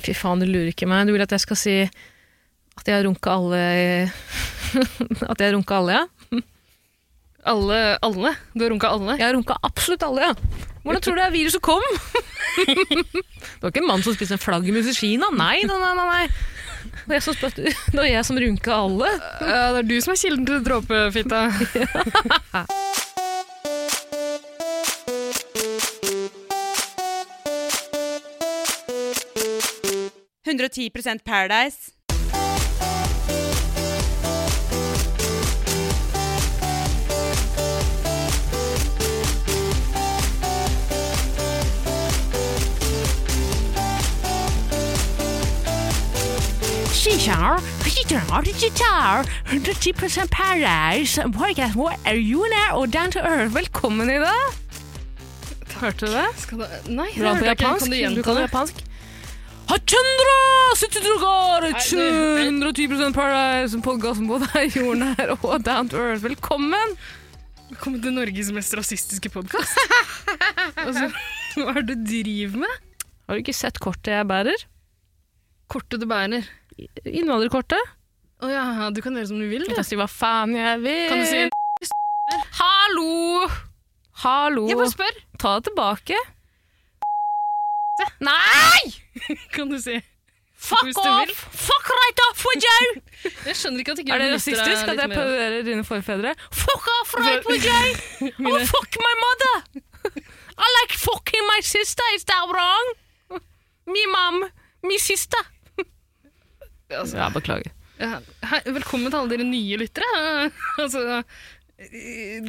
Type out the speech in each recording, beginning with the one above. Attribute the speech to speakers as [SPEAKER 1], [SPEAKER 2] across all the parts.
[SPEAKER 1] fy faen, du lurer ikke meg. Du vil at jeg skal si at jeg har runka alle i- At jeg har runka alle, ja?
[SPEAKER 2] Alle, alle? Du har runka alle?
[SPEAKER 1] Jeg har runka absolutt alle, ja. Hvordan tror du det er viruset kom? det var ikke en mann som spiste en flaggermus i Kina. Nei, nei, nei. nei, nei. Det var jeg som spurte- Det var jeg som runka alle.
[SPEAKER 2] det er du som er kilden til dråpefitta.
[SPEAKER 3] Paradise.
[SPEAKER 1] Velkommen, Ida. Hørte du det?
[SPEAKER 2] Skal du, nei, det
[SPEAKER 1] Bra på
[SPEAKER 2] hørte jeg ikke.
[SPEAKER 1] japansk. Vil du
[SPEAKER 2] Kan du gjenta
[SPEAKER 1] kalle
[SPEAKER 2] det?
[SPEAKER 1] det japansk? Hachundra! Sutudrugar!
[SPEAKER 2] Nei,
[SPEAKER 1] 110 Paradise! Podkasten både er jordnær og down to earth. Velkommen!
[SPEAKER 2] Velkommen til Norges mest rasistiske podkast. altså, hva er det du driver med?
[SPEAKER 1] Har du ikke sett kortet jeg bærer?
[SPEAKER 2] Kortet du bærer.
[SPEAKER 1] Innvandrerkortet?
[SPEAKER 2] Å ja, du kan gjøre som du vil,
[SPEAKER 1] Jeg
[SPEAKER 2] du.
[SPEAKER 1] kan si hva faen jeg vil.
[SPEAKER 2] Kan du si en
[SPEAKER 1] Hallo! Hallo!
[SPEAKER 2] Jeg bare spør.
[SPEAKER 1] Ta det tilbake. Nei!
[SPEAKER 2] Kan du si Hvis
[SPEAKER 1] Fuck
[SPEAKER 2] du vil.
[SPEAKER 1] off! Fuck right off with you!
[SPEAKER 2] Jeg skjønner ikke at ikke
[SPEAKER 1] Er det
[SPEAKER 2] du benytter deg
[SPEAKER 1] rasistisk at jeg
[SPEAKER 2] litt mer av det.
[SPEAKER 1] parodierer dine forfedre? Fuck off right with you!
[SPEAKER 2] Mine-
[SPEAKER 1] Oh, fuck my mother! I like fucking my sister, is that wrong? Me mom, me sister.
[SPEAKER 2] Altså,
[SPEAKER 1] Ja, beklager.
[SPEAKER 2] ja. Hei, velkommen til alle dere nye lyttere. altså,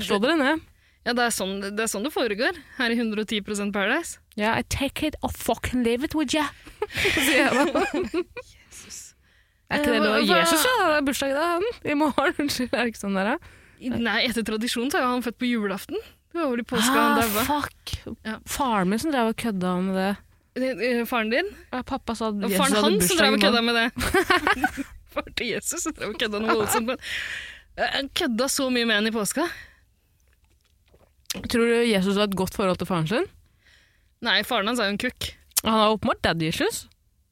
[SPEAKER 1] Slå dere ned.
[SPEAKER 2] ja, det, er sånn, det er sånn det foregår her i 110 Paradise.
[SPEAKER 1] Yeah, I take it or fucking leave it with you. Sier jeg da. Er ikke det lov?
[SPEAKER 2] Hva- hva-
[SPEAKER 1] Jesus, ja, det er bursdag i dag. han. I morgen. Unnskyld, er det ikke sånn der, da?
[SPEAKER 2] Nei, etter tradisjon så er jo han født på julaften. Det var vel i påska han
[SPEAKER 1] Ah,
[SPEAKER 2] daua.
[SPEAKER 1] fuck.
[SPEAKER 2] Ja.
[SPEAKER 1] Faren min som drev og kødda med det.
[SPEAKER 2] Eh, eh, Faren din?
[SPEAKER 1] Ja, Pappa sa at
[SPEAKER 2] Og
[SPEAKER 1] Jesus
[SPEAKER 2] faren
[SPEAKER 1] hadde
[SPEAKER 2] hans som
[SPEAKER 1] bursdag i
[SPEAKER 2] drev og
[SPEAKER 1] morgen.
[SPEAKER 2] kødda med det. Faren til Jesus som drev og kødda noe voldsomt. men- Eh, Han kødda så mye med henne i påska.
[SPEAKER 1] Tror du Jesus har et godt forhold til faren sin?
[SPEAKER 2] Nei, faren hans er jo en kukk.
[SPEAKER 1] Han har åpenbart daddy issues.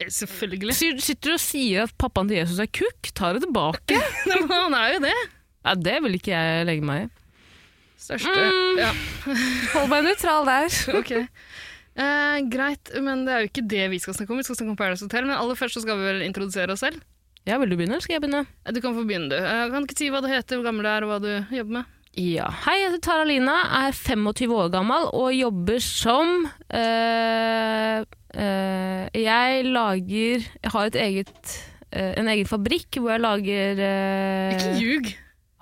[SPEAKER 2] Eh, Selvfølgelig.
[SPEAKER 1] Sier- Sitter du og sier at pappaen til Jesus er kukk? Ta det tilbake.
[SPEAKER 2] Nei, men han er jo det.
[SPEAKER 1] Ja, det vil ikke jeg legge meg i. Mm.
[SPEAKER 2] Største Ja,
[SPEAKER 1] Hold meg nøytral der.
[SPEAKER 2] ok. Eh, greit, men det er jo ikke det vi skal snakke om. Vi skal snakke om Paradise Hotel, men aller først så skal vi vel introdusere oss selv.
[SPEAKER 1] Ja, Vil du begynne, eller skal jeg begynne?
[SPEAKER 2] Eh, Du kan få begynne, du. Eh, kan du ikke si hva du heter, hvor gammel du er, og hva du jobber med?
[SPEAKER 1] Ja. Hei, jeg heter Tara Lina, er 25 år gammel og jobber som øh, øh, Jeg lager Jeg har et eget, øh, en egen fabrikk hvor jeg lager øh,
[SPEAKER 2] Ikke ljug!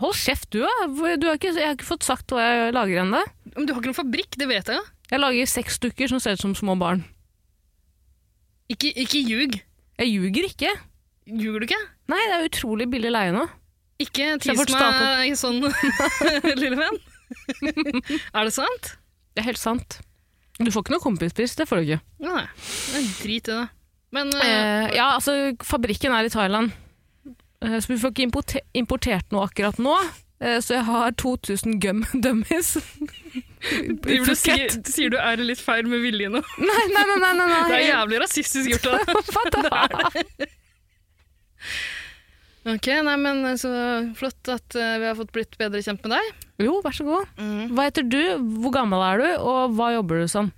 [SPEAKER 1] Hold kjeft, du, da! Hvor- du har ikke, jeg har ikke fått sagt hva jeg lager ennå.
[SPEAKER 2] Men du har ikke noen fabrikk, det vet jeg jo.
[SPEAKER 1] Jeg lager seks stykker som ser ut som små barn.
[SPEAKER 2] Ikke, ikke ljug.
[SPEAKER 1] Jeg ljuger ikke.
[SPEAKER 2] Ljuger du ikke?
[SPEAKER 1] Nei, det er utrolig billig leie nå.
[SPEAKER 2] Ikke
[SPEAKER 1] Så jeg
[SPEAKER 2] tis
[SPEAKER 1] får
[SPEAKER 2] meg sånn, lille venn. er det sant?
[SPEAKER 1] Det er helt sant. Du får ikke noe kompispris, det får du ikke.
[SPEAKER 2] Nei, det er drit i det. Men eh,
[SPEAKER 1] Eh, ja, altså, fabrikken er i Thailand, eh, så vi får ikke importe importert noe akkurat nå. Eh, så jeg har 2000 gum dummies.
[SPEAKER 2] driver du, og sier, sier du er litt feil med vilje nå?
[SPEAKER 1] Nei, nei, nei, nei, nei, nei.
[SPEAKER 2] Det er jævlig rasistisk gjort av deg.
[SPEAKER 1] Hva da?
[SPEAKER 2] Ok, nei, men eh, så flott at eh, vi har fått blitt bedre kjent med deg.
[SPEAKER 1] Jo, vær så god.
[SPEAKER 2] Mm.
[SPEAKER 1] Hva heter du, hvor gammel er du, og hva jobber du som?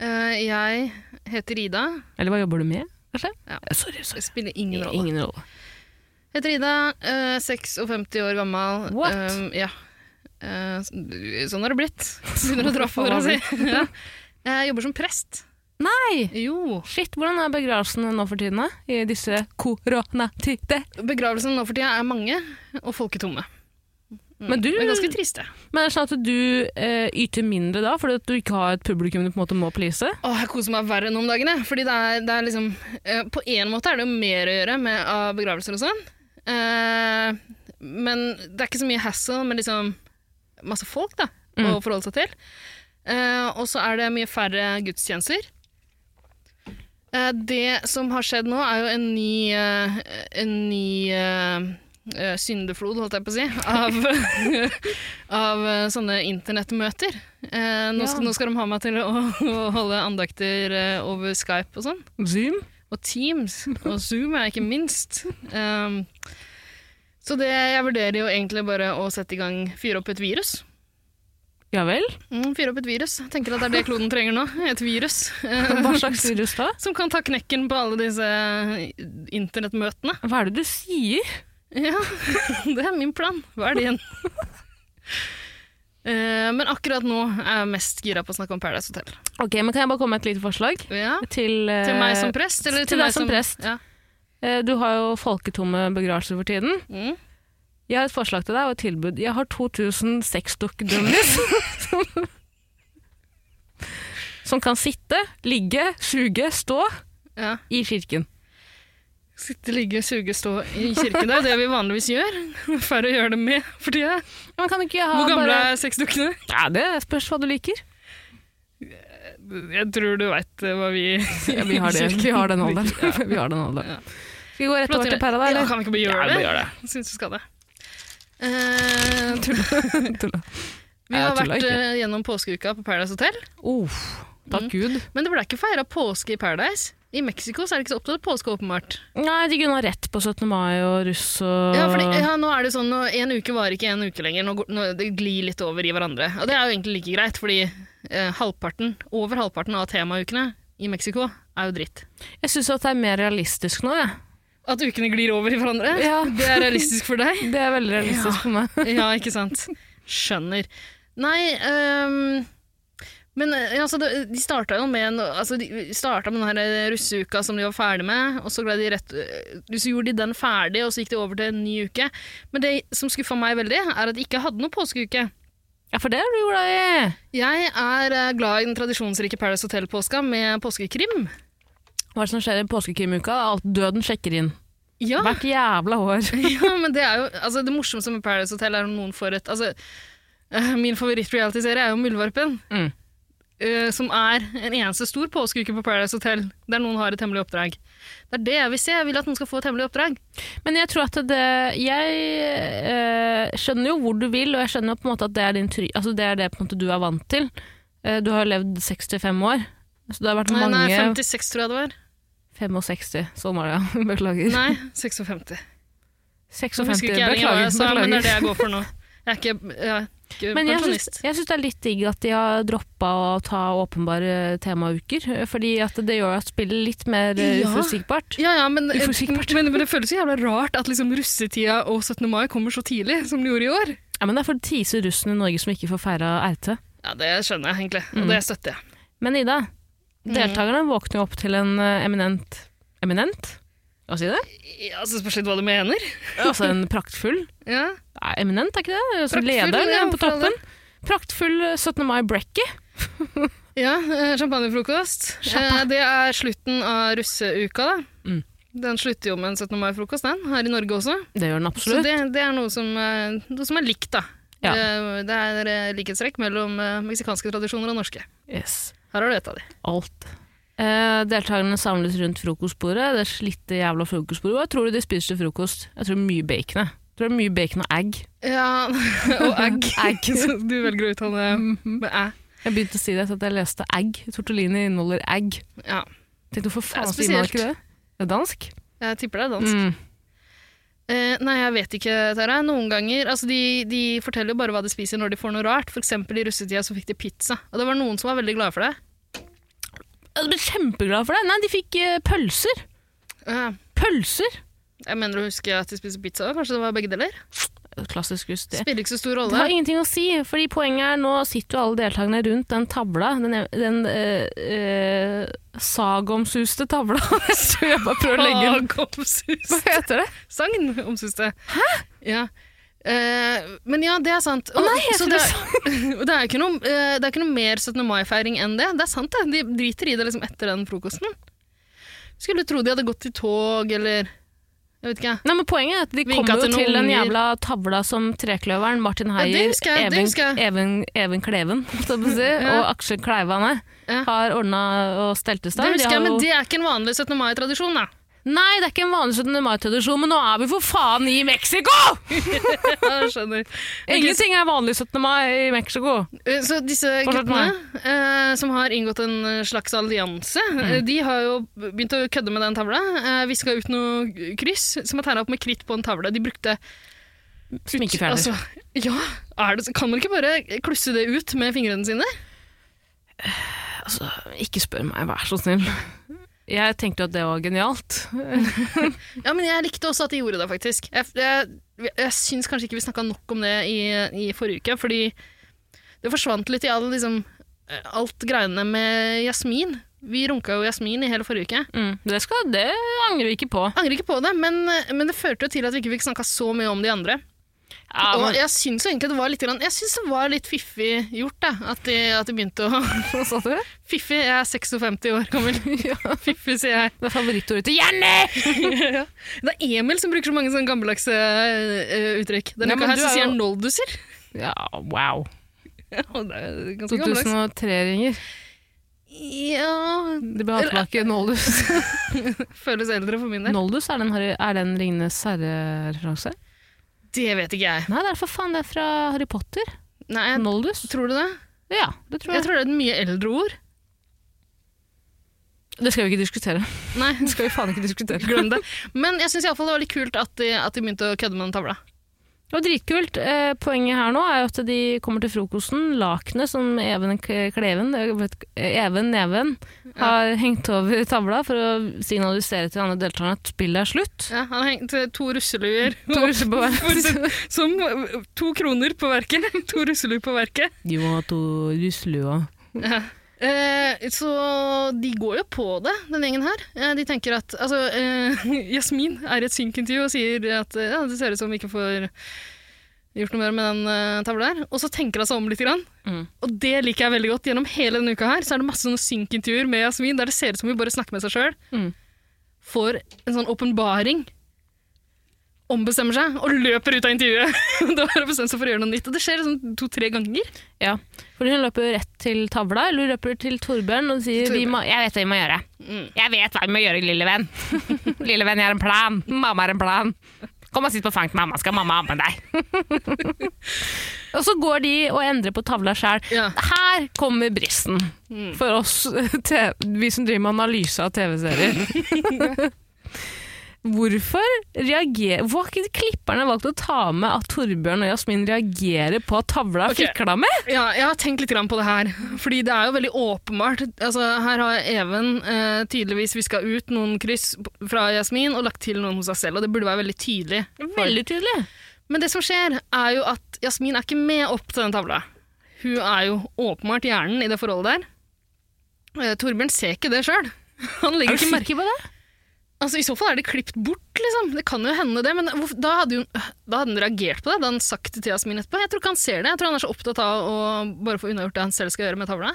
[SPEAKER 2] Eh, jeg heter Ida.
[SPEAKER 1] Eller hva jobber du med, kanskje?
[SPEAKER 2] Ja.
[SPEAKER 1] Eh, Sorry, sorry.
[SPEAKER 2] Det spiller ingen rolle.
[SPEAKER 1] Ingen rolle.
[SPEAKER 2] Heter Ida, eh, 56 år gammel.
[SPEAKER 1] What?
[SPEAKER 2] Um, ja. Eh, s- sånn har det blitt.
[SPEAKER 1] Sånn
[SPEAKER 2] Begynner å dra på åra si. ja. Jeg jobber som prest.
[SPEAKER 1] Nei!
[SPEAKER 2] Jo.
[SPEAKER 1] Shit, hvordan er begravelsene nå for tiden, da? I disse koronatider?
[SPEAKER 2] Begravelsene nå for tida er mange, og folk er tomme. Mm.
[SPEAKER 1] Men du-
[SPEAKER 2] Det er ganske triste.
[SPEAKER 1] Men er det sånn at du eh, yter mindre da, fordi at du ikke har et publikum du på en måte må please?
[SPEAKER 2] Åh, jeg koser meg verre nå om dagene. Fordi det er, det er liksom eh, På en måte er det jo mer å gjøre med av begravelser og sånn. Eh, men det er ikke så mye hassle med liksom masse folk da, å forholde seg til. Eh, og så er det mye færre gudstjenester. Eh, det som har skjedd nå, er jo en ny, eh, en ny eh, eh, syndeflod, holdt jeg på å si, av, av eh, sånne internettmøter. Eh, nå, skal,
[SPEAKER 1] Ja.
[SPEAKER 2] nå skal de ha meg til å, å holde andakter eh, over Skype og sånn.
[SPEAKER 1] Zoom?
[SPEAKER 2] og Teams og Zoom er ikke minst. Um, så det, jeg vurderer jo egentlig bare å sette i gang, fyre opp et virus.
[SPEAKER 1] Ja vel?
[SPEAKER 2] Mm, fyre opp et virus. Jeg tenker at det er det kloden trenger nå. Et virus. eh,
[SPEAKER 1] Hva slags virus da?
[SPEAKER 2] Som kan ta knekken på alle disse eh, internettmøtene.
[SPEAKER 1] Hva er det du sier?
[SPEAKER 2] Ja, det er min plan. Hva er din? Eh, men akkurat nå er jeg mest gira på å snakke om Paradise Hotel.
[SPEAKER 1] Ok, men Kan jeg bare komme med et lite forslag?
[SPEAKER 2] Ja.
[SPEAKER 1] Til, eh,
[SPEAKER 2] Til meg som prest? Eller
[SPEAKER 1] til deg
[SPEAKER 2] meg
[SPEAKER 1] som prest.
[SPEAKER 2] Ja.
[SPEAKER 1] eh, Du har jo folketomme begravelser for tiden.
[SPEAKER 2] Mm.
[SPEAKER 1] Jeg har et forslag til deg og et tilbud. Jeg har 2000 sexdukk-dummies. som- som kan sitte, ligge, suge, stå
[SPEAKER 2] ja.
[SPEAKER 1] i kirken.
[SPEAKER 2] Sitte, ligge, suge, stå i kirken. Det er jo det vi vanligvis gjør. Færre gjør det med for tida.
[SPEAKER 1] Ja, Men kan ikke jeg ha
[SPEAKER 2] Hvor gamle
[SPEAKER 1] bare...
[SPEAKER 2] er sexdukkene?
[SPEAKER 1] Ja, Det spørs hva du liker.
[SPEAKER 2] Jeg tror du veit hva vi
[SPEAKER 1] Ja, vi, har det. vi har den alderen. vi har den alderen.
[SPEAKER 2] Ja.
[SPEAKER 1] Skal vi gå rett over til Perla, da?
[SPEAKER 2] Ja,
[SPEAKER 1] eller?
[SPEAKER 2] kan vi ikke bare gjøre
[SPEAKER 1] Ja, vi
[SPEAKER 2] det?
[SPEAKER 1] gjør det.
[SPEAKER 2] Jeg syns vi skal det. Eh, tull.
[SPEAKER 1] Tulla.
[SPEAKER 2] vi
[SPEAKER 1] Jeg
[SPEAKER 2] har
[SPEAKER 1] tuller
[SPEAKER 2] vært
[SPEAKER 1] ikke.
[SPEAKER 2] eh, gjennom påskeuka på Paradise Hotel,
[SPEAKER 1] Uff, Mm. takk Gud.
[SPEAKER 2] men det ble ikke feira påske i Paradise. I Mexico så er det ikke så opptatt av påske, åpenbart.
[SPEAKER 1] Nei, de kunne ha rett på 17. mai og russ og
[SPEAKER 2] Ja, fordi, ja, nå er det sånn, nå, En uke varer ikke en uke lenger. Nå, går- nå, det glir litt over i hverandre. Og det er jo egentlig like greit, fordi eh, halvparten, over halvparten av temaukene i Mexico er jo dritt.
[SPEAKER 1] Jeg syns det er mer realistisk nå, jeg.
[SPEAKER 2] At ukene glir over i hverandre?
[SPEAKER 1] Ja.
[SPEAKER 2] Det er realistisk for deg?
[SPEAKER 1] Det er veldig realistisk for meg.
[SPEAKER 2] Ja, ikke sant? Skjønner. Nei, ehm, men eh, altså, det- de starta jo med, en, altså, de starta med den her eh, russeuka som de var ferdig med, og så, ble de rett, eh, så gjorde de den ferdig, og så gikk de over til en ny uke. Men det som skuffa meg veldig, er at de ikke hadde noe påskeuke.
[SPEAKER 1] Ja, for det er du glad i.
[SPEAKER 2] Jeg er eh, glad i den tradisjonsrike Paradise Hotel-påska med påskekrim.
[SPEAKER 1] Hva er det som skjer i påskekrimuka? Alt døden sjekker inn.
[SPEAKER 2] Ja.
[SPEAKER 1] Hvert jævla år.
[SPEAKER 2] Ja, men det er jo altså, Det morsomste med Paradise Hotel er om noen får et altså, eh, Min favoritt-reality-serie er jo Muldvarpen.
[SPEAKER 1] Mm.
[SPEAKER 2] eh, som er en eneste stor påskeuke på Paradise Hotel, der noen har et hemmelig oppdrag. Det er det jeg vil se. Jeg vil at noen skal få et hemmelig oppdrag.
[SPEAKER 1] Men jeg tror at det Jeg eh, skjønner jo hvor du vil, og jeg skjønner jo på en måte at det er, din try altså det, er det på en måte du er vant til. Eh, du har jo levd 65 år, så det har vært
[SPEAKER 2] Nei,
[SPEAKER 1] mange
[SPEAKER 2] nei, 56 tror jeg det var.
[SPEAKER 1] 65. Sånn var det, ja. Beklager.
[SPEAKER 2] Nei, 56. Så
[SPEAKER 1] 56,
[SPEAKER 2] husker ikke jeg lenger hva
[SPEAKER 1] beklager.
[SPEAKER 2] jeg sa, men det er det
[SPEAKER 1] beklager.
[SPEAKER 2] jeg går for nå. Jeg er ikke, jeg er ikke
[SPEAKER 1] Men jeg syns,
[SPEAKER 2] Eh, pensjonist.
[SPEAKER 1] jeg syns det er litt digg at de har droppa å ta åpenbare eh, temauker. Fordi at det gjør at spillet er litt mer eh,
[SPEAKER 2] Ja.
[SPEAKER 1] uforutsigbart.
[SPEAKER 2] Ja, ja, men,
[SPEAKER 1] Uforutsigbart.
[SPEAKER 2] men, men det føles jo jævla rart at liksom russetida og 17. mai kommer så tidlig som de gjorde i år.
[SPEAKER 1] Ja, men det er for å tease russen i Norge som ikke får feira RT.
[SPEAKER 2] Ja, det skjønner jeg egentlig, og
[SPEAKER 1] Mm.
[SPEAKER 2] det støtter jeg.
[SPEAKER 1] Men Ida,
[SPEAKER 2] Mm.
[SPEAKER 1] deltakerne våkner jo opp til en eh, eminent Eminent? Hva sier det?
[SPEAKER 2] Ja, så spørs litt hva du mener.
[SPEAKER 1] Altså en praktfull
[SPEAKER 2] Ja.
[SPEAKER 1] Nei, eminent er ikke det? Som
[SPEAKER 2] Praktfull,
[SPEAKER 1] leder
[SPEAKER 2] ja,
[SPEAKER 1] ja, på
[SPEAKER 2] for all del.
[SPEAKER 1] toppen. Praktfull eh, 17. mai-brekkie.
[SPEAKER 2] ja eh, champagnefrokost.
[SPEAKER 1] Sjappa.
[SPEAKER 2] Eh, Det er slutten av russeuka, da.
[SPEAKER 1] Mm.
[SPEAKER 2] Den slutter jo med en 17. mai-frokost, den, her i Norge også.
[SPEAKER 1] Det gjør den
[SPEAKER 2] Så
[SPEAKER 1] absolutt.
[SPEAKER 2] det, det er noe som, eh, noe som er likt, da.
[SPEAKER 1] Ja.
[SPEAKER 2] Eh, Det er eh, likhetstrekk mellom eh, meksikanske tradisjoner og norske.
[SPEAKER 1] Yes.
[SPEAKER 2] Her har du et av de.
[SPEAKER 1] Alt. Eh, deltakerne samles rundt frokostbordet, det slitte jævla frokostbordet. Hva tror du de spiser til frokost? Jeg tror mye bacon. jeg. Jeg tror det er mye bacon og egg.
[SPEAKER 2] Ja, og egg.
[SPEAKER 1] Egg. Mhm.
[SPEAKER 2] Så du velger å uttale med æ.
[SPEAKER 1] Jeg begynte å si det etter at jeg leste egg. Tortellini inneholder egg.
[SPEAKER 2] Ja,
[SPEAKER 1] Tenkte hvorfor faen
[SPEAKER 2] Det er
[SPEAKER 1] sier man ikke det?
[SPEAKER 2] spesielt.
[SPEAKER 1] Det er dansk.
[SPEAKER 2] jeg tipper det er dansk.
[SPEAKER 1] Mm.
[SPEAKER 2] Eh, nei, jeg vet ikke, Tara. Noen ganger altså de, de forteller jo bare hva de spiser når de får noe rart. For eksempel i russetida så fikk de pizza. Og det var noen som var veldig glade for det.
[SPEAKER 1] Jeg ble kjempeglad for det. Nei, de fikk eh, pølser.
[SPEAKER 2] Eh,
[SPEAKER 1] Pølser!
[SPEAKER 2] jeg mener å huske at de spiser pizza òg. Kanskje det var begge deler?
[SPEAKER 1] Klassisk russ, det.
[SPEAKER 2] Spiller ikke så stor
[SPEAKER 1] Det
[SPEAKER 2] rolle.
[SPEAKER 1] har ingenting å si, fordi poenget er nå sitter jo alle deltakerne rundt den tavla, den, den eh, eh, sagomsuste tavla. Jeg tror jeg bare prøver å legge den Hva
[SPEAKER 2] Sagomsus.
[SPEAKER 1] heter det?
[SPEAKER 2] Sagn omsus det. Hæ? Ja. Eh, men ja, det er sant. Og-
[SPEAKER 1] nei, jeg
[SPEAKER 2] så
[SPEAKER 1] tror
[SPEAKER 2] det, er, det, er ikke noe, eh, det er ikke noe mer 17. mai-feiring enn det. Det er sant, det. De driter i det liksom etter den frokosten. Skulle tro de hadde gått i tog eller Jeg vet ikke, jeg.
[SPEAKER 1] Nei, men Poenget er at de
[SPEAKER 2] Vinka
[SPEAKER 1] kommer jo
[SPEAKER 2] til noen
[SPEAKER 1] til den
[SPEAKER 2] unger.
[SPEAKER 1] jævla tavla som trekløveren, Martin Heier,
[SPEAKER 2] det husker jeg, det
[SPEAKER 1] Even,
[SPEAKER 2] husker jeg.
[SPEAKER 1] Even, Even Kleven holdt jeg på å si,
[SPEAKER 2] Ja.
[SPEAKER 1] og Aksel Kleivane
[SPEAKER 2] Ja.
[SPEAKER 1] har ordna og stelt i
[SPEAKER 2] Det
[SPEAKER 1] stand. De
[SPEAKER 2] husker jeg,
[SPEAKER 1] har
[SPEAKER 2] men
[SPEAKER 1] jo-
[SPEAKER 2] det er ikke en vanlig 17. mai-tradisjon, da.
[SPEAKER 1] Nei, det er ikke en vanlig 17. mai-tradisjon, men nå er vi for faen i Mexico!
[SPEAKER 2] Jeg skjønner.
[SPEAKER 1] Ingenting er vanlig 17. mai i Mexico.
[SPEAKER 2] Eh, Så disse
[SPEAKER 1] Fortsett
[SPEAKER 2] guttene eh, som har inngått en eh, slags allianse, eh, de har jo begynt å kødde med den tavla. Eh, viska ut noe kryss som er tegna opp med kritt på en tavle. De brukte
[SPEAKER 1] Sminkefjerner.
[SPEAKER 2] altså, Ja, er det, så- kan man ikke bare klusse det ut med fingrene sine?
[SPEAKER 1] Altså, ikke spør meg, vær så snill. Jeg tenkte jo at det var genialt.
[SPEAKER 2] Ja, men jeg likte også at de gjorde det, faktisk. Jeg, jeg, jeg syns kanskje ikke vi snakka nok om det i, i forrige uke, fordi det forsvant litt i all, liksom, eh, alt greiene med Jasmin. Vi runka jo Jasmin i hele forrige uke.
[SPEAKER 1] Mm, det, skal, det angrer vi ikke på.
[SPEAKER 2] Angrer ikke på det, men, men det førte jo til at vi ikke fikk snakka så mye om de andre.
[SPEAKER 1] Ja,
[SPEAKER 2] Og
[SPEAKER 1] men,
[SPEAKER 2] jeg syns jo egentlig det var litt, grann- jeg synes det var litt fiffig gjort, da, at, de, at de begynte å
[SPEAKER 1] hva sa du?
[SPEAKER 2] Fiffig, jeg er 56 år gammel. Fiffig, sier jeg.
[SPEAKER 1] Det er favorittordet til Jenny!
[SPEAKER 2] Det er Emil som bruker så mange sånne gammeldagse eh, uttrykk. Denne
[SPEAKER 1] Ja, men
[SPEAKER 2] uka her
[SPEAKER 1] du
[SPEAKER 2] så
[SPEAKER 1] er
[SPEAKER 2] sier
[SPEAKER 1] jo-
[SPEAKER 2] han nolduser.
[SPEAKER 1] Ja, wow.
[SPEAKER 2] Og det er ganske gammeldags.
[SPEAKER 1] 2003-ringer.
[SPEAKER 2] Ja
[SPEAKER 1] De ble tilbake
[SPEAKER 2] eh,
[SPEAKER 1] Noldus.
[SPEAKER 2] Føles eldre for min del.
[SPEAKER 1] Noldus, er den, Harry- er den Ringenes herre-referanse?
[SPEAKER 2] Det vet ikke jeg.
[SPEAKER 1] Nei, det er for faen, det er fra Harry Potter.
[SPEAKER 2] Nei, jeg,
[SPEAKER 1] Noldus.
[SPEAKER 2] Tror du det?
[SPEAKER 1] Ja, det tror
[SPEAKER 2] Jeg
[SPEAKER 1] jeg.
[SPEAKER 2] tror det er et mye eldre ord.
[SPEAKER 1] Det skal vi ikke diskutere.
[SPEAKER 2] Nei,
[SPEAKER 1] Det skal vi faen ikke diskutere.
[SPEAKER 2] glem det. Men jeg syns iallfall det var litt kult at de, at de begynte å kødde med den tavla.
[SPEAKER 1] Det var dritkult. Eh, poenget her nå er jo at de kommer til frokosten. Lakenet som Even K- Kleven, eh, vet ikke, Even Neven, har hengt over tavla for å signalisere til de andre deltakerne at spillet er slutt.
[SPEAKER 2] Ja, han har hengt eh, to russeluer.
[SPEAKER 1] To russer på hver.
[SPEAKER 2] For- Som eh, to kroner på verket. To russeluer på verket.
[SPEAKER 1] De må ha to russelua.
[SPEAKER 2] Eh, så de går jo på det, den gjengen her. Eh, de tenker at Altså, eh, Jasmin er i et synkintervju og sier at eh, ja, det ser ut som vi ikke får gjort noe mer med den eh, tavla der. Og så tenker hun seg om litt. Grann.
[SPEAKER 1] Mm.
[SPEAKER 2] Og det liker jeg veldig godt. Gjennom hele denne uka her så er det masse sånne synkintervjuer med Jasmin der det ser ut som hun bare snakker med seg sjøl.
[SPEAKER 1] Mm.
[SPEAKER 2] Får en sånn åpenbaring. Ombestemmer seg og løper ut av intervjuet. da har hun bestemt seg for å gjøre noe nytt. Og det skjer liksom to-tre ganger.
[SPEAKER 1] Ja, fordi hun løper jo rett til tavla, eller hun løper til Torbjørn og sier
[SPEAKER 2] Torbjørn.
[SPEAKER 1] vi må, Jeg vet hva vi må gjøre.
[SPEAKER 2] Mm.
[SPEAKER 1] Jeg vet hva vi må gjøre, lille venn. lille venn, jeg har en plan. Mamma har en plan. Kom og sitt på fanget til mamma, skal mamma amme deg. og så går de og endrer på tavla sjæl.
[SPEAKER 2] Ja.
[SPEAKER 1] Her kommer bristen
[SPEAKER 2] Mm.
[SPEAKER 1] for oss, te- vi som driver med analyse av TV-serier. Hvorfor, reagerer, hvorfor har ikke klipperne valgt å ta med at Torbjørn og Jasmin reagerer på at tavla
[SPEAKER 2] Ok.
[SPEAKER 1] okay. fikla med?
[SPEAKER 2] Ja, jeg har tenkt litt grann på det her, fordi det er jo veldig åpenbart. Altså, her har Even eh, tydeligvis viska ut noen kryss p- fra Jasmin og lagt til noen hos seg selv, og det burde være veldig tydelig.
[SPEAKER 1] Veldig tydelig.
[SPEAKER 2] Men det som skjer, er jo at Jasmin er ikke med opp til den tavla. Hun er jo åpenbart hjernen i det forholdet der. Eh, Torbjørn ser ikke det sjøl. Han legger ikke merke
[SPEAKER 1] på det?
[SPEAKER 2] Altså, I så fall er det klippet bort, liksom. Det kan jo hende det, men hvorf- da hadde, hun, da hadde hun reagert på det. Da hadde han sagt det til Jasmin etterpå. Jeg tror ikke han ser det. Jeg tror han er så opptatt av å bare få unnagjort det han selv skal gjøre med tavla.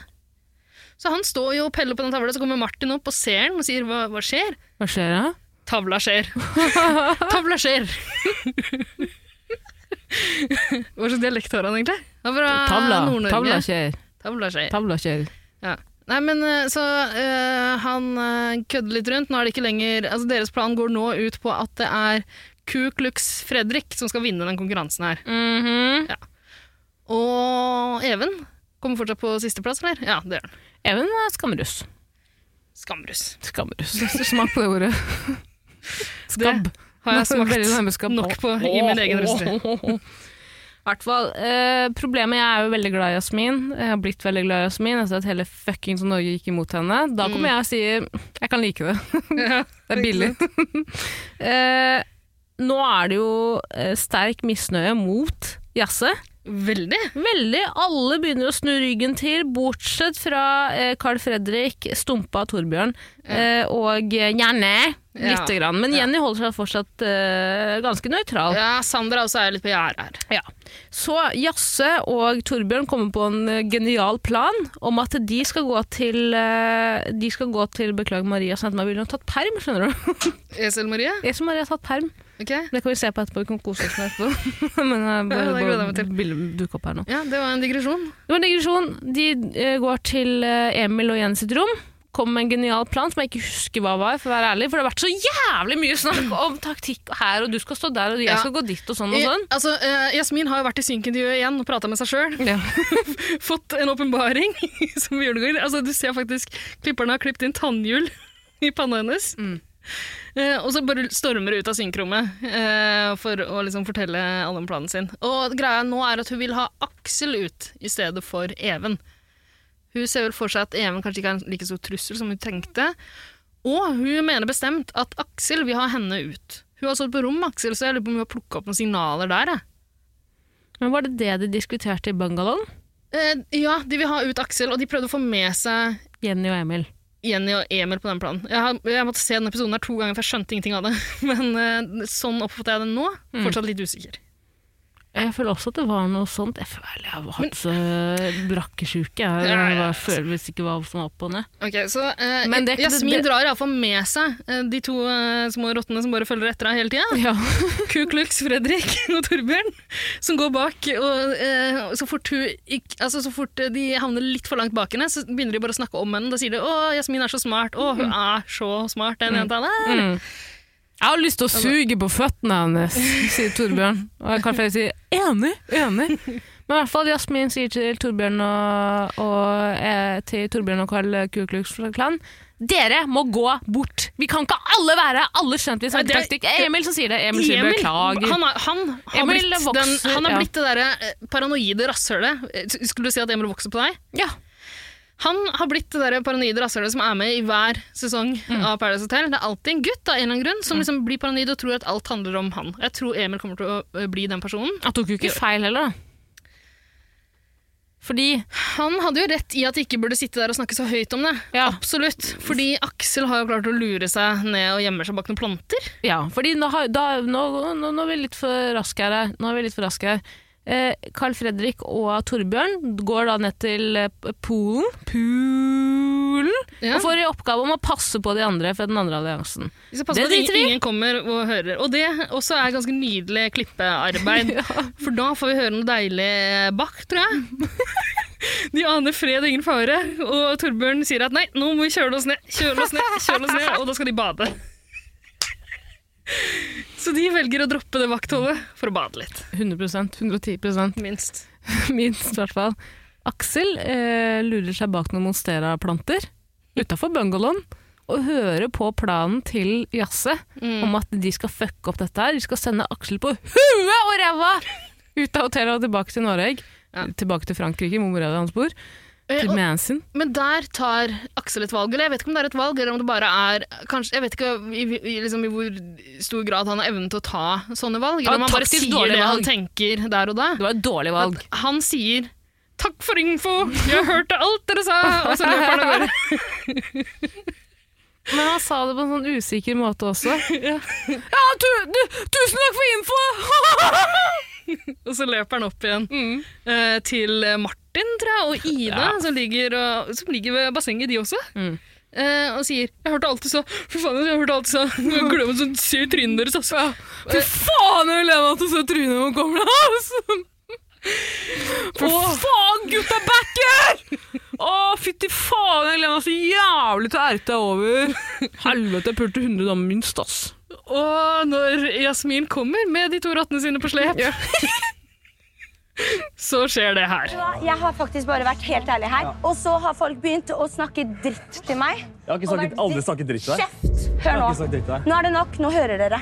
[SPEAKER 2] Så han står jo og peller på den tavla, så kommer Martin opp og ser den og sier hva, hva skjer?
[SPEAKER 1] Hva skjer da?
[SPEAKER 2] Tavla skjer. tavla skjer. hva slags dialekt har han egentlig? Han er fra
[SPEAKER 1] Tavla.
[SPEAKER 2] Ah, Nord-Norge.
[SPEAKER 1] Tavla skjer.
[SPEAKER 2] Tavla skjer.
[SPEAKER 1] Tavla skjer.
[SPEAKER 2] Ja. Nei, men eh, så eh, han eh, kødder litt rundt. Nå er det ikke lenger Altså, deres plan går nå ut på at det er Ku Klux Fredrik som skal vinne den konkurransen her. Og Even kommer fortsatt på sisteplass, eller? Ja, det gjør han.
[SPEAKER 1] Even er skamruss.
[SPEAKER 2] Skamrus.
[SPEAKER 1] Skamruss. Smak på det ordet. Skabb.
[SPEAKER 2] Har jeg
[SPEAKER 1] Veldig
[SPEAKER 2] smakt
[SPEAKER 1] nærme skabb.
[SPEAKER 2] nok på i min egen røstid?
[SPEAKER 1] I hvert fall. eh, problemet Jeg er jo veldig glad i Jasmin. Jeg har blitt veldig glad i Jasmin etter at hele fuckings Norge gikk imot henne. Da kommer jeg og sier jeg kan like det.
[SPEAKER 2] Ja,
[SPEAKER 1] Det er billig. Eh, nå er det jo eh, sterk misnøye mot Jazze.
[SPEAKER 2] Veldig.
[SPEAKER 1] Veldig. Alle begynner å snu ryggen til, bortsett fra eh, Carl Fredrik, Stumpa, Torbjørn eh, og Janne.
[SPEAKER 2] Ja.
[SPEAKER 1] Lite grann. Men Jenny holder seg fortsatt eh, ganske nøytral.
[SPEAKER 2] Ja, Sandra også er litt på gjerdet her.
[SPEAKER 1] Ja. Så Jasse og Torbjørn kommer på en eh, genial plan om at de skal gå til eh, De skal gå til Beklager, Maria sånn sendte meg bilde. Hun har tatt perm, skjønner du.
[SPEAKER 2] Esel Marie?
[SPEAKER 1] Jeg som Maria har tatt perm.
[SPEAKER 2] Ok.
[SPEAKER 1] Det kan vi se på etterpå. Vi kan kose oss med etterpå. Men jeg
[SPEAKER 2] Ja, det
[SPEAKER 1] bare,
[SPEAKER 2] gleder jeg meg
[SPEAKER 1] bare
[SPEAKER 2] til.
[SPEAKER 1] bildet dukker opp her nå.
[SPEAKER 2] Ja, det var en digresjon.
[SPEAKER 1] Det var en digresjon. De eh, går til eh, Emil og Jens sitt rom. kom med en genial plan som jeg ikke husker hva var, for å være ærlig. For det har vært så jævlig mye snakk om taktikk her, og du skal stå der, og jeg
[SPEAKER 2] Ja.
[SPEAKER 1] skal gå dit, og sånn og sånn.
[SPEAKER 2] I- Altså, eh, Jasmin har jo vært i synkintervjuet igjen og prata med seg sjøl. Fått en åpenbaring som julegård. Altså, du ser faktisk klipperne har klippet inn tannhjul i panna hennes.
[SPEAKER 1] Mm.
[SPEAKER 2] Eh, og så bare stormer hun ut av synkrommet eh, for å liksom fortelle alle om planen sin. Og greia nå er at hun vil ha Aksel ut i stedet for Even. Hun ser vel for seg at Even kanskje ikke er en like stor trussel som hun tenkte. Og hun mener bestemt at Aksel vil ha henne ut. Hun har stått på rom med Aksel, så jeg lurer på om hun har plukka opp noen signaler der. Jeg.
[SPEAKER 1] Men var det det de diskuterte i bungalowen?
[SPEAKER 2] Eh, ja, de vil ha ut Aksel, og de prøvde å få med seg
[SPEAKER 1] Jenny og Emil.
[SPEAKER 2] Jenny og Emil på den planen. Jeg, har, jeg måtte se denne episoden her to ganger, for jeg skjønte ingenting av det. Men eh, sånn oppfatter jeg det nå.
[SPEAKER 1] Mm.
[SPEAKER 2] Fortsatt litt usikker.
[SPEAKER 1] Jeg føler også at det var noe sånt. Jeg føler jeg har hatt så brakkesjuke. Jeg,
[SPEAKER 2] Ja,
[SPEAKER 1] jeg
[SPEAKER 2] ja.
[SPEAKER 1] bare føler visst ikke hva som var opp og ned.
[SPEAKER 2] Ok, så eh,
[SPEAKER 1] Men det er ikke-
[SPEAKER 2] Jasmin
[SPEAKER 1] det-
[SPEAKER 2] drar iallfall med seg eh, de to eh, små rottene som bare følger etter deg hele tida.
[SPEAKER 1] Ja.
[SPEAKER 2] Ku Klux Fredrik og Torbjørn, som går bak. Og, eh, så, fort hun, ikk- altså, så fort eh, de havner litt for langt bak henne, så begynner de bare å snakke om henne. Da sier de 'Å, Jasmin er så smart'. 'Å, hun er så smart, den jenta der'.
[SPEAKER 1] Mm. Jeg har lyst til
[SPEAKER 2] Altså-
[SPEAKER 1] å suge på føttene hennes, sier Torbjørn. Og jeg kan flere si enig, enig. Men i hvert fall Jasmin sier til Torbjørn og, og, eh, til Torbjørn og Karl Kuklux Klan dere må gå bort! Vi kan ikke alle være alle skjønt vi
[SPEAKER 2] Nei,
[SPEAKER 1] snakker
[SPEAKER 2] det er-
[SPEAKER 1] taktikk. Eh, Emil som sier det. Emil sier
[SPEAKER 2] Emil,
[SPEAKER 1] beklager.
[SPEAKER 2] Han, er, han, har
[SPEAKER 1] Emil
[SPEAKER 2] blitt,
[SPEAKER 1] vokser,
[SPEAKER 2] den, han har
[SPEAKER 1] ja.
[SPEAKER 2] blitt det derre eh, paranoide rasshølet. Eh, Skulle du si at Emil vokser på deg?
[SPEAKER 1] Ja.
[SPEAKER 2] Han har blitt det der paranoide rasshølet som er med i hver sesong
[SPEAKER 1] Mm.
[SPEAKER 2] av Paradise Hotel. Det er alltid en gutt av en eller annen grunn som liksom blir paranoid og tror at alt handler om han. Jeg tror Emil kommer til å eh, bli den personen.
[SPEAKER 1] Han tok jo ikke feil heller, da. Fordi
[SPEAKER 2] Han hadde jo rett i at de ikke burde sitte der og snakke så høyt om det.
[SPEAKER 1] Ja.
[SPEAKER 2] Absolutt. Fordi Aksel har jo klart å lure seg ned og gjemmer seg bak noen planter.
[SPEAKER 1] Ja, fordi nå, har, da, nå, nå, nå er vi litt for raske her. eh. Nå er vi litt for raske her. Eh, Carl Fredrik og Torbjørn går da ned til eh, Polen, Polen
[SPEAKER 2] Ja.
[SPEAKER 1] og får i oppgave om å passe på de andre fra den andre alliansen.
[SPEAKER 2] Vi skal passe
[SPEAKER 1] Det
[SPEAKER 2] på at
[SPEAKER 1] driter vi i.
[SPEAKER 2] ingen, ingen kommer og hører. Og det også er ganske nydelig klippearbeid. For da får vi høre noe deilig Bach, tror jeg. De aner fred og ingen fare, og Torbjørn sier at nei, nå må vi kjøle oss ned, kjøle oss ned, kjøle oss ned, og da skal de bade. Så de velger å droppe det vaktholdet for å bade litt,
[SPEAKER 1] 100 110
[SPEAKER 2] minst.
[SPEAKER 1] minst i hvert fall. Aksel eh, lurer seg bak noen monstera-planter utafor bungalowen og hører på planen til Jasse om at de skal fucke opp dette her. De skal sende Aksel på huet og ræva ut av hotellet og tilbake til Norge.
[SPEAKER 2] Ja.
[SPEAKER 1] Tilbake til Frankrike, hvor mora di hans bor.
[SPEAKER 2] Eh,
[SPEAKER 1] Til
[SPEAKER 2] og-
[SPEAKER 1] Manson.
[SPEAKER 2] Men der tar Aksel et valg, eller jeg vet ikke om det er et valg, eller om det bare er kanskje, Jeg vet ikke i, i, liksom, i hvor stor grad han har evnen til å ta sånne valg,
[SPEAKER 1] Ja,
[SPEAKER 2] eller om han bare
[SPEAKER 1] taktisk
[SPEAKER 2] sier
[SPEAKER 1] dårlig
[SPEAKER 2] det
[SPEAKER 1] valg.
[SPEAKER 2] han tenker der og da.
[SPEAKER 1] Det var et dårlig
[SPEAKER 2] At
[SPEAKER 1] valg.
[SPEAKER 2] han sier 'takk for info, jeg hørte alt dere sa', og så løper han av gårde.
[SPEAKER 1] Men han sa det på en sånn usikker måte også. ja, tu, du, tusen takk for info!
[SPEAKER 2] Og så løper han opp igjen eh, til Martin, tror jeg, og Ida,
[SPEAKER 1] Mm. Ja.
[SPEAKER 2] som, ligger, og, som ligger ved bassenget, de også.
[SPEAKER 1] Mm.
[SPEAKER 2] Eh, og sier 'jeg hørte alt du sa', fy faen, jeg hørte alt du sa', jeg glemmer sånn, se i trynet deres, altså.
[SPEAKER 1] Fy faen, jeg vil leve at du ser trynet når man kommer deg altså. Fy faen, gutta backer! Å, fytti faen, jeg gleder meg så jævlig til å erte deg over. Helvete, jeg pulte 100 damer minst, ass.
[SPEAKER 2] Og når Jasmin kommer med de to rottene sine på slep, så skjer det her.
[SPEAKER 3] Vet du hva? Jeg har faktisk bare vært helt ærlig her. Og så har folk begynt å snakke dritt til meg.
[SPEAKER 4] Jeg har ikke
[SPEAKER 3] Og
[SPEAKER 4] snakket-
[SPEAKER 3] vært
[SPEAKER 4] aldri
[SPEAKER 3] dritt-
[SPEAKER 4] snakket dritt til deg.
[SPEAKER 3] Kjeft!
[SPEAKER 4] Jeg
[SPEAKER 3] Hør
[SPEAKER 4] har ikke snakket dritt til
[SPEAKER 3] nå.
[SPEAKER 4] deg.
[SPEAKER 3] Nå er det nok. Nå hører dere.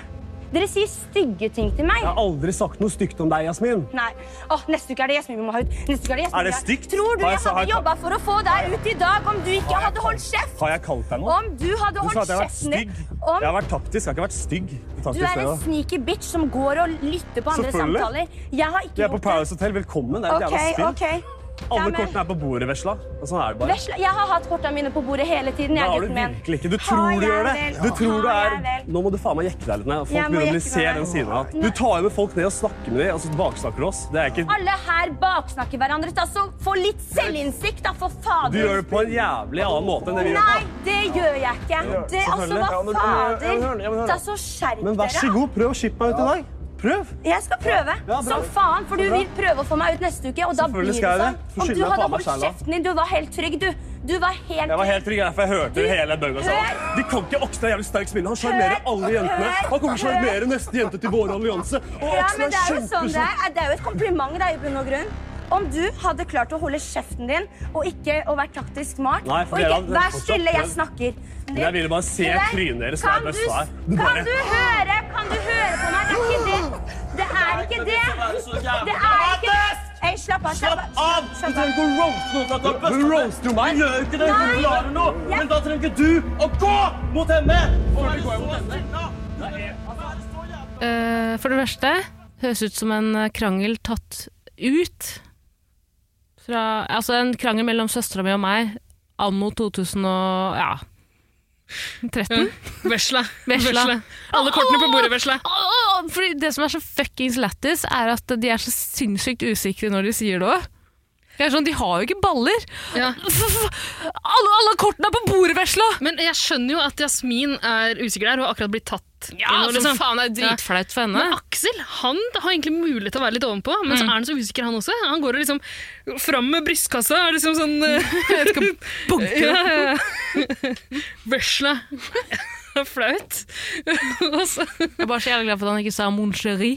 [SPEAKER 3] Dere sier stygge ting til meg.
[SPEAKER 4] Jeg har aldri sagt noe stygt om deg, Jasmin.
[SPEAKER 3] Nei. Åh, neste uke er det Gjesmin vi må ha ut. Neste uke er det Gjesmin
[SPEAKER 4] Er
[SPEAKER 3] vi
[SPEAKER 4] det
[SPEAKER 3] må ha ut.
[SPEAKER 4] stygt?
[SPEAKER 3] Tror du
[SPEAKER 4] Har jeg
[SPEAKER 3] jeg
[SPEAKER 4] sa- har
[SPEAKER 3] hadde
[SPEAKER 4] jeg-
[SPEAKER 3] jobba for å få deg ut i dag om du ikke hadde holdt kjeft?
[SPEAKER 4] Har jeg kalt deg noe?
[SPEAKER 3] Om du hadde
[SPEAKER 4] Du sa at
[SPEAKER 3] holdt
[SPEAKER 4] jeg har vært
[SPEAKER 3] kjeften
[SPEAKER 4] stygg.
[SPEAKER 3] din?
[SPEAKER 4] Jeg
[SPEAKER 3] Om
[SPEAKER 4] har vært taktisk, jeg har ikke vært stygg. Det
[SPEAKER 3] du
[SPEAKER 4] taktiske
[SPEAKER 3] er en
[SPEAKER 4] stedet.
[SPEAKER 3] sneaky bitch som går og lytter på andre
[SPEAKER 4] Selvfølgelig.
[SPEAKER 3] samtaler. Jeg har
[SPEAKER 4] Vi
[SPEAKER 3] ikke
[SPEAKER 4] er
[SPEAKER 3] gjort
[SPEAKER 4] på
[SPEAKER 3] det.
[SPEAKER 4] Paradise Hotel, velkommen. Det er et
[SPEAKER 3] Ok,
[SPEAKER 4] jævla spill.
[SPEAKER 3] ok. Ja,
[SPEAKER 4] Alle
[SPEAKER 3] men-
[SPEAKER 4] kortene er på bordet, vesla. Og sånn er det bare.
[SPEAKER 3] Vesla, jeg har hatt kortene mine på bordet hele tiden.
[SPEAKER 4] Det
[SPEAKER 3] Jeg,
[SPEAKER 4] har du
[SPEAKER 3] gutten min.
[SPEAKER 4] virkelig ikke. Du
[SPEAKER 3] Har
[SPEAKER 4] tror du
[SPEAKER 3] jeg
[SPEAKER 4] gjør det.
[SPEAKER 3] vel?
[SPEAKER 4] Du tror du
[SPEAKER 3] Har
[SPEAKER 4] er...
[SPEAKER 3] jeg vel?
[SPEAKER 4] Nå må du faen meg jekke deg litt ned.
[SPEAKER 3] Jeg
[SPEAKER 4] Folk
[SPEAKER 3] må
[SPEAKER 4] begynner å bli
[SPEAKER 3] jekke
[SPEAKER 4] se
[SPEAKER 3] meg.
[SPEAKER 4] den siden av deg. Du tar jo med folk ned og snakker med dem, og så baksnakker du oss. Det er ikke...
[SPEAKER 3] Alle her baksnakker hverandre. Ta så altså, Få litt selvinnsikt, da, for fader.
[SPEAKER 4] Du gjør det på en jævlig annen måte enn det vi gjør
[SPEAKER 3] Nei,
[SPEAKER 4] på.
[SPEAKER 3] det gjør jeg ikke. Det, altså,
[SPEAKER 4] selvfølgelig. Ja, men-
[SPEAKER 3] hva
[SPEAKER 4] ja, men hør nå, ja, men
[SPEAKER 3] fader?
[SPEAKER 4] hør nå.
[SPEAKER 3] Ta så skjerp
[SPEAKER 4] Men vær så
[SPEAKER 3] dere.
[SPEAKER 4] god, prøv å skippe meg ut i dag. Prøv!
[SPEAKER 3] Jeg skal prøve
[SPEAKER 4] Ja, bra.
[SPEAKER 3] som faen, for du
[SPEAKER 4] Bra.
[SPEAKER 3] vil prøve å få meg ut neste uke. Og da blir
[SPEAKER 4] Selvfølgelig
[SPEAKER 3] det
[SPEAKER 4] skal jeg
[SPEAKER 3] sånn.
[SPEAKER 4] det. For
[SPEAKER 3] Om
[SPEAKER 4] skylden
[SPEAKER 3] du
[SPEAKER 4] er
[SPEAKER 3] hadde
[SPEAKER 4] faen meg
[SPEAKER 3] holdt
[SPEAKER 4] selv, da.
[SPEAKER 3] kjeften din, du var helt trygg, du. Du var helt
[SPEAKER 4] Jeg var helt
[SPEAKER 3] trygg.
[SPEAKER 4] trygg, jeg, for jeg hørte hele bønga sammen.
[SPEAKER 3] Hør!
[SPEAKER 4] De kan ikke Oksen er jævlig sterk spiller. Han sjarmerer
[SPEAKER 3] Hør!
[SPEAKER 4] alle jentene.
[SPEAKER 3] Hør!
[SPEAKER 4] Han kommer til å sjarmere neste jente til vår allianse. Og
[SPEAKER 3] Ja,
[SPEAKER 4] Oksen
[SPEAKER 3] men
[SPEAKER 4] er
[SPEAKER 3] det er jo sånn det
[SPEAKER 4] kjempesjuk.
[SPEAKER 3] er. Det er jo et kompliment da, i bunn og grunn. Om du hadde klart å holde kjeften din og ikke å være taktisk smart
[SPEAKER 4] Nei, for
[SPEAKER 3] og
[SPEAKER 4] dere
[SPEAKER 3] ikke,
[SPEAKER 4] hadde
[SPEAKER 3] Vær
[SPEAKER 4] fortsatt
[SPEAKER 3] stille, jeg
[SPEAKER 4] prøvd.
[SPEAKER 3] snakker.
[SPEAKER 4] Men jeg ville bare se
[SPEAKER 3] Det der-
[SPEAKER 4] trynet deres, det er
[SPEAKER 3] Kan
[SPEAKER 4] best
[SPEAKER 3] du-
[SPEAKER 4] det er. Du
[SPEAKER 3] Kan
[SPEAKER 4] bare-
[SPEAKER 3] du høre? Kan du høre på meg? Det er ikke det. Det er ikke det. Det er ikke Ei, slapp av. Slapp av. Slapp av.
[SPEAKER 5] ikke å roaste noen for at du har
[SPEAKER 4] Du roaster jo meg.
[SPEAKER 5] Du gjør ikke det,
[SPEAKER 3] Nei.
[SPEAKER 5] du klarer noe.
[SPEAKER 3] Jeg-
[SPEAKER 5] Men da trenger ikke du å gå mot henne! Hvorfor går jeg mot henne? Det er altså, er det så jævla-
[SPEAKER 1] Eh, for det verste høres ut som en eh, krangel tatt ut fra Altså en krangel mellom søstera mi og meg anno 2000 og ja 13.
[SPEAKER 2] Vesla.
[SPEAKER 1] Vesla.
[SPEAKER 2] Alle kortene på bordet, vesla.
[SPEAKER 1] Åh, Fordi det som er så fuckings lættis, er at de er så sinnssykt usikre når de sier det òg. Sånn, de har jo ikke baller!
[SPEAKER 2] Ja.
[SPEAKER 1] Alle, alle kortene er på bordet, vesla!
[SPEAKER 2] Men jeg skjønner jo at Jasmin er usikker der. Hun har akkurat blitt tatt.
[SPEAKER 1] Ja,
[SPEAKER 2] inn, og
[SPEAKER 1] som
[SPEAKER 2] liksom-
[SPEAKER 1] faen det er dritflaut for henne.
[SPEAKER 2] Men Aksel han har egentlig mulighet til å være litt ovenpå, men så er han så usikker, han også. Han går og liksom fram med brystkassa er liksom sånn eh, Jeg vet ikke om ja, ja, ja. Vesla. Det er Flaut. Og så-
[SPEAKER 1] Jeg er bare så jævlig glad for at han ikke sa mon chéri.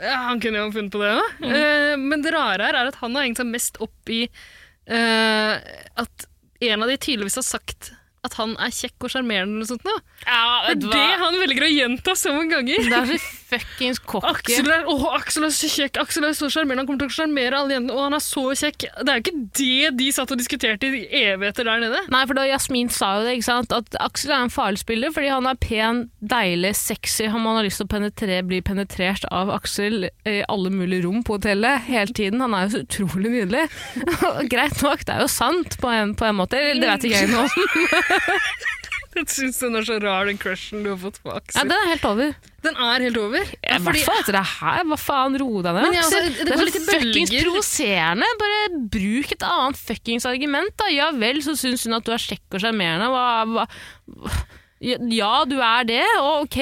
[SPEAKER 2] ja, han kunne jo ha funnet på det òg.
[SPEAKER 1] Mm.
[SPEAKER 2] Men det rare her er at han har hengt seg mest opp i eh, at en av de tydeligvis har sagt at han er kjekk og sjarmerende eller noe sånt. nå. Det er det han velger å gjenta så mange ganger.
[SPEAKER 1] Det er så fuckings cocky.
[SPEAKER 2] Aksel er, åh, Aksel er så kjekk, Aksel er så sjarmerende, han kommer til å sjarmere alle jentene, og han er så kjekk. Det er jo ikke det de satt og diskuterte i evigheter der nede.
[SPEAKER 1] Nei, for da Jasmin sa jo det, ikke sant? at Aksel er en farlig spiller fordi han er pen, deilig, sexy. Han man har lyst til å penetre, bli penetrert av Aksel i alle mulige rom på hotellet hele tiden. Han er jo så utrolig nydelig. Greit nok, det er jo sant på en, på en måte. Eller, Det vet ikke jeg nå.
[SPEAKER 2] Jeg syns den er så rar, den crushen du har fått på
[SPEAKER 1] Ja,
[SPEAKER 2] Aksel.
[SPEAKER 1] den er helt over.
[SPEAKER 2] Den er helt over.
[SPEAKER 1] I hvert fall etter det her. Hva faen, ro deg ned.
[SPEAKER 2] Men jeg,
[SPEAKER 1] Aksel.
[SPEAKER 2] altså, det
[SPEAKER 1] det,
[SPEAKER 2] går
[SPEAKER 1] er så
[SPEAKER 2] litt i
[SPEAKER 1] fuckings
[SPEAKER 2] bølger.
[SPEAKER 1] provoserende. Bare bruk et annet fuckings argument, da. Ja vel, så syns hun at du er kjekk og sjarmerende. Hva, hva ja, du er det, og ok.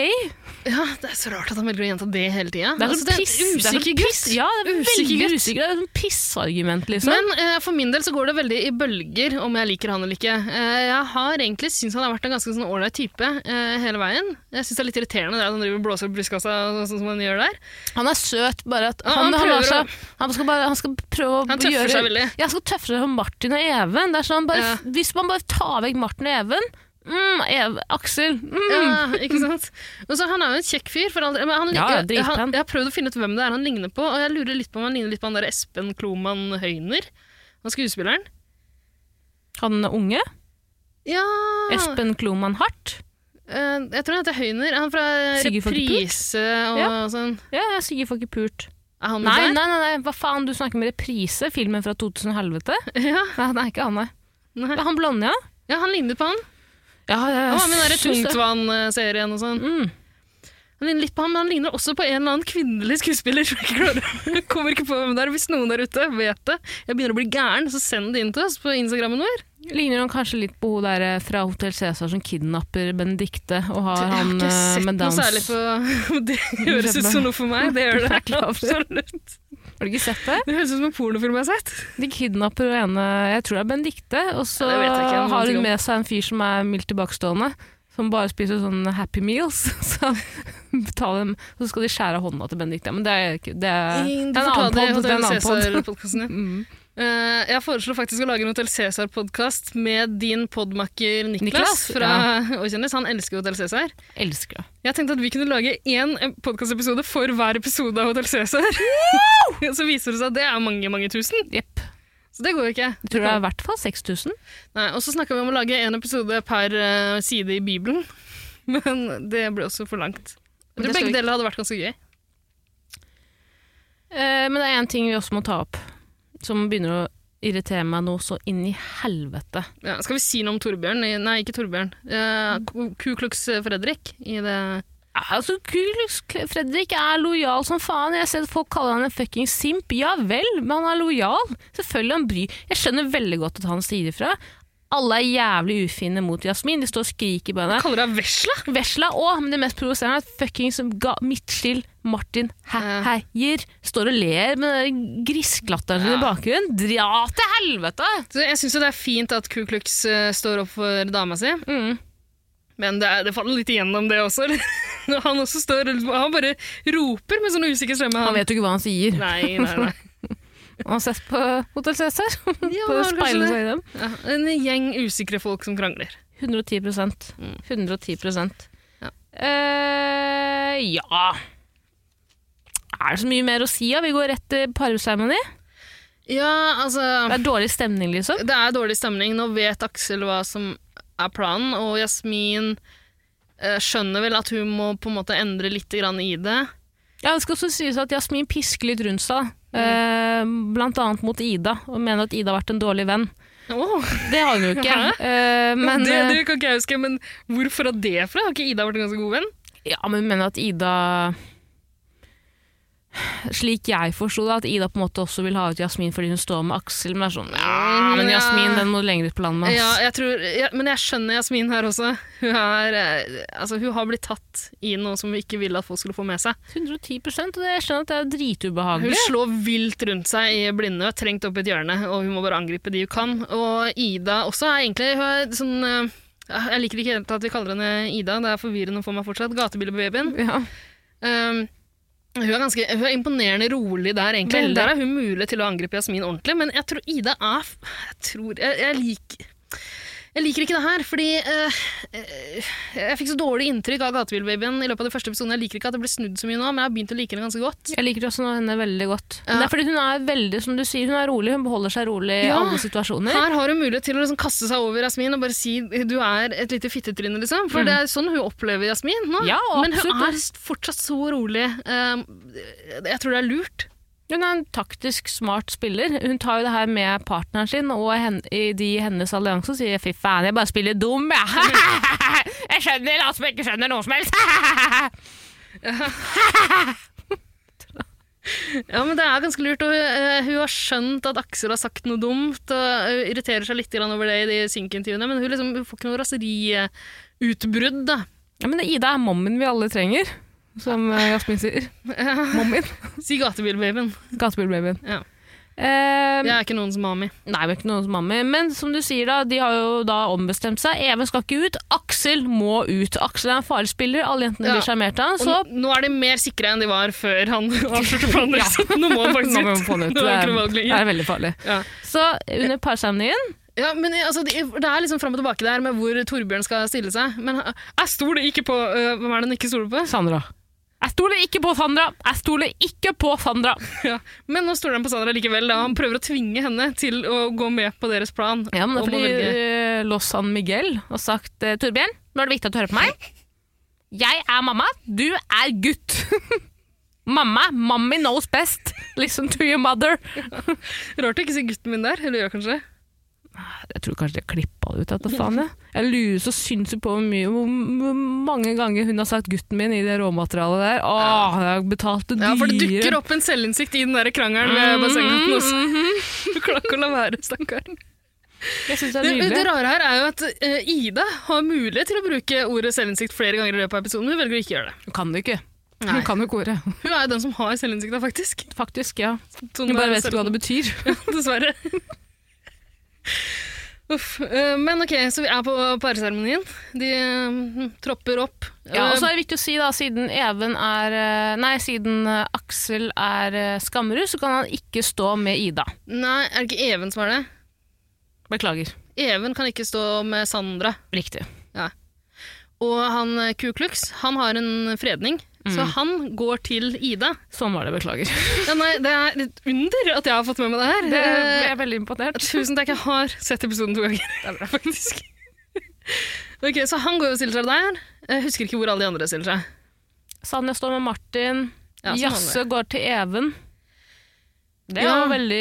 [SPEAKER 2] ja, det er så rart at han velger å gjenta det hele tida.
[SPEAKER 1] Det er sånn piss. det er sånn
[SPEAKER 2] usikker
[SPEAKER 1] piss.
[SPEAKER 2] gutt.
[SPEAKER 1] Ja, det er
[SPEAKER 2] Usikker
[SPEAKER 1] veldig
[SPEAKER 2] gutt.
[SPEAKER 1] usikker. Det er sånn pissargument, liksom.
[SPEAKER 2] Men eh, for min del så går det veldig i bølger om jeg liker han eller ikke. Eh, jeg har egentlig syntes han har vært en ganske sånn ålreit type eh, hele veien. Jeg syns det er litt irriterende det at han driver og blåser opp brystkassa og sånn som han gjør der.
[SPEAKER 1] han er søt, bare at
[SPEAKER 2] Ja,
[SPEAKER 1] han,
[SPEAKER 2] han
[SPEAKER 1] han,
[SPEAKER 2] prøver
[SPEAKER 1] er så,
[SPEAKER 2] å-
[SPEAKER 1] han, skal bare, han skal prøve å
[SPEAKER 2] Han tøffer
[SPEAKER 1] gjøre
[SPEAKER 2] seg veldig.
[SPEAKER 1] Ja, han skal tøffe seg som Martin og Even. Det er sånn, bare,
[SPEAKER 2] Ja.
[SPEAKER 1] Hvis man bare tar vekk Martin og Even mm, Eve, Aksel mm.
[SPEAKER 2] Ja, ikke sant? Og så Han er jo en kjekk fyr. For all del, men han,
[SPEAKER 1] Ja,
[SPEAKER 2] jeg, jeg,
[SPEAKER 1] dritpen.
[SPEAKER 2] har- jeg har prøvd å finne ut hvem det er han ligner på, og jeg lurer litt på om han ligner litt på han der Espen Kloman Høyner. Han skuespilleren.
[SPEAKER 1] Han er unge.
[SPEAKER 2] Ja
[SPEAKER 1] Espen Kloman Hart.
[SPEAKER 2] eh, Jeg tror han heter Høyner. Han fra
[SPEAKER 1] Sigurd Falkenberg?
[SPEAKER 2] Reprise og
[SPEAKER 1] Ja.
[SPEAKER 2] sånn.
[SPEAKER 1] Ja, jeg sier får ikke pult.
[SPEAKER 2] Er han
[SPEAKER 1] Mm, Nei, nei,
[SPEAKER 2] med
[SPEAKER 1] nei, nei, hva faen, du snakker med reprise? Filmen fra 2000 helvete?
[SPEAKER 2] der? Ja,
[SPEAKER 1] Nei, det er ikke han, nei.
[SPEAKER 2] nei.
[SPEAKER 1] Det er Han blonde, ja?
[SPEAKER 2] ja, han lignet på han.
[SPEAKER 1] Ja, ja,
[SPEAKER 2] Han var med i den der
[SPEAKER 1] synes det.
[SPEAKER 2] Tungtvann-serien og sånn.
[SPEAKER 1] Mm.
[SPEAKER 2] Han ligner litt på ham, men han ligner også på en eller annen kvinnelig skuespiller. som jeg ikke klarer- Jeg kommer ikke på hvem det er. Hvis noen der ute vet det, jeg begynner å bli gæren, så send det inn til oss på Instagrammen vår.
[SPEAKER 1] Ligner han kanskje litt på hun der eh, fra Hotel Cæsar som kidnapper Benedicte og har
[SPEAKER 2] Jeg har
[SPEAKER 1] han
[SPEAKER 2] ikke
[SPEAKER 1] eh,
[SPEAKER 2] sett
[SPEAKER 1] med
[SPEAKER 2] noe
[SPEAKER 1] Downs?
[SPEAKER 2] særlig på Det høres ut som noe for meg. Det gjør det
[SPEAKER 1] Det er klart.
[SPEAKER 2] absolutt.
[SPEAKER 1] Har du ikke sett det?
[SPEAKER 2] Det høres ut som en pornofilm jeg har sett.
[SPEAKER 1] De kidnapper hun ene, jeg tror det er Benedicte, og så
[SPEAKER 2] Ja, det vet jeg ikke noen
[SPEAKER 1] har
[SPEAKER 2] ting om.
[SPEAKER 1] hun med seg en fyr som er mildt tilbakestående. Som bare spiser sånne Happy Meals. Så, betaler dem, så skal de skjære av hånda til Benedicte. Men det er, ikke- det er, det er en annen pod. Det er en annen Mm. pod.
[SPEAKER 2] podkast. Eh, jeg foreslår faktisk å lage en Hotell Cæsar-podkast med din podmakker Niklas,
[SPEAKER 1] Niklas,
[SPEAKER 2] fra Åkjendis. Han elsker Hotell Cæsar.
[SPEAKER 1] Elsker det.
[SPEAKER 2] Jeg tenkte at vi kunne lage én podkastepisode for hver episode av Hotell Cæsar. Så viser det seg at det er mange, mange tusen.
[SPEAKER 1] Jepp.
[SPEAKER 2] Så det går jo ikke.
[SPEAKER 1] Jeg tror det er i hvert fall 6000.
[SPEAKER 2] Nei, og så snakka vi om å lage en episode per eh, side i Bibelen, men det ble også for langt. Jeg
[SPEAKER 1] Men det
[SPEAKER 2] tror
[SPEAKER 1] skal
[SPEAKER 2] begge
[SPEAKER 1] vi-
[SPEAKER 2] deler hadde vært ganske gøy.
[SPEAKER 1] Eh, men det er én ting vi også må ta opp, som begynner å irritere meg nå så inn i helvete.
[SPEAKER 2] Ja, skal vi si noe om Torbjørn? I- Nei, ikke Torbjørn. Eh, Ku Ku Klux Fredrik i det
[SPEAKER 1] Ja, Altså, Kulux Fredrik er lojal som faen. Jeg ser at folk kaller han en fucking simp. Ja vel, men han er lojal. Selvfølgelig han bryr. Jeg skjønner veldig godt at han sier ifra. Alle er jævlig ufine mot Jasmin. De står og skriker på henne.
[SPEAKER 2] Kaller deg vesla?
[SPEAKER 1] Vesla òg, men det mest provoserende er at fuckings ga- Midtskill Martin
[SPEAKER 2] Ja.
[SPEAKER 1] He- Heier står og ler med den der griskelatteren sin i bakgrunnen. Dra til helvete!
[SPEAKER 2] Så jeg syns jo det er fint at Ku Klux eh, står opp for dama si,
[SPEAKER 1] Mm.
[SPEAKER 2] men det, er, det faller litt igjennom, det også. eller? Når han også står Han bare roper med sånn usikker stemme.
[SPEAKER 1] Han vet jo ikke hva han sier.
[SPEAKER 2] Nei, nei, nei.
[SPEAKER 1] Han har sett på Hotell Cæsar.
[SPEAKER 2] Ja,
[SPEAKER 1] på
[SPEAKER 2] kanskje
[SPEAKER 1] speilene
[SPEAKER 2] det.
[SPEAKER 1] seg i dem.
[SPEAKER 2] Ja, en gjeng usikre folk som krangler.
[SPEAKER 1] 110 110
[SPEAKER 2] Mm. Ja.
[SPEAKER 1] Eh, ja Er det så mye mer å si? Ja? Vi går rett til parseremoni.
[SPEAKER 2] Ja,
[SPEAKER 1] Det
[SPEAKER 2] altså
[SPEAKER 1] er dårlig stemning, liksom.
[SPEAKER 2] Det er dårlig stemning. Nå vet Aksel hva som er planen, og Jasmin eh, skjønner vel at hun må på en måte endre litt grann i det.
[SPEAKER 1] Ja, det skal også sies at Jasmin pisker litt rundt seg.
[SPEAKER 2] Mm.
[SPEAKER 1] eh, blant annet mot Ida, og mener at Ida har vært en dårlig venn.
[SPEAKER 2] Åh,
[SPEAKER 1] Det har hun jo ikke.
[SPEAKER 2] Hæ?
[SPEAKER 1] Eh, men,
[SPEAKER 2] det, det kan ikke jeg huske, men hvorfor har det fra? Har ikke Ida vært en ganske god venn?
[SPEAKER 1] eh, Ja, men hun mener at Ida Slik jeg forsto det, at Ida på en måte også vil ha ut Jasmin fordi hun står med Aksel. Men det er sånn, ja, men
[SPEAKER 2] Ja.
[SPEAKER 1] Jasmin den må lenger ut på landet. ass.
[SPEAKER 2] Ja, jeg tror, ja, men jeg skjønner Jasmin her også. Hun, er, eh, altså, hun har blitt tatt i noe som hun ikke ville at folk skulle få med seg.
[SPEAKER 1] 110 og det, jeg skjønner at det er
[SPEAKER 2] Hun
[SPEAKER 1] dritubehagelig.
[SPEAKER 2] slår vilt rundt seg i blinde og er trengt opp i et hjørne, og hun må bare angripe de hun kan. Og Ida også er egentlig hun er sånn eh, Jeg liker ikke helt at vi kaller henne Ida, det er forvirrende for meg fortsatt. Gatebilbabyen.
[SPEAKER 1] Ja.
[SPEAKER 2] Um, hun er, ganske, hun er imponerende rolig der, egentlig.
[SPEAKER 1] Veldig.
[SPEAKER 2] Der er hun mulig til å angripe Jasmin ordentlig, men jeg tror Ida er f- Jeg tror Jeg, jeg liker jeg liker ikke det her, fordi eh, eh, jeg fikk så dårlig inntrykk av Gatebilbabyen i løpet av de første episodene. Jeg liker ikke at det ble snudd så mye nå, men jeg har begynt å like henne ganske godt.
[SPEAKER 1] Jeg liker også henne veldig godt. Men
[SPEAKER 2] Ja.
[SPEAKER 1] Det er fordi hun er veldig, som du sier, hun er rolig. Hun beholder seg rolig i
[SPEAKER 2] Ja.
[SPEAKER 1] alle situasjoner.
[SPEAKER 2] Her har hun mulighet til å liksom kaste seg over Jasmin og bare si du er et lite fittetryne, liksom. For det er sånn hun opplever Jasmin nå.
[SPEAKER 1] Mm. Ja,
[SPEAKER 2] Men hun
[SPEAKER 1] absolutt.
[SPEAKER 2] er fortsatt så rolig. Um, jeg tror det er lurt.
[SPEAKER 1] Hun er en taktisk smart spiller. Hun tar jo det her med partneren sin, og hen, i de i hennes allianse og sier 'fy faen, jeg bare spiller dum', jeg. jeg skjønner alt som jeg ikke skjønner noe som helst.
[SPEAKER 2] Ja, men det er ganske lurt. Og eh, hun har skjønt at Aksel har sagt noe dumt, og eh, hun irriterer seg litt grann over det i de synkintervjuene, men hun, liksom, hun får ikke noe raseriutbrudd, da.
[SPEAKER 1] ja, men Ida er mommen vi alle trenger, som eh, Jasmin sier. Mommen.
[SPEAKER 2] Si gatebilbabyen.
[SPEAKER 1] Gatebilbabyen.
[SPEAKER 2] Ja.
[SPEAKER 1] Eh,
[SPEAKER 2] Jeg er ikke noens mami.
[SPEAKER 1] Nei, vi er ikke noen som mammi. Men som du sier, da, de har jo da ombestemt seg. Even skal ikke ut, Aksel må ut. Aksel er en farlig spiller, alle jentene
[SPEAKER 2] Ja.
[SPEAKER 1] blir sjarmert av
[SPEAKER 2] Og
[SPEAKER 1] han. Så
[SPEAKER 2] n- nå er de mer sikre enn de var før han avslørte planen. så Nå må han faktisk
[SPEAKER 1] Nå
[SPEAKER 2] ut.
[SPEAKER 1] må vi få den ut.
[SPEAKER 2] Nå
[SPEAKER 1] Det
[SPEAKER 2] er det ikke noe
[SPEAKER 1] er,
[SPEAKER 2] valg
[SPEAKER 1] det
[SPEAKER 2] lenger.
[SPEAKER 1] er veldig farlig.
[SPEAKER 2] Ja.
[SPEAKER 1] Så under parseremonien
[SPEAKER 2] Ja, men eh, altså, det, det er liksom fram og tilbake der med hvor Torbjørn skal stille seg. Men eh, jeg stoler ikke på eh, Hvem er det han ikke stoler på?
[SPEAKER 1] Sandra. Jeg stoler ikke på Sandra! Jeg stoler ikke på Sandra!
[SPEAKER 2] Ja. Men nå stoler han på Sandra likevel. Da. Han prøver å tvinge henne til å gå med på deres plan.
[SPEAKER 1] Ja, men det er
[SPEAKER 2] om å
[SPEAKER 1] fordi
[SPEAKER 2] velge.
[SPEAKER 1] eh, Los San Miguel har sagt eh, Torbjørn, nå er det viktig at du hører på meg. Jeg er mamma, du er gutt. mamma, mommy knows best. Listen to your mother.
[SPEAKER 2] Rart å ikke si gutten min der. Eller gjør kanskje?
[SPEAKER 1] Jeg tror kanskje jeg klippa det ut. Etter faen, jeg. jeg lurer så sinnssykt på hvor, mye, hvor hvor mange ganger hun har sagt 'gutten min' i det råmaterialet der. Åh, jeg betalte dyre
[SPEAKER 2] Ja, for det dukker opp en selvinnsikt i den der krangelen ved bassengkanten også. Du klarer ikke å la være, stakkar.
[SPEAKER 1] Jeg synes det er
[SPEAKER 2] Det,
[SPEAKER 1] nydelig.
[SPEAKER 2] det rare her Mhm. er jo at eh, Ida har mulighet til å bruke ordet selvinnsikt flere ganger i løpet av episoden, men hun velger å ikke gjøre det.
[SPEAKER 1] Hun kan det ikke.
[SPEAKER 2] Nei.
[SPEAKER 1] Hun kan jo ikke ordet.
[SPEAKER 2] Hun er jo den som har selvinnsikta, faktisk.
[SPEAKER 1] Faktisk, ja.
[SPEAKER 2] Sånn
[SPEAKER 1] Hun bare
[SPEAKER 2] er
[SPEAKER 1] vet ikke hva det betyr.
[SPEAKER 2] Dessverre. Uff. eh, Men ok, så vi er på parseremonien. De eh, tropper opp.
[SPEAKER 1] Ja, og så
[SPEAKER 2] Eh,
[SPEAKER 1] er det viktig å si da, siden Even er eh, Nei, siden eh, Aksel er eh, Skammerud, så kan han ikke stå med Ida.
[SPEAKER 2] Eh, Nei, er det ikke Even som er det?
[SPEAKER 1] Beklager.
[SPEAKER 2] Even kan ikke stå med Sandra.
[SPEAKER 1] Riktig.
[SPEAKER 2] Og han eh, Ku Klux, han har en fredning.
[SPEAKER 1] Mm.
[SPEAKER 2] Så han går til Ida.
[SPEAKER 1] Sånn var det. Beklager.
[SPEAKER 2] Ja, nei, det er et under at jeg har fått med meg det her.
[SPEAKER 1] Det, jeg
[SPEAKER 2] Eh,
[SPEAKER 1] er veldig imponert.
[SPEAKER 2] Tusen takk, jeg har sett episoden to ganger. Det er bra, faktisk. ok, Så han går og stiller seg der. Jeg husker ikke hvor alle de andre stiller seg.
[SPEAKER 1] Sanja står med Martin.
[SPEAKER 2] Ja, som
[SPEAKER 1] Jasse går til Even. Det er
[SPEAKER 2] Ja.
[SPEAKER 1] jo veldig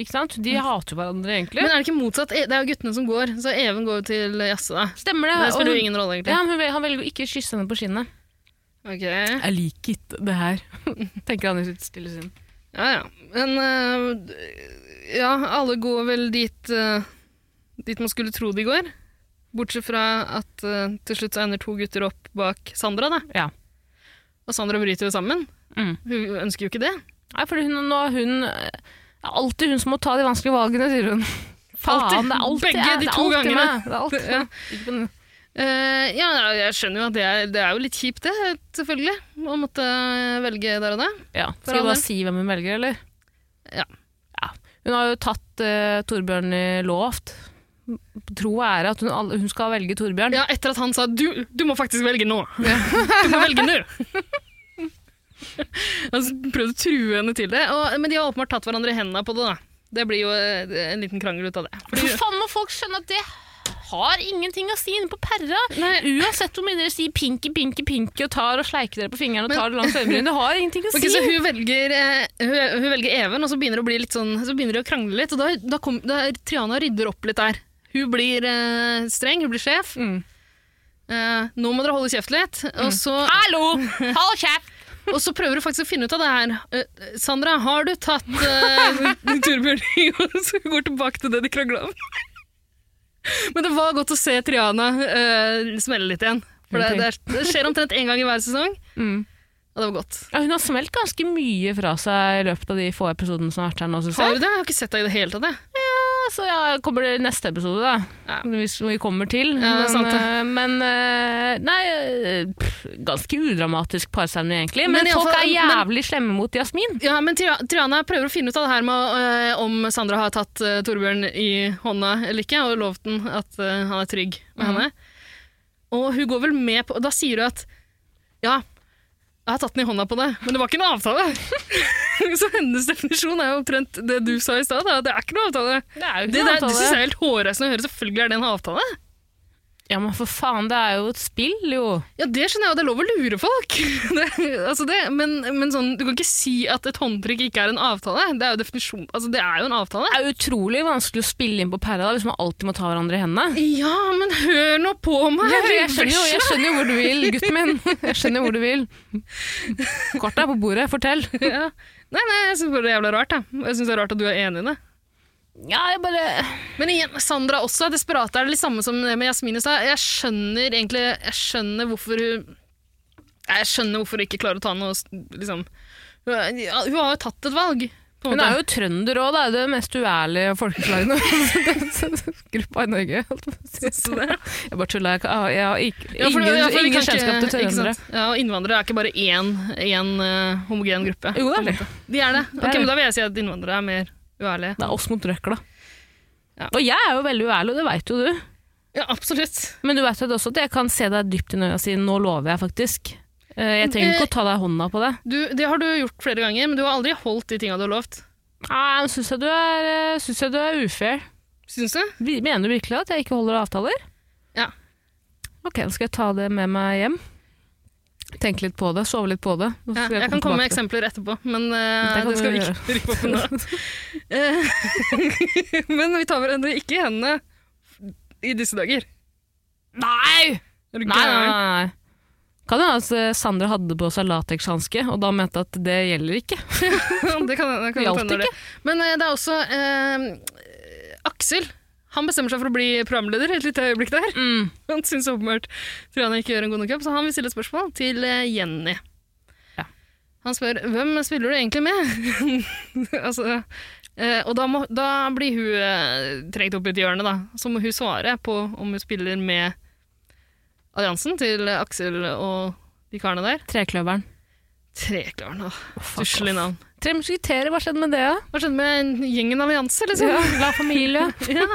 [SPEAKER 1] Ikke sant? De hater jo hverandre, egentlig.
[SPEAKER 2] Men er det ikke motsatt? E- Det er jo guttene som går, så Even går jo til Jasse, da.
[SPEAKER 1] Stemmer det.
[SPEAKER 2] Det
[SPEAKER 1] og
[SPEAKER 2] spiller
[SPEAKER 1] hun-
[SPEAKER 2] jo ingen rolle, egentlig.
[SPEAKER 1] ja, men hun vel- han velger å ikke kysse henne på kinnet.
[SPEAKER 2] Ok.
[SPEAKER 1] Jeg liker ikke det her, tenker han i sitt stille sinn.
[SPEAKER 2] eh, Ja, ja. Men øh, ja, alle går vel dit øh, dit man skulle tro de går. Bortsett fra at eh, til slutt så ender to gutter opp bak Sandra, da.
[SPEAKER 1] Ja.
[SPEAKER 2] Og Sandra bryter jo sammen.
[SPEAKER 1] Mm.
[SPEAKER 2] Hun ønsker jo ikke det.
[SPEAKER 1] Nei, fordi hun, nå er hun Det er alltid hun som må ta de vanskelige valgene, sier hun. Faen, det er alltid
[SPEAKER 2] Begge
[SPEAKER 1] jeg,
[SPEAKER 2] de
[SPEAKER 1] det er
[SPEAKER 2] to
[SPEAKER 1] alltid
[SPEAKER 2] gangene.
[SPEAKER 1] meg, Det er alltid
[SPEAKER 2] Ja.
[SPEAKER 1] meg. Ikke på den-
[SPEAKER 2] Eh, ja, jeg skjønner jo at det er, det er jo litt kjipt, det, selvfølgelig. Å måtte velge der og da.
[SPEAKER 1] Ja. Skal vi
[SPEAKER 2] all del.
[SPEAKER 1] bare si hvem hun velger, eller?
[SPEAKER 2] Ja.
[SPEAKER 1] Ja. Hun har jo tatt eh, Torbjørn i lovt. Tro og ære at hun, all- hun skal velge Torbjørn.
[SPEAKER 2] Ja, etter at han sa du, du må faktisk velge nå. Du må velge nå. Han prøvde å true henne til det, og, men de har åpenbart tatt hverandre i hendene på det. da. Det blir jo eh, en liten krangel ut av det. Fordi,
[SPEAKER 1] For faen må folk skjønne at det har ingenting å si inne på perra.
[SPEAKER 2] Nei.
[SPEAKER 1] Uansett hvor mye dere sier pinky, pinky, pinky og tar og sleiker dere på fingrene og tar det langs øyebrynene, det har ingenting å si.
[SPEAKER 2] Ok, så hun velger, eh, hun, hun velger Even, og så begynner, det å bli litt sånn, så begynner de å krangle litt. Og da, da, kom, da Triana rydder opp litt der. Hun blir eh, streng, hun blir sjef.
[SPEAKER 1] Mm.
[SPEAKER 2] Eh, nå må dere holde kjeft litt. Og, så,
[SPEAKER 1] Hallo! Hold kjeft!
[SPEAKER 2] og så prøver hun faktisk å finne ut av det her. Eh, Sandra, har du tatt uh, Torbjørn Og så går tilbake til det de krangla om. Men det var godt å se Triana eh, smelle litt igjen. For det, det, er, det skjer omtrent én gang i hver sesong.
[SPEAKER 1] Mm.
[SPEAKER 2] Og det var godt.
[SPEAKER 1] Ja, hun har smelt ganske mye fra seg i løpet av de få episodene som har vært her nå, synes
[SPEAKER 2] Har
[SPEAKER 1] jeg.
[SPEAKER 2] du det? Jeg har ikke sett deg i det hele tatt. jeg.
[SPEAKER 1] Ja, så ja, kommer det neste episode, da.
[SPEAKER 2] Ja.
[SPEAKER 1] Hvis vi kommer til.
[SPEAKER 2] Ja, det er sant, det.
[SPEAKER 1] men, eh, nei, eh, pff, ganske udramatisk parseremoni, egentlig. Men,
[SPEAKER 2] Men i alle
[SPEAKER 1] folk
[SPEAKER 2] fall-
[SPEAKER 1] er jævlig slemme mot Jasmin.
[SPEAKER 2] Ja, men Tri- Triana prøver å finne ut av det her med eh, om Sandra har tatt eh, Torbjørn i hånda eller ikke, og lovt den at eh, han er trygg med henne. Og hun går vel med på Og da sier hun at ja, jeg har tatt den i hånda på deg, men det var ikke noe avtale. Så hennes definisjon er jo omtrent det du sa i stad, da, at det er ikke noe avtale.
[SPEAKER 1] Det er jo
[SPEAKER 2] Det, der- det syns jeg er helt hårreisende å høre. Selvfølgelig er det en avtale.
[SPEAKER 1] Ja, men for faen, det er jo et spill, jo.
[SPEAKER 2] Ja, det skjønner jeg, og det er lov å lure folk. Det, altså det, men men sånn, du kan ikke si at et håndtrykk ikke er en avtale. Det er jo definisjon, altså det er jo en avtale.
[SPEAKER 1] Det er utrolig vanskelig å spille inn på pæra da, hvis man alltid må ta hverandre i hendene.
[SPEAKER 2] Ja, men hør nå på meg!
[SPEAKER 1] Jeg, jeg, skjønner jo,
[SPEAKER 2] Vesla.
[SPEAKER 1] jeg skjønner jo hvor du vil, gutten min. Jeg skjønner hvor du vil. Kortet er på bordet, fortell.
[SPEAKER 2] Ja. Nei, nei, jeg syns bare det er jævla rart. Da. Jeg synes det er rart at du er enig i det.
[SPEAKER 1] Ja, jeg bare...
[SPEAKER 2] Men igjen, Sandra også er desperat. Det er det litt samme som med Jasmin i stad. Jeg skjønner egentlig jeg skjønner hvorfor hun Nei, Jeg skjønner hvorfor hun ikke klarer å ta noe liksom. Hun er- ja, hun har jo tatt et valg. På en
[SPEAKER 1] Hun
[SPEAKER 2] måte.
[SPEAKER 1] er jo trønder òg, det er jo det mest uærlige folkeslaget gruppa i Norge. holdt jeg på å si. Jeg bare tulla. Jeg, kan- jeg har ikke,
[SPEAKER 2] Ja, for-
[SPEAKER 1] ingen,
[SPEAKER 2] ja, for
[SPEAKER 1] ingen
[SPEAKER 2] vi kan ikke-
[SPEAKER 1] kjennskap til
[SPEAKER 2] ikke
[SPEAKER 1] trøndere.
[SPEAKER 2] sant? Ja, og innvandrere er ikke bare én, én eh, homogen gruppe.
[SPEAKER 1] Jo, det er det.
[SPEAKER 2] De er det.
[SPEAKER 1] er
[SPEAKER 2] Ok,
[SPEAKER 1] det.
[SPEAKER 2] men Da vil jeg si at innvandrere er mer uærlige.
[SPEAKER 1] Det er oss mot røkla.
[SPEAKER 2] Ja.
[SPEAKER 1] Og jeg er jo veldig uærlig, og det veit jo du.
[SPEAKER 2] Ja, absolutt.
[SPEAKER 1] Men du veit jo også at jeg kan se deg dypt i øya og si 'nå lover jeg', faktisk. Eh, Jeg trenger ikke å ta deg i hånda på det.
[SPEAKER 2] Du, det har du gjort flere ganger, men du har aldri holdt de tinga du har lovt.
[SPEAKER 1] Nei, Nå syns jeg du er, eh, synes jeg du er ufair.
[SPEAKER 2] Syns du?
[SPEAKER 1] Vi- Mener du virkelig at jeg ikke holder avtaler?
[SPEAKER 2] Ja.
[SPEAKER 1] Ok, da skal jeg ta det med meg hjem. Tenke litt på det, sove litt på det. Nå
[SPEAKER 2] Ja,
[SPEAKER 1] skal
[SPEAKER 2] jeg kan komme med
[SPEAKER 1] tilbake til det.
[SPEAKER 2] eksempler etterpå, men eh,
[SPEAKER 1] Det kan
[SPEAKER 2] det skal
[SPEAKER 1] du
[SPEAKER 2] vi ikke rippe opp om nå. Eh, men vi tar hverandre ikke i hendene i disse dager.
[SPEAKER 1] Nei!
[SPEAKER 2] Er
[SPEAKER 1] Nei,
[SPEAKER 2] du
[SPEAKER 1] nei,
[SPEAKER 2] gæren?
[SPEAKER 1] nei. nei. Kan det hende at eh, Sandra hadde på seg latekshanske, og da mente at det gjelder ikke?
[SPEAKER 2] Ja, det kan, det kan
[SPEAKER 1] Gjaldt
[SPEAKER 2] hende det. Men eh, det er også eh, Aksel. Han bestemmer seg for å bli programleder et lite øyeblikk der.
[SPEAKER 1] Mm.
[SPEAKER 2] Han syns åpenbart Triana ikke gjør en god nok jobb, så han vil stille et spørsmål til eh, Jenny.
[SPEAKER 1] Ja.
[SPEAKER 2] Han spør hvem spiller du egentlig med? altså, eh, og da, må, da blir hun eh, trengt opp i et hjørne, da. Så må hun svare på om hun spiller med alliansen til eh, Aksel og de karene der.
[SPEAKER 1] Trekløveren.
[SPEAKER 2] Treklaren, åh.
[SPEAKER 1] fuck
[SPEAKER 2] Stusslig
[SPEAKER 1] off.
[SPEAKER 2] navn.
[SPEAKER 1] Tre musketerer, hva skjedde med det? da?
[SPEAKER 2] Hva skjedde med gjengen allianse, liksom?
[SPEAKER 1] Ja, La familie.
[SPEAKER 2] Ja.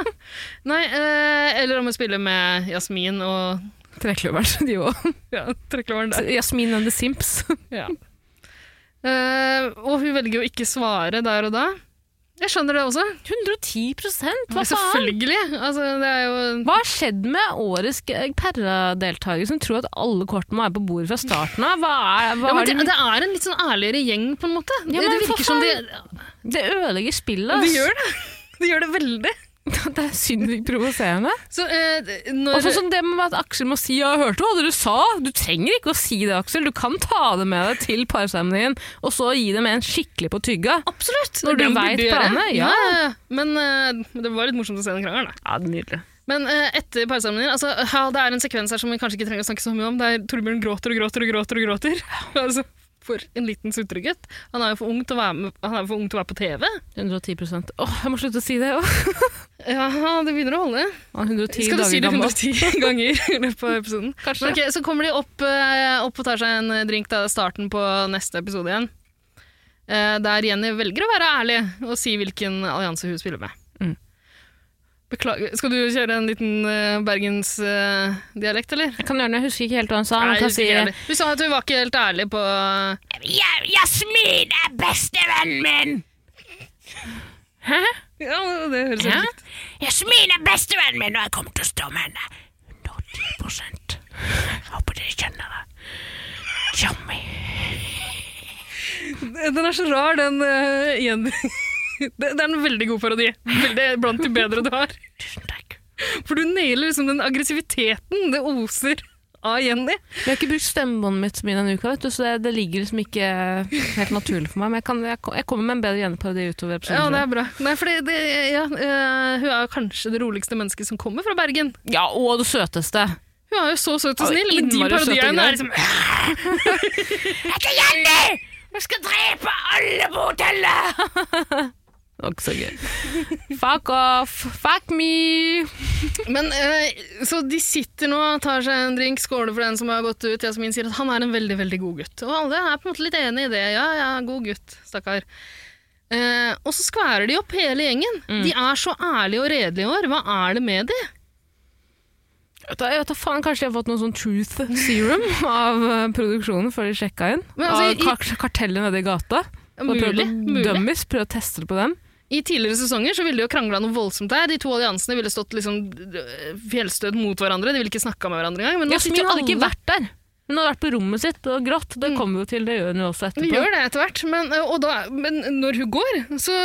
[SPEAKER 2] Nei, eh, eller om hun spiller med Jasmin og
[SPEAKER 1] Trekløveren, de òg.
[SPEAKER 2] ja, trekkloveren der.
[SPEAKER 1] Jasmin and the Simps.
[SPEAKER 2] Ja. Eh, og hun velger å ikke svare der og da. Jeg skjønner det også.
[SPEAKER 1] 110 hva faen?
[SPEAKER 2] Selvfølgelig. Altså, det er jo
[SPEAKER 1] Hva har skjedd med årets g- Perra-deltaker som tror at alle kortene må være på bordet fra starten av? Hva er, hva
[SPEAKER 2] ja, men
[SPEAKER 1] er
[SPEAKER 2] det,
[SPEAKER 1] det,
[SPEAKER 2] det er en litt sånn ærligere gjeng, på en måte.
[SPEAKER 1] Ja,
[SPEAKER 2] det
[SPEAKER 1] men for
[SPEAKER 2] virker som de
[SPEAKER 1] altså- det ødelegger spillet.
[SPEAKER 2] De
[SPEAKER 1] ass.
[SPEAKER 2] gjør det. De gjør det veldig.
[SPEAKER 1] Det er sinnssykt provoserende.
[SPEAKER 2] Så eh, d- når
[SPEAKER 1] Og sånn som det med at Aksel må si 'jeg hørte hva dere sa'. Du trenger ikke å si det, Aksel. Du kan ta det med deg til parseremonien, og så gi dem en skikkelig på tygga.
[SPEAKER 2] Absolutt!
[SPEAKER 1] Når
[SPEAKER 2] det
[SPEAKER 1] du
[SPEAKER 2] burde
[SPEAKER 1] vet
[SPEAKER 2] gjøre.
[SPEAKER 1] planene, ja.
[SPEAKER 2] Men eh, det var litt morsomt å se den krangelen, da.
[SPEAKER 1] Ja, nydelig.
[SPEAKER 2] Men eh, etter parsamlinger altså, ja, Det er en sekvens her som vi kanskje ikke trenger å snakke så mye om, der Torbjørn gråter og gråter og gråter. og gråter. altså, for en liten sutregutt. Han er jo for ung til å være, med, han er jo for ung til å være på TV.
[SPEAKER 1] 110 Åh, jeg må slutte å si det. Åh.
[SPEAKER 2] Ja, det begynner å holde.
[SPEAKER 1] Han er 110
[SPEAKER 2] Skal du
[SPEAKER 1] dager
[SPEAKER 2] si det
[SPEAKER 1] gammel.
[SPEAKER 2] 110 ganger i løpet av episoden?
[SPEAKER 1] Kanskje.
[SPEAKER 2] Men ok, så kommer de opp, eh, opp og tar seg en drink. Da, starten på neste episode igjen. Eh, Der Jenny velger å være ærlig og si hvilken allianse hun spiller med.
[SPEAKER 1] Mm.
[SPEAKER 2] Beklager. Skal du kjøre en liten eh, bergensdialekt, eller?
[SPEAKER 1] Jeg kan gjøre det, jeg husker ikke helt hva han sa. men
[SPEAKER 2] Nei,
[SPEAKER 1] kan
[SPEAKER 2] jeg husker
[SPEAKER 1] si-
[SPEAKER 2] ikke heller. Du sa at du var ikke helt ærlig på
[SPEAKER 3] Jasmin er bestevennen min!
[SPEAKER 1] Hæ?
[SPEAKER 2] Ja, det høres
[SPEAKER 1] Hæ?
[SPEAKER 2] helt likt
[SPEAKER 3] Jasmin er bestevennen min, og jeg kommer til å stå med henne. 110 Håper dere skjønner det. Tjommi.
[SPEAKER 2] Den er så rar, den eh, Jenny. Det det er en veldig god parodi. Veldig blant de bedre du har.
[SPEAKER 3] Tusen takk.
[SPEAKER 2] For du nailer liksom den aggressiviteten det oser av Jenny.
[SPEAKER 1] Jeg har ikke brukt stemmebåndet mitt så mye denne uka, vet du, så det, det ligger liksom ikke helt naturlig for meg. Men jeg, kan, jeg, kom- jeg kommer med en bedre gjenparodi utover episoden.
[SPEAKER 2] Ja, det
[SPEAKER 1] tror jeg.
[SPEAKER 2] er bra. Nei, fordi det, ja, eh, hun er jo kanskje det roligste mennesket som kommer fra Bergen.
[SPEAKER 1] ja, og det søteste.
[SPEAKER 2] Hun er jo så søt og
[SPEAKER 1] Ja,
[SPEAKER 2] snill, men de
[SPEAKER 1] innmari søt og
[SPEAKER 2] parodiene
[SPEAKER 1] grei.
[SPEAKER 2] er liksom
[SPEAKER 3] Jeg heter Jenny! Jeg skal drepe alle på hotellet!
[SPEAKER 1] Det var ikke så gøy. Fuck off! Fuck me!
[SPEAKER 2] Men eh, Så de sitter nå, tar seg en drink, skåler for den som har gått ut. Jasmin sier at han er en veldig veldig god gutt. Og alle er på en måte litt enig i det. Ja, ja, god gutt, stakkar. Eh, og så skværer de opp hele gjengen.
[SPEAKER 1] Mm.
[SPEAKER 2] De er så ærlige og redelige i år. Hva er det med de?
[SPEAKER 1] Vet du hva, Jeg vet da faen, Kanskje de har fått noe sånn truth serum av eh, produksjonen før de sjekka inn?
[SPEAKER 2] Men altså,
[SPEAKER 1] av kar kartellet nede i gata? Og prøvd
[SPEAKER 2] Mulig.
[SPEAKER 1] å
[SPEAKER 2] mulig.
[SPEAKER 1] dummies, prøvd å teste det på dem?
[SPEAKER 2] I tidligere sesonger så ville de jo krangla noe voldsomt der. De to alliansene ville stått liksom øh, fjellstøt mot hverandre. De ville ikke snakka med hverandre engang. Men nå sitter
[SPEAKER 1] Jasmin
[SPEAKER 2] jo
[SPEAKER 1] hadde
[SPEAKER 2] alle
[SPEAKER 1] ikke vært der. Hun hadde vært på rommet sitt og grått. Det kommer vi jo til, det gjør hun jo også etterpå.
[SPEAKER 2] Vi gjør det etter hvert. Men, øh, og da, men når hun går, så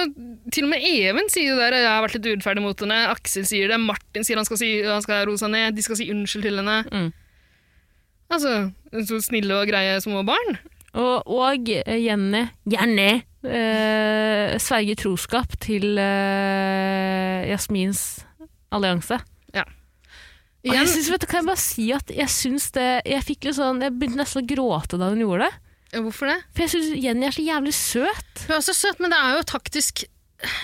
[SPEAKER 2] til og med Even sier jo der jeg har vært litt urettferdig mot henne. Aksel sier det. Martin sier han skal, si, han skal roe seg ned. De skal si unnskyld til henne.
[SPEAKER 1] Mm.
[SPEAKER 2] Altså, så snille og greie små barn.
[SPEAKER 1] Og, og eh, Jenny Jenny eh, sverger troskap til eh, Jasmins allianse. Og
[SPEAKER 2] Igjen,
[SPEAKER 1] Jeg synes, vet du, kan jeg bare si at jeg syns det Jeg fikk litt sånn, jeg begynte nesten å gråte da hun gjorde det.
[SPEAKER 2] hvorfor det?
[SPEAKER 1] For jeg syns Jenny er så jævlig søt.
[SPEAKER 2] Hun er så søt, men det er jo taktisk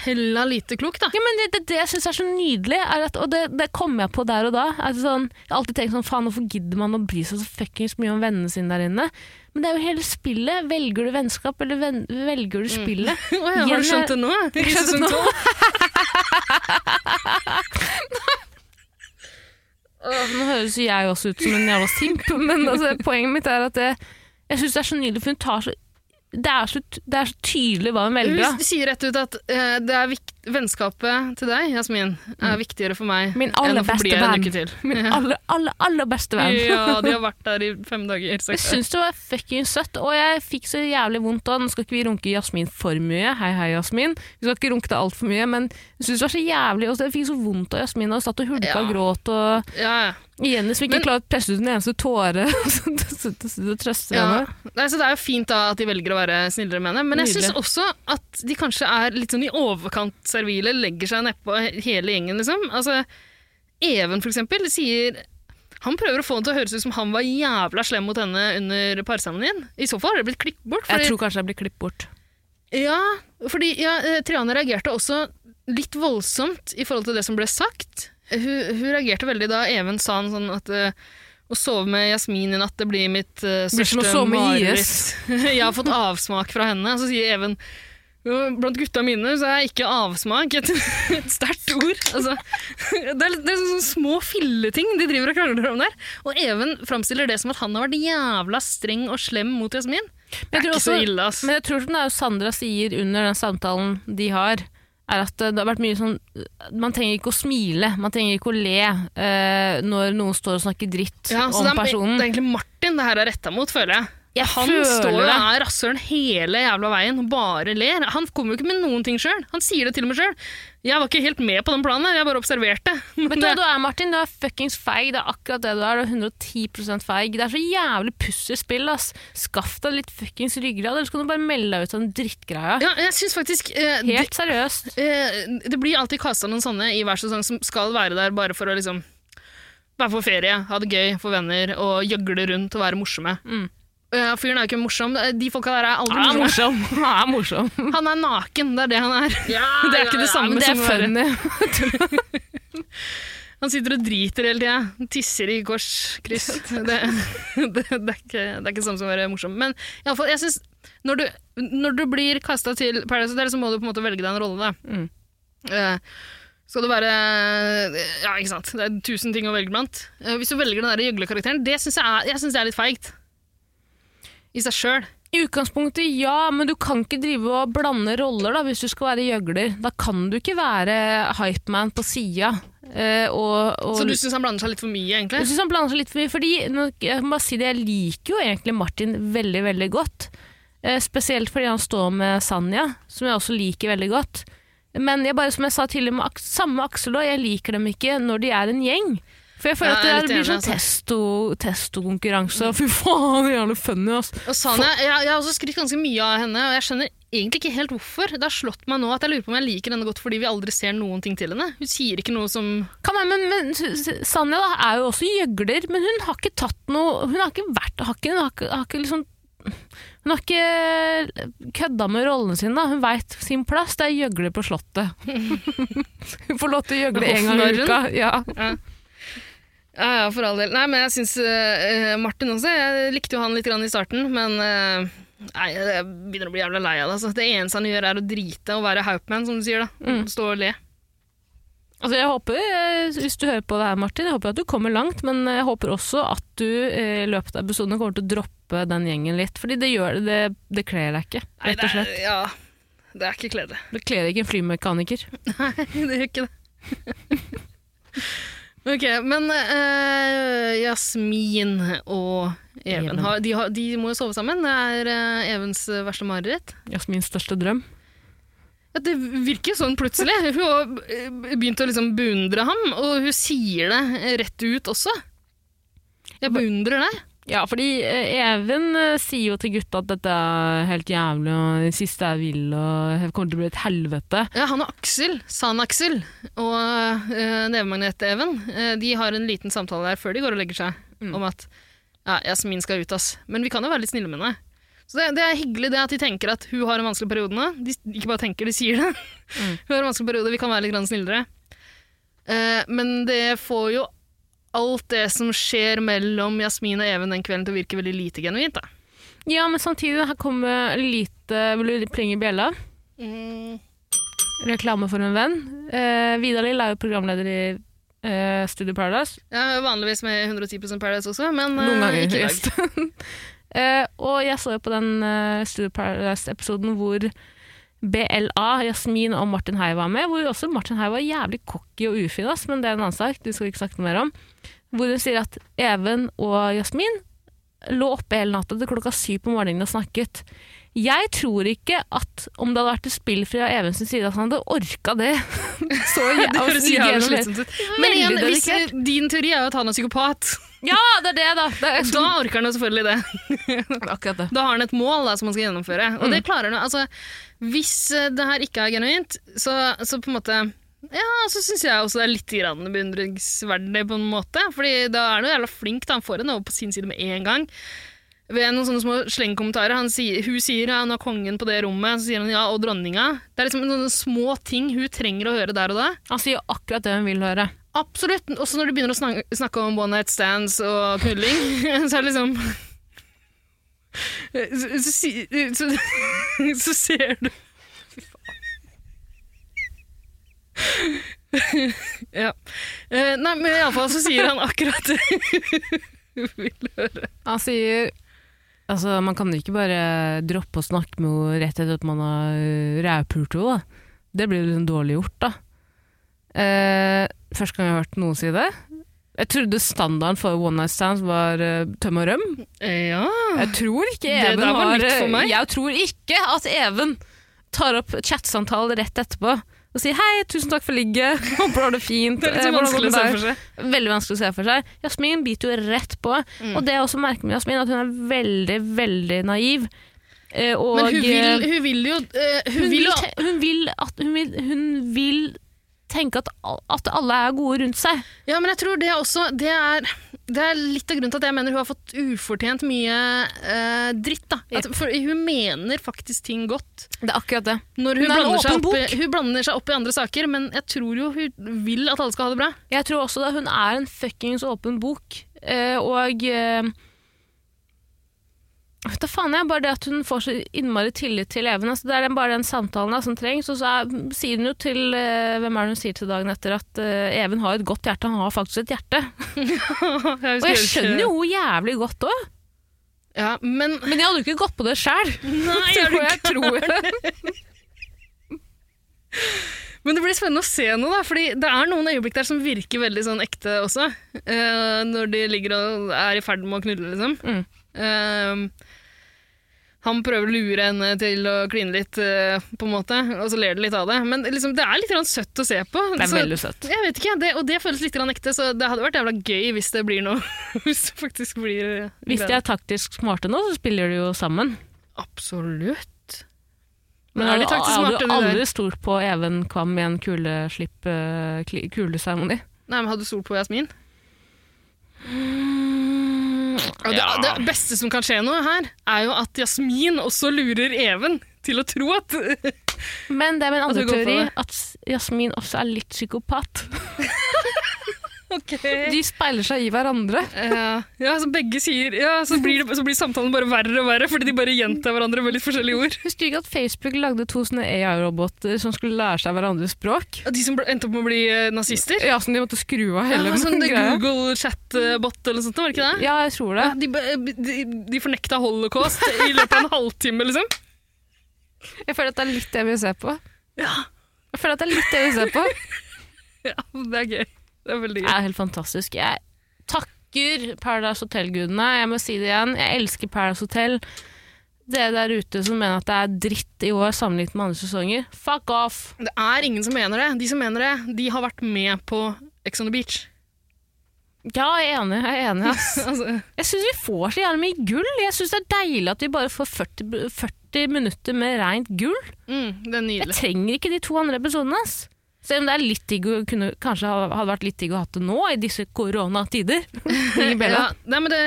[SPEAKER 2] hella lite klokt, da.
[SPEAKER 1] Ja, men Det, det, det jeg syns er så nydelig, er at, og det, det kom jeg på der og da er det sånn, Jeg har alltid tenkt sånn, faen hvorfor gidder man å bry seg så fuckings mye om vennene sine der inne? Men det er jo hele spillet. Velger du vennskap, eller ven, velger du spillet?
[SPEAKER 2] Å ja, har
[SPEAKER 1] Jenny-
[SPEAKER 2] du skjønt det nå?
[SPEAKER 1] skjønt
[SPEAKER 2] I
[SPEAKER 1] det
[SPEAKER 2] sesong
[SPEAKER 1] nå.
[SPEAKER 2] tolv?
[SPEAKER 1] Åh, nå høres jo jeg også ut som en jævla simp, men altså, poenget mitt er at det, jeg syns det er så nydelig, for hun tar så det er så, det er så tydelig hva hun velger.
[SPEAKER 2] Hun
[SPEAKER 1] da.
[SPEAKER 2] sier rett ut at eh, det er vikt, vennskapet til deg, Jasmin, er viktigere for meg
[SPEAKER 1] Mm. Min aller
[SPEAKER 2] enn å få
[SPEAKER 1] beste
[SPEAKER 2] bli en
[SPEAKER 1] venn.
[SPEAKER 2] uke til.
[SPEAKER 1] Min aller, aller, aller beste venn.
[SPEAKER 2] ja, de har vært der i fem dager.
[SPEAKER 1] Jeg
[SPEAKER 2] seks dager.
[SPEAKER 1] syns det var fucking søtt, og jeg fikk så jævlig vondt av Nå skal ikke vi runke Jasmin for mye, hei hei, Jasmin. Vi skal ikke runke deg altfor mye, men jeg syns det var så jævlig, og så- jeg fikk så vondt av Jasmin, og satt og hulka
[SPEAKER 2] Ja.
[SPEAKER 1] og gråt, og
[SPEAKER 2] Ja, ja.
[SPEAKER 1] Jenny som ikke
[SPEAKER 2] Men-
[SPEAKER 1] klarer å presse ut en eneste tåre, så det- så det så det trøster
[SPEAKER 2] Ja.
[SPEAKER 1] henne.
[SPEAKER 2] Nei, så det er jo fint da at de velger å være snillere med henne, men jeg
[SPEAKER 1] Nydelig.
[SPEAKER 2] syns også at de kanskje er litt sånn i overkant servile, legger seg nedpå hele gjengen, liksom. Altså, Even, for eksempel, sier han prøver å få det til å høres ut som han var jævla slem mot henne under parsamlingen. I så fall har det blitt klippet bort.
[SPEAKER 1] Jeg
[SPEAKER 2] fordi-
[SPEAKER 1] tror kanskje jeg blir klippet bort.
[SPEAKER 2] Ja, fordi ja, eh, Triana reagerte også litt voldsomt i forhold til det som ble sagt. Hun, hun reagerte veldig da Even sa en sånn at eh, å sove med Jasmin i natt, det blir mitt eh,
[SPEAKER 1] Blir som å
[SPEAKER 2] største
[SPEAKER 1] sove med
[SPEAKER 2] mareritt. jeg har fått avsmak fra henne. Så sier Even «Jo, Blant gutta mine så er ikke avsmak et, et sterkt ord. Altså, det er, litt- det er sånne små filleting de driver og krangler om der. Og Even framstiller det som at han har vært jævla streng og slem mot Jasmin. Det
[SPEAKER 1] Jeg
[SPEAKER 2] er
[SPEAKER 1] tror
[SPEAKER 2] ikke så
[SPEAKER 1] også-
[SPEAKER 2] ille, ass.
[SPEAKER 1] Men jeg tror som det er jo Sandra sier under den samtalen de har, er at det har vært mye sånn Man trenger ikke å smile, man trenger ikke å le eh, når noen står og snakker dritt
[SPEAKER 2] Ja, så
[SPEAKER 1] om
[SPEAKER 2] det er,
[SPEAKER 1] personen.
[SPEAKER 2] Det er egentlig Martin det her er retta mot, føler jeg.
[SPEAKER 1] Jeg
[SPEAKER 2] Han
[SPEAKER 1] føler
[SPEAKER 2] står jo og
[SPEAKER 1] det.
[SPEAKER 2] er rasshøl hele jævla veien og bare ler. Han kommer jo ikke med noen ting sjøl. Han sier det til og med sjøl. Jeg var ikke helt med på den planen, her, jeg bare observerte. Men
[SPEAKER 1] Vet du hva
[SPEAKER 2] det-
[SPEAKER 1] du er, Martin? Du er fuckings feig. Det er akkurat det du er. Du er 110 feig. Det er så jævlig pussespill, ass. Skaff deg litt fuckings ryggrad, ellers kan du bare melde deg ut av den drittgreia.
[SPEAKER 2] ja, jeg syns faktisk eh, det,
[SPEAKER 1] Helt seriøst.
[SPEAKER 2] eh, det blir alltid kasta noen sånne i hver sesong som skal være der bare for å liksom være på ferie, ha det gøy, få venner og gjøgle rundt og være morsomme.
[SPEAKER 1] Mm.
[SPEAKER 2] Eh, fyren er jo ikke morsom. De folka der er aldri
[SPEAKER 1] Han er
[SPEAKER 2] morsomme.
[SPEAKER 1] morsom. Han er morsom.
[SPEAKER 2] Han er naken, det er det han er. det er ikke det samme
[SPEAKER 1] men det er
[SPEAKER 2] som å være
[SPEAKER 1] funny.
[SPEAKER 2] Han sitter og driter hele tida. Tisser i korskryss. Det, det, det, er ikke, det er ikke sånn som å være morsom. Men i alle fall, jeg synes, når, du, når du blir kasta til Paradise Hotel, så må du på en måte velge deg en rolle. Da. Eh, skal du være Ja, ikke sant. Det er tusen ting å velge blant. Eh, hvis du velger den der gjøglekarakteren, det syns jeg, er- jeg synes det er litt feigt. I seg sjøl.
[SPEAKER 1] I utgangspunktet ja, men du kan ikke drive og blande roller da, hvis du skal være gjøgler. Da kan du ikke være hypeman på sida. Eh, og, og,
[SPEAKER 2] Så du syns han blander seg litt for mye, egentlig?
[SPEAKER 1] Jeg synes han blander seg litt for mye, fordi nå, jeg må bare si det, jeg liker jo egentlig Martin veldig, veldig godt. Eh, spesielt fordi han står med Sanja, som jeg også liker veldig godt. Men jeg bare, som jeg sa tidligere med Aks- samme Aksel også, jeg liker dem ikke når de er en gjeng. For jeg føler
[SPEAKER 2] Ja,
[SPEAKER 1] at det
[SPEAKER 2] jeg er
[SPEAKER 1] der
[SPEAKER 2] litt
[SPEAKER 1] blir
[SPEAKER 2] enig, altså.
[SPEAKER 1] sånn testo- testokonkurranse. og Fy faen, det er jævlig funny, ass.
[SPEAKER 2] Og Sanja, jeg, jeg har også skrytt ganske mye av henne, og jeg skjønner egentlig ikke helt hvorfor. Det har slått meg nå at jeg lurer på om jeg liker henne godt fordi vi aldri ser noen ting til henne. Hun sier ikke noe som
[SPEAKER 1] Kan være, men, men S- S- Sanja da, er jo også gjøgler, men hun har ikke tatt noe Hun har ikke vært har ikke, hun, har ikke, har ikke liksom, hun har ikke kødda med rollen sin. da Hun veit sin plass. Det er gjøgler på Slottet. hun får lov til å gjøgle en gang i
[SPEAKER 2] Hoffnarren?
[SPEAKER 1] uka. Ja.
[SPEAKER 2] Ja, ja, for all del. Nei, men jeg syns eh, Martin også. Jeg likte jo han litt grann i starten, men eh, Nei, jeg begynner å bli jævla lei av det. Altså. Det eneste han gjør, er å drite og være Haupman, som du sier. da.
[SPEAKER 1] Mm.
[SPEAKER 2] Stå og le.
[SPEAKER 1] Altså, jeg håper, eh, Hvis du hører på det her, Martin, jeg håper at du kommer langt, men jeg håper også at du eh, i løpet av episoden kommer til å droppe den gjengen litt. Fordi det gjør det, det, det kler deg ikke,
[SPEAKER 2] Nei,
[SPEAKER 1] rett og slett.
[SPEAKER 2] Det er, ja, det er ikke kledelig.
[SPEAKER 1] Det kler ikke en flymekaniker.
[SPEAKER 2] Nei, det gjør ikke det. ok, men eh, Jasmin og Even,
[SPEAKER 1] Even.
[SPEAKER 2] Har, de, har, de må jo sove sammen. Det er eh, Evens verste mareritt.
[SPEAKER 1] Jasmins største drøm.
[SPEAKER 2] Ja, det virker jo sånn plutselig. Hun har eh, begynt å liksom beundre ham, og hun sier det rett ut også. Jeg beundrer deg.
[SPEAKER 1] Ja, fordi eh, Even eh, sier jo til gutta at dette er helt jævlig, og det siste jeg vil, og det kommer til å bli et helvete.
[SPEAKER 2] Ja, han og Aksel, San-Aksel og uh, nevemagnet-Even, eh, de har en liten samtale der før de går og legger seg,
[SPEAKER 1] Mm.
[SPEAKER 2] om at ja, Jasmin skal ut, ass. Men vi kan jo være litt snille med henne. Så det, det er hyggelig det at de tenker at hun har en vanskelig periode nå. De s- ikke bare tenker, de sier det.
[SPEAKER 1] Mm.
[SPEAKER 2] hun har en vanskelig periode, vi kan være litt grann snillere. Eh, men det får jo alt det som skjer mellom Jasmin og Even den kvelden til å virke veldig lite genuint, da.
[SPEAKER 1] Ja, men samtidig, her kommer lite Vil du plinge i bjella? Reklame for en venn. Eh, Vidar Lill er jo programleder i eh, Studio Paradise.
[SPEAKER 2] Jeg er jo vanligvis med i 110 Paradise også, men eh,
[SPEAKER 1] Noen ganger.
[SPEAKER 2] ikke i dag.
[SPEAKER 1] gjest. Eh, og jeg så jo på den eh, Studio Paradise-episoden hvor BLA, Jasmin og Martin Hei var med, hvor også Martin Hei var jævlig cocky og ufin, ass, men det er en annen sak, det skal vi ikke snakke mer om. Hvor hun sier at Even og Jasmin lå oppe hele natta til klokka syv på morgenen og snakket. Jeg tror ikke at om det hadde vært et spill fra Even sin side, at han hadde orka det. så jævlig,
[SPEAKER 2] Det høres jævlig slitsomt ut. Men igjen,
[SPEAKER 1] Veldig
[SPEAKER 2] hvis
[SPEAKER 1] dedikert.
[SPEAKER 2] din teori er jo at han er psykopat,
[SPEAKER 1] Ja, det er det, da! Det er
[SPEAKER 2] da orker han jo selvfølgelig det.
[SPEAKER 1] akkurat det.
[SPEAKER 2] Da har han et mål da, som han skal gjennomføre. Og det klarer han jo. Altså, hvis eh, det her ikke er genuint, så, så på en måte ja, så syns jeg også det er litt grann beundringsverdig, på en måte. Fordi da er han jo jævla flink. Da. Han får henne over på sin side med en gang. Ved noen sånne små slengkommentarer. Han sier, hun sier ja, han har kongen på det rommet, så sier han ja, og dronninga. Det er liksom noen små ting hun trenger å høre der og da.
[SPEAKER 1] Han sier akkurat det hun vil høre.
[SPEAKER 2] Absolutt. Også når de begynner å snakke, snakke om one night stands og knulling, så er det liksom så, så, si- så, så ser du Fy faen. Ja. Eh, Nei, men iallfall så sier han akkurat det hun vil høre.
[SPEAKER 1] Han sier Altså, man kan jo ikke bare droppe å snakke med henne rett etter at man har øh, rævpult henne, da. Det blir jo liksom dårlig gjort, da. Eh, første gang jeg har hørt noen si det. Jeg trodde standarden for one night stands var eh, tøm og røm.
[SPEAKER 2] Ja.
[SPEAKER 1] Jeg tror ikke
[SPEAKER 2] Ah. Det
[SPEAKER 1] Even
[SPEAKER 2] der var
[SPEAKER 1] har øh,
[SPEAKER 2] nytt for meg.
[SPEAKER 1] Jeg tror ikke at Even tar opp chatsamtalen rett etterpå og sier 'hei, tusen takk for ligget, håper du har det fint'.
[SPEAKER 2] Det er litt
[SPEAKER 1] eh,
[SPEAKER 2] så
[SPEAKER 1] hvordan går
[SPEAKER 2] vanskelig
[SPEAKER 1] det
[SPEAKER 2] å se
[SPEAKER 1] med
[SPEAKER 2] for
[SPEAKER 1] deg?»
[SPEAKER 2] seg.
[SPEAKER 1] Veldig vanskelig å se for seg. Jasmin biter jo rett på.
[SPEAKER 2] Mm.
[SPEAKER 1] Og det jeg også merker med Jasmin, at hun er veldig, veldig naiv. Eh, Og
[SPEAKER 2] Men hun vil,
[SPEAKER 1] eh,
[SPEAKER 2] hun vil jo eh, hun,
[SPEAKER 1] hun
[SPEAKER 2] vil,
[SPEAKER 1] vil,
[SPEAKER 2] jo-
[SPEAKER 1] te- hun, vil at, hun, vil, hun vil tenke at, al- at alle er gode rundt seg.
[SPEAKER 2] Ja, men jeg tror det er også Det er, det er litt av grunnen til at jeg mener hun har fått ufortjent mye eh, dritt. da. At, for hun mener faktisk ting godt.
[SPEAKER 1] Det er akkurat det.
[SPEAKER 2] Når hun,
[SPEAKER 1] Hun er en
[SPEAKER 2] blander seg,
[SPEAKER 1] åpen
[SPEAKER 2] opp, i- hun blander seg opp i andre saker, men jeg tror jo hun vil at alle skal ha det bra.
[SPEAKER 1] Jeg tror også da hun er en fuckings åpen bok, eh, og eh, Vet da faen jeg, bare det at hun får så innmari tillit til Even. Altså, det er den, bare den samtalen da, som trengs. Og så er, sier hun jo til eh, Hvem er det hun sier til dagen etter at eh, Even har et godt hjerte? Han har faktisk et hjerte. Og jeg skjønner jo henne jævlig godt òg,
[SPEAKER 2] Ja, men
[SPEAKER 1] men jeg hadde jo ikke gått på det sjæl.
[SPEAKER 2] Nei, er du Men det blir spennende å se noe, da. Fordi det er noen øyeblikk der som virker veldig sånn ekte også. eh, når de ligger og er i ferd med å knulle, liksom.
[SPEAKER 1] Mm.
[SPEAKER 2] Eh, han prøver å lure henne til å kline litt, eh, på en måte, og så ler de litt av det. Men liksom, det er litt grann søtt å se på.
[SPEAKER 1] Det er
[SPEAKER 2] så,
[SPEAKER 1] veldig søtt.
[SPEAKER 2] jeg vet ikke, det, Og det føles litt grann ekte, så det hadde vært jævla gøy hvis det blir noe. hvis det faktisk blir
[SPEAKER 1] Hvis de er taktisk smarte nå, så spiller de jo sammen.
[SPEAKER 2] Absolutt.
[SPEAKER 1] Men
[SPEAKER 2] er de
[SPEAKER 1] jeg hadde-
[SPEAKER 2] taktisk smarte?
[SPEAKER 1] Jeg
[SPEAKER 2] de
[SPEAKER 1] hadde jo
[SPEAKER 2] der?
[SPEAKER 1] aldri stolt på Even Kvam i en kuleslipp, eh, kli- kuleseremoni.
[SPEAKER 2] Nei, men Hadde du stolt på Jasmin?
[SPEAKER 1] Mm,
[SPEAKER 2] Ja, det, det beste som kan skje nå her, er jo at Jasmin også lurer Even til å tro at
[SPEAKER 1] Men det er min andre
[SPEAKER 2] du går Altså, for
[SPEAKER 1] teori,
[SPEAKER 2] det?
[SPEAKER 1] at Jasmin også er litt psykopat.
[SPEAKER 2] Ok.
[SPEAKER 1] De speiler seg i hverandre.
[SPEAKER 2] Ja, ja, så begge sier Ja, så blir, det, så blir samtalen bare verre og verre, fordi de bare gjentar hverandre med litt forskjellige ord.
[SPEAKER 1] Husker du ikke at Facebook lagde to sånne AI-roboter som skulle lære seg hverandres språk?
[SPEAKER 2] Og De som ble- endte opp med å bli eh, nazister?
[SPEAKER 1] Ja, som de måtte skru av
[SPEAKER 2] Ja,
[SPEAKER 1] hele
[SPEAKER 2] sånn det
[SPEAKER 1] greia.
[SPEAKER 2] Google chat-bot eller noe sånt, var det ikke det?
[SPEAKER 1] Ja, jeg tror det.
[SPEAKER 2] Ja, de, be- de, de fornekta holocaust i løpet av en halvtime, liksom.
[SPEAKER 1] Jeg føler at det er litt det vi ser på.
[SPEAKER 2] Ja.
[SPEAKER 1] Jeg føler at det er litt det vi ser på.
[SPEAKER 2] Ja, det er gøy. Det er veldig
[SPEAKER 1] Det
[SPEAKER 2] gøy.
[SPEAKER 1] er helt fantastisk. Jeg takker Paradise Hotel-gudene. Jeg må si det igjen. Jeg elsker Paradise Hotel. Dere der ute som mener at det er dritt i år sammenlignet med andre sesonger, fuck off!
[SPEAKER 2] Det er ingen som mener det. De som mener det, de har vært med på Ex on the Beach.
[SPEAKER 1] Ja, jeg er enig. Jeg er enig, ass.
[SPEAKER 2] Altså,
[SPEAKER 1] Jeg syns vi får så jævlig mye gull. Jeg syns det er deilig at vi bare får 40, b- 40 minutter med rent gull.
[SPEAKER 2] mm, det er nydelig.
[SPEAKER 1] Jeg trenger ikke de to andre episodene. ass. Selv om det er litt digg å kunne, kanskje ha- hadde vært litt digg å ha det nå, i disse koronatider. Inger Bella.
[SPEAKER 2] Ja, nei, men det,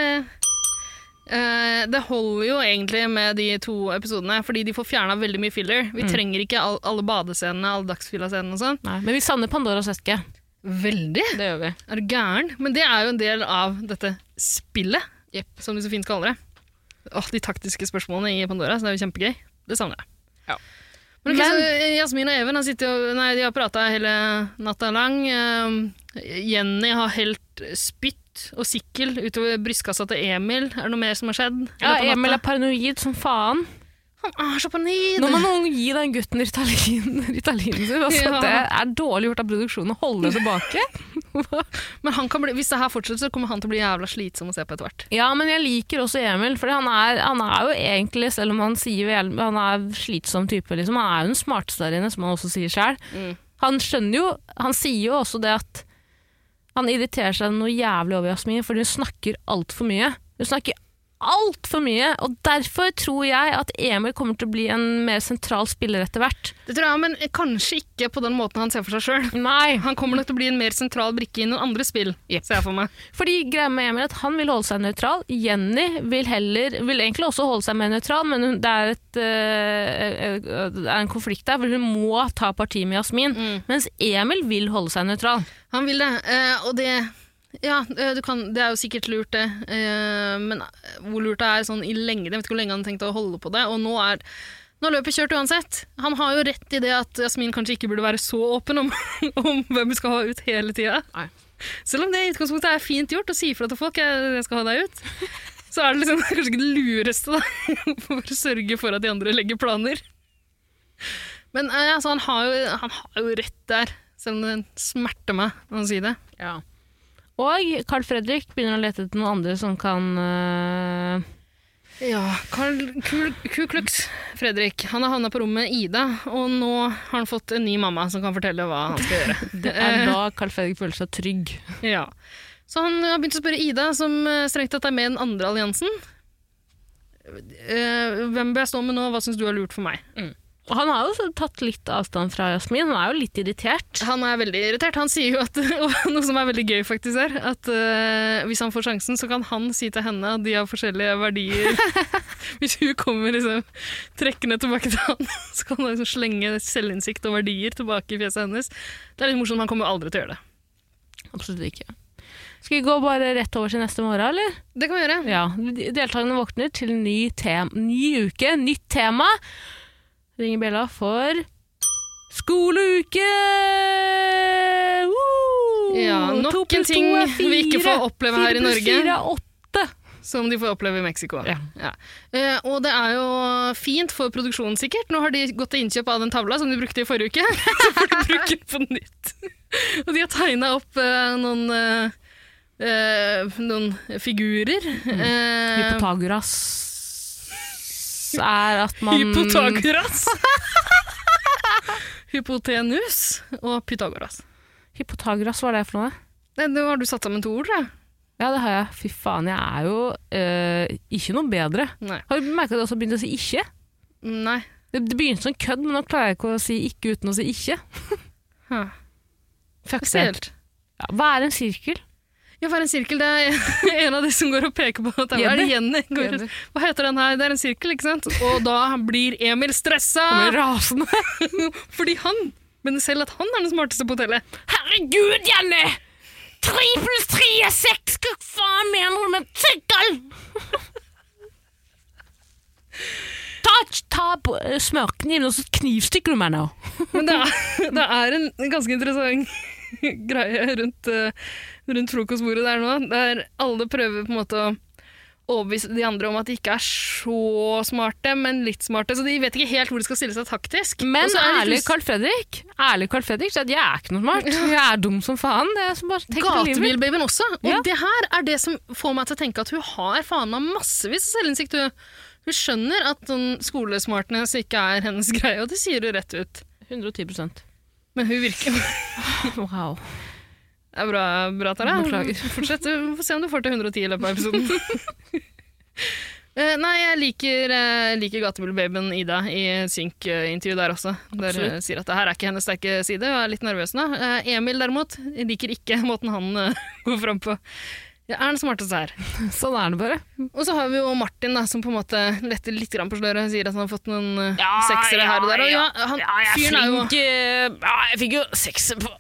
[SPEAKER 2] eh, det holder jo egentlig med de to episodene, fordi de får fjerna veldig mye filler. Vi trenger ikke all, alle badescenene, alle dagsfilla-scenene og sånn.
[SPEAKER 1] Nei, men vi savner Pandoras eske.
[SPEAKER 2] Veldig!
[SPEAKER 1] Det gjør vi.
[SPEAKER 2] Er du gæren? Men det er jo en del av dette spillet, som de så fint kaller det. Åh, de taktiske spørsmålene i Pandora, så det er jo kjempegøy. Det savner jeg. Men,
[SPEAKER 1] Men-
[SPEAKER 2] ok, så Jasmin og Even har, sittet og- nei, de har prata hele natta lang. Um, Jenny har helt spytt og sikkel utover brystkassa til Emil. Er det noe mer som har skjedd? i
[SPEAKER 1] Ja,
[SPEAKER 2] løpet av
[SPEAKER 1] Emil er
[SPEAKER 2] natta?
[SPEAKER 1] paranoid som faen.
[SPEAKER 2] Han er så paranoid!
[SPEAKER 1] Nå må noen gi den gutten Ritalin, Ritalin sin. Altså,
[SPEAKER 2] Ja.
[SPEAKER 1] Det er dårlig gjort av produksjonen å holde det tilbake.
[SPEAKER 2] Men han kan bli, hvis det her fortsetter, så kommer han til å bli jævla slitsom å se på etter hvert.
[SPEAKER 1] Ja, men jeg liker også Emil, for han er, han er jo egentlig, selv om han sier vel- han er slitsom type, liksom, han er jo den smarteste der inne, som han også sier selv.
[SPEAKER 2] Mm.
[SPEAKER 1] Han skjønner jo, han sier jo også det at han irriterer seg noe jævlig over Jasmin, for hun snakker altfor mye. Hun snakker altfor mye, og derfor tror jeg at Emil kommer til å bli en mer sentral spiller etter hvert.
[SPEAKER 2] Det tror jeg, Men kanskje ikke på den måten han ser for seg sjøl.
[SPEAKER 1] Nei,
[SPEAKER 2] Han kommer nok til å bli en mer sentral brikke i noen andre spill, ser jeg for meg.
[SPEAKER 1] Fordi greia med Emil er at han vil holde seg nøytral. Jenny vil heller Vil egentlig også holde seg mer nøytral, men hun, det, er et, øh, øh, det er en konflikt der hvor hun må ta parti med Jasmin. Mens Emil vil holde seg nøytral.
[SPEAKER 2] Han vil det, eh, og det ja, eh, du kan, det er jo sikkert lurt, det. Eh, Men eh, hvor lurt det er sånn i lengden Jeg vet ikke hvor lenge han har tenkt å holde på det. Og nå er nå er løpet kjørt uansett. Han har jo rett i det at Jasmin kanskje ikke burde være så åpen om, om hvem hun skal ha ut hele tida.
[SPEAKER 1] Nei.
[SPEAKER 2] Selv om det i utgangspunktet er fint gjort å si ifra til folk jeg, jeg skal ha deg ut, så er det liksom kanskje ikke det lureste da, for å sørge for at de andre legger planer. Men eh, altså, han, har jo, han har jo rett der, selv om det smerter meg å si det.
[SPEAKER 1] Og Carl Fredrik begynner å lete etter noen andre som kan eh,
[SPEAKER 2] Ja, Carl Kul- Ku Klux Fredrik han har havna på rommet med Ida, og nå har han fått en ny mamma som kan fortelle hva han skal gjøre.
[SPEAKER 1] Det er da Carl Fredrik føler seg trygg.
[SPEAKER 2] Ja. Så han har begynt å spørre Ida, som eh, strengt tatt er med i den andre alliansen. Eh, hvem bør jeg stå med nå, hva syns du er lurt for meg?
[SPEAKER 1] Og han har jo så tatt litt avstand fra Jasmin, han er jo litt irritert.
[SPEAKER 2] Han er veldig irritert. Han sier jo at, og noe som er veldig gøy faktisk er, at eh, hvis han får sjansen, så kan han si til henne at de har forskjellige verdier. hvis hun kommer liksom trekkende tilbake til han, så kan han liksom slenge selvinnsikt og verdier tilbake i fjeset hennes. Det er litt morsomt, men han kommer aldri til å gjøre det.
[SPEAKER 1] Absolutt ikke. Skal vi gå bare rett over til neste morgen, eller?
[SPEAKER 2] Det kan vi gjøre.
[SPEAKER 1] Ja. de- Deltakerne våkner til ny, tem ny uke, nytt tema. Ringer bjella for skoleuke! Woo!
[SPEAKER 2] Ja, nok
[SPEAKER 1] To pluss
[SPEAKER 2] en ting
[SPEAKER 1] to er
[SPEAKER 2] vi ikke
[SPEAKER 1] fire.
[SPEAKER 2] får oppleve her i Norge.
[SPEAKER 1] Fire pluss fire er åtte.
[SPEAKER 2] Som de får oppleve i Mexico.
[SPEAKER 1] Ja.
[SPEAKER 2] Eh, og det er jo fint for produksjonen, sikkert. Nå har de gått til innkjøp av den tavla som de brukte i forrige uke. Så får de bruke den på nytt. og de har tegna opp eh, noen eh, eh, noen figurer. Eh,
[SPEAKER 1] Hypotagoras er at man
[SPEAKER 2] Hypotagoras. Hypotenus og Pythagoras.
[SPEAKER 1] Hypotagoras, hva er det for noe?
[SPEAKER 2] Nei, Nå har du satt sammen to ord, tror jeg.
[SPEAKER 1] Ja, det har jeg. Fy faen, jeg er jo eh, ikke noe bedre.
[SPEAKER 2] Nei.
[SPEAKER 1] Har du merka at jeg også begynte å si ikke?
[SPEAKER 2] Nei.
[SPEAKER 1] Det, det begynte som kødd, men nå klarer jeg ikke å si ikke uten å si ikke.
[SPEAKER 2] Huh.
[SPEAKER 1] Fuck det.
[SPEAKER 2] Spesielt.
[SPEAKER 1] Ja, hva er en sirkel?
[SPEAKER 2] Ja, for en sirkel, det er en av de som går og peker på at det er
[SPEAKER 1] Jenny.
[SPEAKER 2] Jenny. Går,
[SPEAKER 1] Jenny.
[SPEAKER 2] hva heter den her? Det er en sirkel, ikke sant? Og da blir Emil stressa!
[SPEAKER 1] Han blir rasende.
[SPEAKER 2] Fordi han mener selv at han er den smarteste på hotellet.
[SPEAKER 1] Herregud, Janne! Tre pluss tre er seks! Hva faen mener du med sirkel? Ta, ta på, eh, smørken din, og så knivstikker du meg nå.
[SPEAKER 2] Men det er, det er en ganske interessant greie rundt, eh, rundt frokostbordet der nå, der alle prøver på en måte å overbevise de andre om at de ikke er så smarte, men litt smarte. Så de vet ikke helt hvor de skal stille seg taktisk.
[SPEAKER 1] Men
[SPEAKER 2] Og så er de
[SPEAKER 1] ærlig
[SPEAKER 2] litt
[SPEAKER 1] Carl Fredrik Ærlig Carl Fredrik sier at jeg er ikke noe smart. Jeg er dum som faen. Det er som bare tenker livet.
[SPEAKER 2] Gatebilbabyen også. Og
[SPEAKER 1] Ja.
[SPEAKER 2] det her er det som får meg til å tenke at hun har faen meg massevis av selvinnsikt. Hun, hun skjønner at sånn skolesmartness ikke er hennes greie, og det sier hun rett ut.
[SPEAKER 1] 110
[SPEAKER 2] Men hun virker Det
[SPEAKER 1] Wow.
[SPEAKER 2] er bra, bra Tara.
[SPEAKER 1] Beklager.
[SPEAKER 2] Fortsett. Vi får se om du får til 110 i løpet av episoden. Eh, Nei, jeg liker, eh, liker Gatebilbabyen Ida i synk-intervju der også. Der hun
[SPEAKER 1] Absolutt.
[SPEAKER 2] sier at det her er ikke hennes sterke side, og er litt nervøs nå. Eh, Emil derimot liker ikke måten han eh, går fram på. Jeg er den smarteste her.
[SPEAKER 1] Sånn er det bare.
[SPEAKER 2] Og så har vi jo Martin, da, som på en måte letter litt grann på sløret. Sier at han har fått noen eh, seksere her og der. Og ja, han, fyren er jo
[SPEAKER 1] Ja, jeg fikk jo sekser på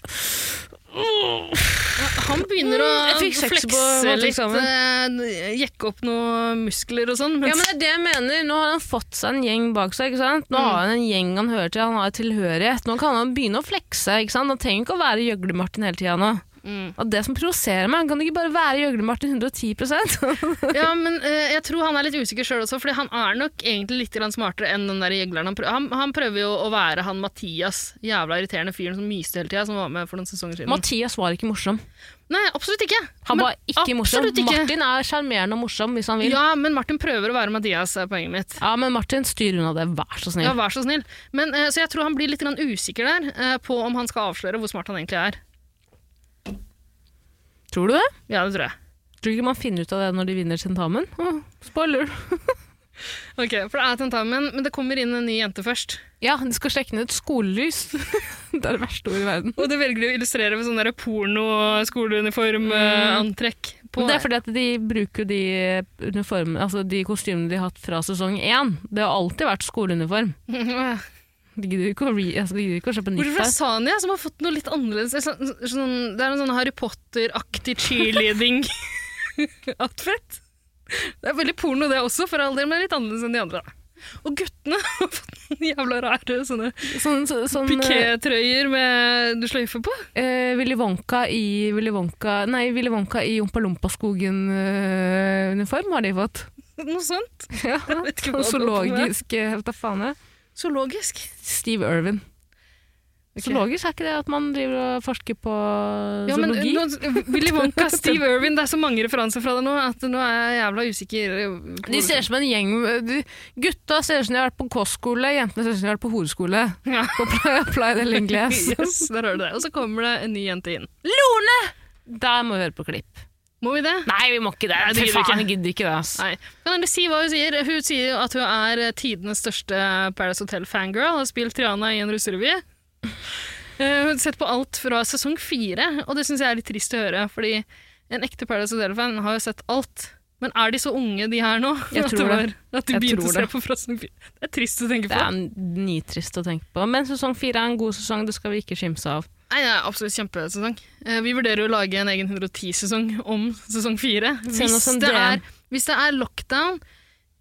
[SPEAKER 2] Han begynner å
[SPEAKER 1] Jeg fikk sekser på
[SPEAKER 2] flekse litt,
[SPEAKER 1] matteeksamen.
[SPEAKER 2] eh, jekke opp noen muskler og sånn.
[SPEAKER 1] Ja, men
[SPEAKER 2] mens-
[SPEAKER 1] det er det jeg mener. Nå har han fått seg en gjeng bak seg. ikke sant? Nå har han en gjeng han hører til, han har tilhørighet. Nå kan han begynne å flekse. ikke sant? Han trenger ikke å være Gjøgle-Martin hele tida nå.
[SPEAKER 2] Mm.
[SPEAKER 1] Og det som provoserer meg, kan det ikke bare være Gjøgle-Martin 110
[SPEAKER 2] ja, men eh, jeg tror han er litt usikker sjøl også, Fordi han er nok egentlig litt grann smartere enn den der jegleren. Han prøver, han, han prøver jo å være han Mathias, jævla irriterende fyren som myste hele tida, som var med for noen sesonger siden.
[SPEAKER 1] Mathias var ikke morsom.
[SPEAKER 2] Nei, absolutt ikke.
[SPEAKER 1] Han
[SPEAKER 2] Men
[SPEAKER 1] var ikke morsom.
[SPEAKER 2] absolutt ikke.
[SPEAKER 1] Martin er sjarmerende og morsom hvis han vil. Ja.
[SPEAKER 2] Ja, men Martin prøver å være Mathias, er poenget mitt.
[SPEAKER 1] men Martin, styr unna det, vær så snill.
[SPEAKER 2] Ja, vær så snill. Men, eh, så jeg tror han blir litt grann usikker der eh, på om han skal avsløre hvor smart han egentlig er.
[SPEAKER 1] Tror du det?
[SPEAKER 2] Ja, det tror jeg.
[SPEAKER 1] Tror du ikke man finner ut av det når de vinner tentamen? Åh, spoiler!
[SPEAKER 2] Ok, For det er tentamen, men det kommer inn en ny jente først.
[SPEAKER 1] Ja, de skal slekke ned et skolelys. det er det verste ordet i verden.
[SPEAKER 2] Og det velger de å illustrere med sånn der eh, porno-skoleuniform-antrekk.
[SPEAKER 1] Mm. Men det er fordi at de bruker jo de uniformene, altså de kostymene de har hatt fra sesong én. Det har alltid vært skoleuniform. De gidder ikke å, re, altså, de gidder ikke å kjøpe nytt
[SPEAKER 2] Bortsett fra
[SPEAKER 1] der.
[SPEAKER 2] Sanja, som har fått noe litt annerledes. eller Sånn, sånn, det er en sånn Harry Potter-aktig cheerleading-outfit. Det er veldig porno, det også, for all del, men litt annerledes enn de andre. da. Og guttene har fått noen jævla rare sånne
[SPEAKER 1] Sånn, så, sånn eh,
[SPEAKER 2] Piqué-trøyer med du sløyfe på?
[SPEAKER 1] eh, Willy Wonka i Willy Wonka Nei, Willy Wonka i Jompa-Lompa-skogen-uniform har de fått.
[SPEAKER 2] Noe sånt?
[SPEAKER 1] Ja,
[SPEAKER 2] Jeg vet ikke hva
[SPEAKER 1] sånn
[SPEAKER 2] det har med.
[SPEAKER 1] zoologisk eh, Hva faen er det?
[SPEAKER 2] Zoologisk?
[SPEAKER 1] Steve Irwin. Så logisk er ikke det at man driver og forsker på
[SPEAKER 2] Ja, men
[SPEAKER 1] zoologi?
[SPEAKER 2] nå, Willy Wonka, Steve Irwin, det er så mange referanser fra deg nå at nå er jeg jævla usikker.
[SPEAKER 1] de ser ut som en gjeng de, Gutta ser ut som de har vært på kostskole, jentene ser ut som de har vært på horeskole.
[SPEAKER 2] Ja.
[SPEAKER 1] På apply, apply the linglias.
[SPEAKER 2] Yes, der hører du det. Og så kommer det en ny jente inn.
[SPEAKER 1] Lone! Der må vi høre på klipp.
[SPEAKER 2] Må vi det?
[SPEAKER 1] Nei, vi må ikke det.
[SPEAKER 2] det
[SPEAKER 1] Fy
[SPEAKER 2] gidder vi
[SPEAKER 1] faen,
[SPEAKER 2] ikke.
[SPEAKER 1] jeg gidder ikke det. ass.
[SPEAKER 2] Nei. Kan dere si hva hun sier? Hun sier jo at hun er eh, tidenes største Paradise Hotel-fangirl. Har spilt Triana i en russerevy. Eh, Hun har sett på alt fra sesong fire, og det syns jeg er litt trist å høre. Fordi en ekte Paradise Hotel-fan har jo sett alt. Men er de så unge, de her nå?
[SPEAKER 1] Jeg
[SPEAKER 2] At
[SPEAKER 1] tror
[SPEAKER 2] det var-
[SPEAKER 1] det.
[SPEAKER 2] At de
[SPEAKER 1] Jeg
[SPEAKER 2] begynte
[SPEAKER 1] tror
[SPEAKER 2] å se
[SPEAKER 1] det.
[SPEAKER 2] på Frossen 4. Det er trist å tenke på.
[SPEAKER 1] Det er nitrist å tenke på. Men sesong fire er en god sesong, det skal vi ikke skimse av.
[SPEAKER 2] Nei, det er absolutt kjempesesong. Eh, Vi vurderer jo å lage en egen 110-sesong om sesong 4.
[SPEAKER 1] Send oss
[SPEAKER 2] Hvis
[SPEAKER 1] en
[SPEAKER 2] det,
[SPEAKER 1] DM.
[SPEAKER 2] er, hvis det er lockdown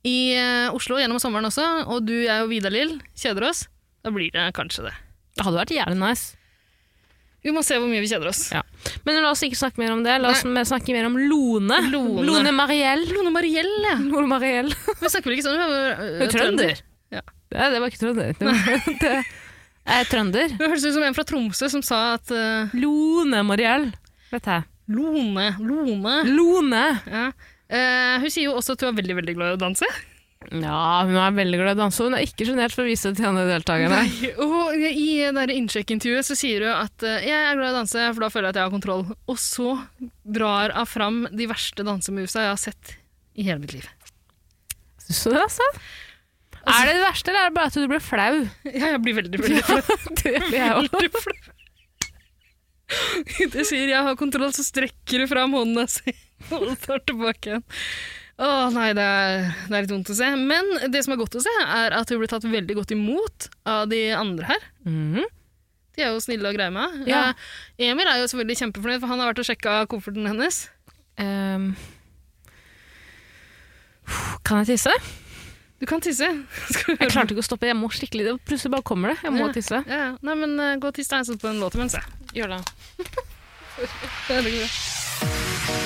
[SPEAKER 2] i eh, Oslo gjennom sommeren også, og du, jeg og Vidar-Lill kjeder oss, da blir det kanskje det.
[SPEAKER 1] Det hadde vært jævlig nice.
[SPEAKER 2] Vi må se hvor mye vi kjeder oss.
[SPEAKER 1] Ja. Men la oss ikke snakke mer om det. La oss mer snakke mer om Lone.
[SPEAKER 2] Lone.
[SPEAKER 1] Mariell.
[SPEAKER 2] Lone Mariell, ja.
[SPEAKER 1] Lone Mariell.
[SPEAKER 2] Hun snakker vel ikke sånn? Hun er, øh,
[SPEAKER 1] Hun er trønder.
[SPEAKER 2] Ja.
[SPEAKER 1] Det, det var ikke trønder. Det, det er trønder.
[SPEAKER 2] Hun høres ut som en fra Tromsø som sa at eh,
[SPEAKER 1] Lone Mariell. Vet jeg.
[SPEAKER 2] Lone, Lone
[SPEAKER 1] Lone.
[SPEAKER 2] ja. Eh, Hun sier jo også at hun er veldig, veldig glad i å danse.
[SPEAKER 1] Ja, hun er veldig glad i å danse. og Hun er ikke sjenert for å vise det til andre deltakerne.
[SPEAKER 2] Og I det der innsjekkintervjuet så sier du at eh, jeg er glad i å danse, for da føler jeg at jeg har kontroll. Og så drar hun fram de verste dansemusa jeg har sett i hele mitt liv.
[SPEAKER 1] Syns du det, altså? er det det verste, eller er det bare at du blir flau?
[SPEAKER 2] Ja, jeg blir veldig, veldig flau.
[SPEAKER 1] Det blir jeg også.
[SPEAKER 2] Veldig flau. Det sier 'jeg har kontroll', så strekker du fram hånda si og tar tilbake igjen. Å nei, det er, det er litt vondt å se. Men det som er godt å se, er at hun blir tatt veldig godt imot av de andre her.
[SPEAKER 1] Mhm.
[SPEAKER 2] De er jo snille og greie med henne.
[SPEAKER 1] Ja.
[SPEAKER 2] Eh, Emil er jo selvfølgelig kjempefornøyd, for han har vært og sjekka kofferten hennes.
[SPEAKER 1] Ehm. Kan jeg tisse?
[SPEAKER 2] Du kan tisse. Skal vi
[SPEAKER 1] Jeg
[SPEAKER 2] høre?
[SPEAKER 1] klarte ikke å stoppe. Jeg må skikkelig det- Plutselig bare kommer det. Jeg må
[SPEAKER 2] Ja.
[SPEAKER 1] tisse.
[SPEAKER 2] Ja, ja. Nei, men eh, gå og tiss deg, så på en låt imens, jeg.
[SPEAKER 1] Gjør det.
[SPEAKER 2] Det er veldig bra.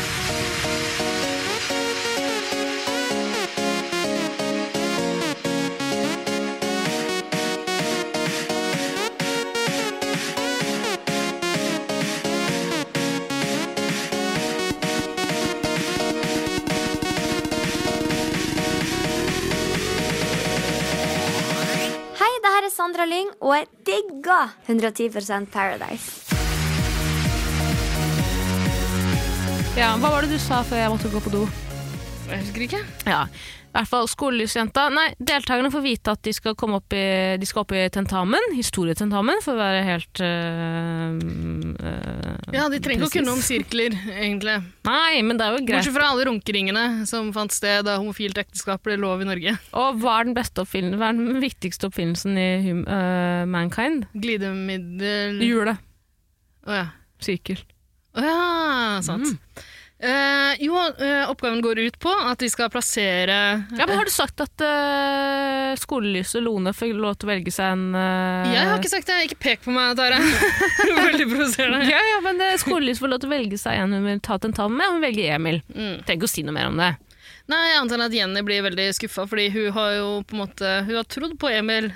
[SPEAKER 6] Hei, det her er Sandra Lyng, og jeg digger 110 Paradise.
[SPEAKER 1] Ja, hva var det du sa før jeg måtte gå på do?
[SPEAKER 2] Jeg husker ikke.
[SPEAKER 1] Ja, i hvert fall skolelysjenta. Nei, deltakerne får vite at de skal, komme opp, i, de skal opp i tentamen, historietentamen, for å være helt øh, øh,
[SPEAKER 2] Ja, De trenger ikke å
[SPEAKER 1] Presis.
[SPEAKER 2] kunne om sirkler, egentlig.
[SPEAKER 1] Nei, men det er jo greit.
[SPEAKER 2] Bortsett fra alle runkeringene som fant sted da homofilt ekteskap ble lov i Norge.
[SPEAKER 1] Og hva er den beste oppfinnelsen, hva er den viktigste oppfinnelsen i hum, øh, mankind?
[SPEAKER 2] Glidemiddel Å
[SPEAKER 1] Hjulet.
[SPEAKER 2] ja.
[SPEAKER 1] Sirkel.
[SPEAKER 2] Å ja, sant. Eh, jo, eh, oppgaven går ut på at de skal plassere
[SPEAKER 1] Ja, men har du sagt at øh, skolelyset Lone får lov til å velge seg en øh,
[SPEAKER 2] Jeg har ikke sagt det! Ikke pek på meg, Tare. Veldig provoserende.
[SPEAKER 1] ja, ja, men øh, skolelyset får lov til å velge seg en hun vil ta tentamen med, og hun velger Emil.
[SPEAKER 2] Mm.
[SPEAKER 1] Trenger ikke å si noe mer om det.
[SPEAKER 2] Nei, jeg antar at Jenny blir veldig skuffa, fordi hun har jo på en måte Hun har trodd på Emil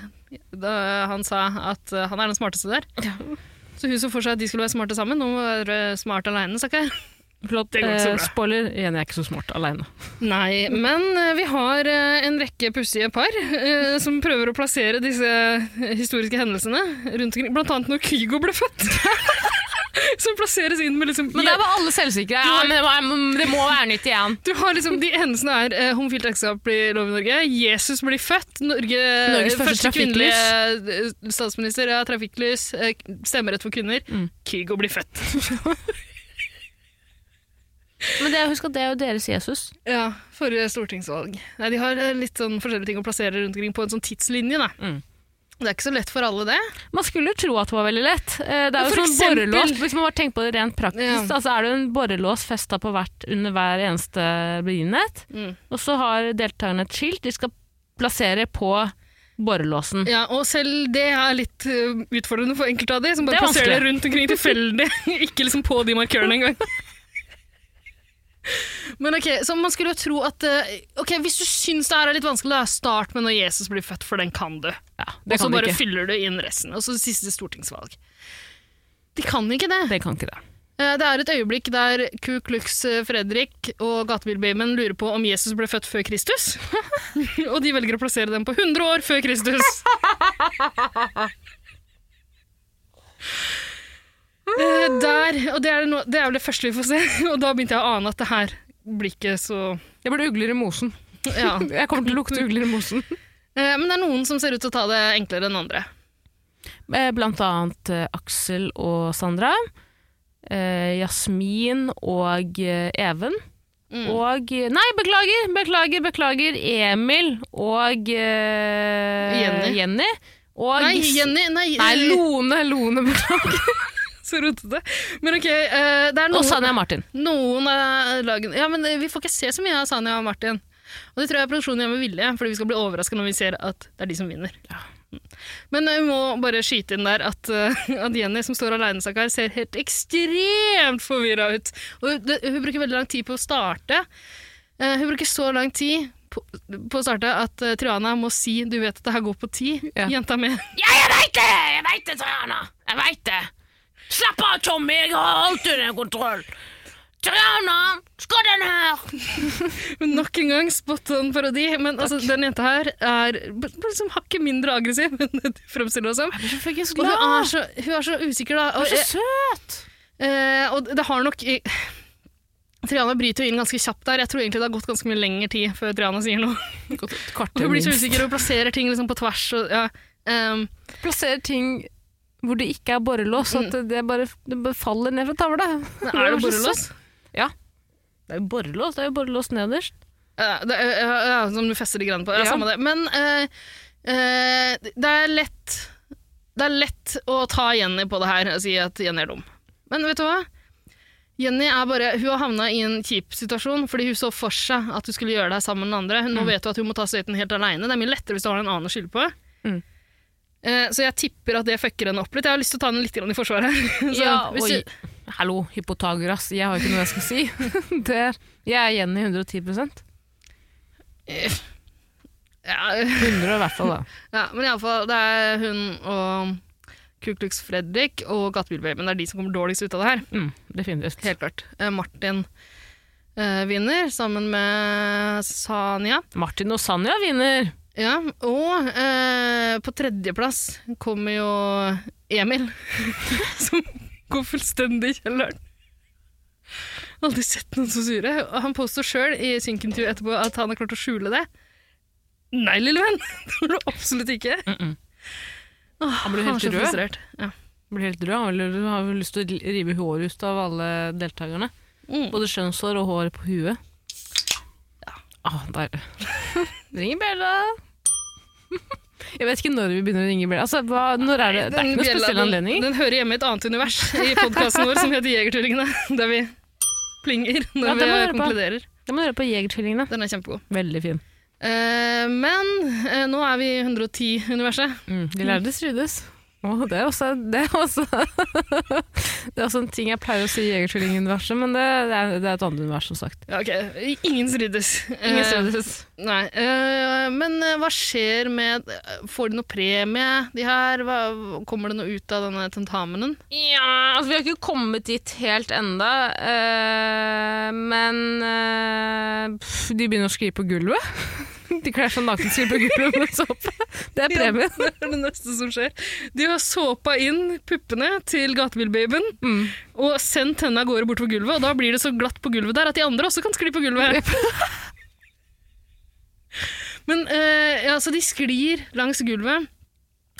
[SPEAKER 2] da han sa at eh, han er den smarteste der. Så hun så for seg at de skulle være smarte sammen. Nå må hun være smart aleine, stakkar.
[SPEAKER 1] Flott.
[SPEAKER 2] går ikke så
[SPEAKER 1] Eh,
[SPEAKER 2] bra.
[SPEAKER 1] spoiler, igjen, jeg er ikke så smart alene.
[SPEAKER 2] Nei, men eh, vi har eh, en rekke pussige par eh, som prøver å plassere disse eh, historiske hendelsene rundt omkring. Blant annet når Kygo ble født. som plasseres inn med liksom
[SPEAKER 1] Men der var alle selvsikre. Ja, men det, må- det må være nytt igjen.
[SPEAKER 2] Du har liksom, De hendelsene er eh, homofilt ekteskap blir lov i Norge, Jesus blir født, Norge,
[SPEAKER 1] Norges første trafikklys.
[SPEAKER 2] kvinnelige eh, statsminister, ja, trafikklys, eh, stemmerett for kvinner,
[SPEAKER 1] Mm.
[SPEAKER 2] Kygo blir født.
[SPEAKER 1] Men det, husk at det er jo deres Jesus.
[SPEAKER 2] Ja, forrige stortingsvalg. Nei, de har eh, litt sånn forskjellige ting å plassere rundt omkring på en sånn tidslinje. da.
[SPEAKER 1] Mm.
[SPEAKER 2] Det er ikke så lett for alle, det.
[SPEAKER 1] Man skulle tro at det var veldig lett. Eh, Det er jo
[SPEAKER 2] For
[SPEAKER 1] sånn
[SPEAKER 2] eksempel-
[SPEAKER 1] borrelås. Hvis man bare tenker på det rent praktisk,
[SPEAKER 2] Ja.
[SPEAKER 1] da, så er det jo en borrelås festa på hvert under hver eneste begivenhet.
[SPEAKER 2] Mm.
[SPEAKER 1] Og så har deltakerne et skilt de skal plassere på borrelåsen.
[SPEAKER 2] Ja, Og selv det er litt eh, utfordrende for enkelte av de, som
[SPEAKER 1] Det
[SPEAKER 2] bare
[SPEAKER 1] er
[SPEAKER 2] plasserer det
[SPEAKER 1] vanskelig.
[SPEAKER 2] rundt omkring tilfeldig. ikke liksom på de markørene engang. Men ok, så man skulle jo tro at eh, Ok, Hvis du syns det her er litt vanskelig, da start med når Jesus blir født, for den kan du.
[SPEAKER 1] Ja,
[SPEAKER 2] Og
[SPEAKER 1] det
[SPEAKER 2] så
[SPEAKER 1] kan de
[SPEAKER 2] bare
[SPEAKER 1] ikke.
[SPEAKER 2] fyller du inn resten. Og så siste stortingsvalg. De kan ikke det.
[SPEAKER 1] Det kan ikke det.
[SPEAKER 2] Eh, Det er et øyeblikk der Ku Klux eh, Fredrik og Gatebilbabyen lurer på om Jesus ble født før Kristus. og de velger å plassere dem på 100 år før Kristus. Eh, der, og det er, noe, det er vel det første vi får se. Og da begynte jeg å ane at det her blir ikke så
[SPEAKER 1] Jeg ble ugler i mosen.
[SPEAKER 2] Ja.
[SPEAKER 1] Jeg kommer til å lukte ugler i mosen.
[SPEAKER 2] Eh, Men det er noen som ser ut til å ta det enklere enn andre.
[SPEAKER 1] Eh, Blant annet eh, Aksel og Sandra. Eh, Jasmin og eh, Even.
[SPEAKER 2] Mm.
[SPEAKER 1] Og eh, Nei, beklager, beklager, beklager. Emil og eh,
[SPEAKER 2] Jenny.
[SPEAKER 1] Jenny. Og
[SPEAKER 2] Nei, Jenny, nei,
[SPEAKER 1] Nei,
[SPEAKER 2] eh,
[SPEAKER 1] Lone. Lone beklager.
[SPEAKER 2] så rotete. Men ok, eh, det er
[SPEAKER 1] og
[SPEAKER 2] noen
[SPEAKER 1] Sanja Martin.
[SPEAKER 2] Noen av lagene Ja, men vi får ikke se så mye av Sanja og Martin. Og det tror jeg produksjonen gjør med vilje, fordi vi skal bli overraska når vi ser at det er de som vinner. Men eh, vi må bare skyte inn der at, eh, at Jenny, som står aleine, stakkar, ser helt ekstremt forvirra ut. Og det, hun bruker veldig lang tid på å starte. Eh, hun bruker så lang tid på, på å starte at eh, Triana må si 'du vet at det her går på ti',
[SPEAKER 1] Ja.
[SPEAKER 2] jenta med.
[SPEAKER 1] Ja, jeg veit det! Jeg veit det, Triana! Jeg veit det! Slapp av, Tommy. Jeg har alt under kontroll. Triana, skal den her!
[SPEAKER 2] Men Nok en gang spot on parodi. Men altså, den jenta her er b- b- liksom hakket mindre aggressiv enn det du fremstiller oss som.
[SPEAKER 1] Fuckings
[SPEAKER 2] Og hun er,
[SPEAKER 1] glad!
[SPEAKER 2] så, Ah, hun er så usikker, da.
[SPEAKER 1] Hun
[SPEAKER 2] Og,
[SPEAKER 1] er så søt!
[SPEAKER 2] eh, og det har nok i- Triana bryter jo inn ganske kjapt der. Jeg tror egentlig det har gått ganske mye lengre tid før Triana sier noe.
[SPEAKER 1] Kvarter,
[SPEAKER 2] Hun blir så usikker og plasserer ting liksom på tvers. Og, ja. Ehm,
[SPEAKER 1] Plasserer ting hvor det ikke er borrelås, så at det bare, det bare faller ned fra tavla.
[SPEAKER 2] Mm. men er det borrelås?
[SPEAKER 1] Ja. Det er jo borrelås, det er jo borrelås nederst.
[SPEAKER 2] Ja, det er- ja, ja, som du fester i grann på. Ja,
[SPEAKER 1] Ja.
[SPEAKER 2] Samme det. Men eh, eh, det er lett Det er lett å ta Jenny på det her og si at Jenny er dum. Men vet du hva? Jenny er bare, hun har havna i en kjip situasjon fordi hun så for seg at hun skulle gjøre det her sammen med den andre. Nå vet hun at hun må ta støyten helt aleine. Det er mye lettere hvis du har en annen å skylde på.
[SPEAKER 1] Mm.
[SPEAKER 2] Eh, så jeg tipper at det fucker henne opp litt. Jeg har lyst til å ta henne litt grann i forsvar her. Så,
[SPEAKER 1] Ja,
[SPEAKER 2] hvis
[SPEAKER 1] oi.
[SPEAKER 2] du-
[SPEAKER 1] Hallo, hypotagoras, jeg har ikke noe jeg skal si. det er, jeg er igjen i 110 100
[SPEAKER 2] ja,
[SPEAKER 1] i hvert fall, da.
[SPEAKER 2] Ja, men iallfall, det er hun og Ku Klux Fredrik og Gatebilbabyen. Det er de som kommer dårligst ut av det her.
[SPEAKER 1] Mm, definitivt.
[SPEAKER 2] Helt klart. Eh, Martin eh, vinner sammen med Sanja.
[SPEAKER 1] Martin og Sanja vinner.
[SPEAKER 2] Ja, og eh, på tredjeplass kommer jo Emil, som går fullstendig i kjelleren. Aldri sett noen så sure. Og Han påstår sjøl i synkintervjuet etterpå at han har klart å skjule det. Nei, lille venn! Det har du absolutt ikke. Åh, han
[SPEAKER 1] blir helt
[SPEAKER 2] er så
[SPEAKER 1] rød.
[SPEAKER 2] frustrert. Ja.
[SPEAKER 1] Blir helt rød. Han vil- har vel lyst til å rive håret ut av alle deltakerne.
[SPEAKER 2] Mm.
[SPEAKER 1] Både skjønnshår og hår på huet. Ah, der. Ring bjella! Jeg vet ikke når vi begynner å ringe bjella. Altså, hva, når er det? Det er
[SPEAKER 2] Den
[SPEAKER 1] ikke noen
[SPEAKER 2] bjella,
[SPEAKER 1] spesiell
[SPEAKER 2] den-
[SPEAKER 1] anledning.
[SPEAKER 2] Den hører hjemme i et annet univers i podkasten vår som heter Jegertvillingene, der vi plinger når
[SPEAKER 1] Ja, den må
[SPEAKER 2] vi
[SPEAKER 1] jeg høre på.
[SPEAKER 2] konkluderer.
[SPEAKER 1] Da må du høre på Jegertvillingene.
[SPEAKER 2] Den er kjempegod.
[SPEAKER 1] Veldig fin.
[SPEAKER 2] Eh, men eh, nå er vi i 110-universet.
[SPEAKER 1] Mm, de lærde strides. Å, det er også, det er også Det er også en ting jeg pleier å si i Jegertvillinguniverset, men det, det, er, det er et annet univers, som sagt.
[SPEAKER 2] Ja, ok. Ingen strides.
[SPEAKER 1] Ingen
[SPEAKER 2] Eh,
[SPEAKER 1] strides.
[SPEAKER 2] nei. Eh, men eh, hva skjer med eh, Får de noe premie, de her? Hva, kommer det noe ut av denne tentamenen?
[SPEAKER 1] Ja, altså vi har ikke kommet dit helt enda, eh, men eh, pff, de begynner å skrive på gulvet. De kler seg nakenskrive på gulvet med såpe. Det er premien.
[SPEAKER 2] Ja, det er det neste som skjer. De har såpa inn puppene til gatebilbabyen
[SPEAKER 1] Mm.
[SPEAKER 2] og sendt henne av gårde bortover gulvet, og da blir det så glatt på gulvet der at de andre også kan skli på gulvet. Men eh, ja, så de sklir langs gulvet.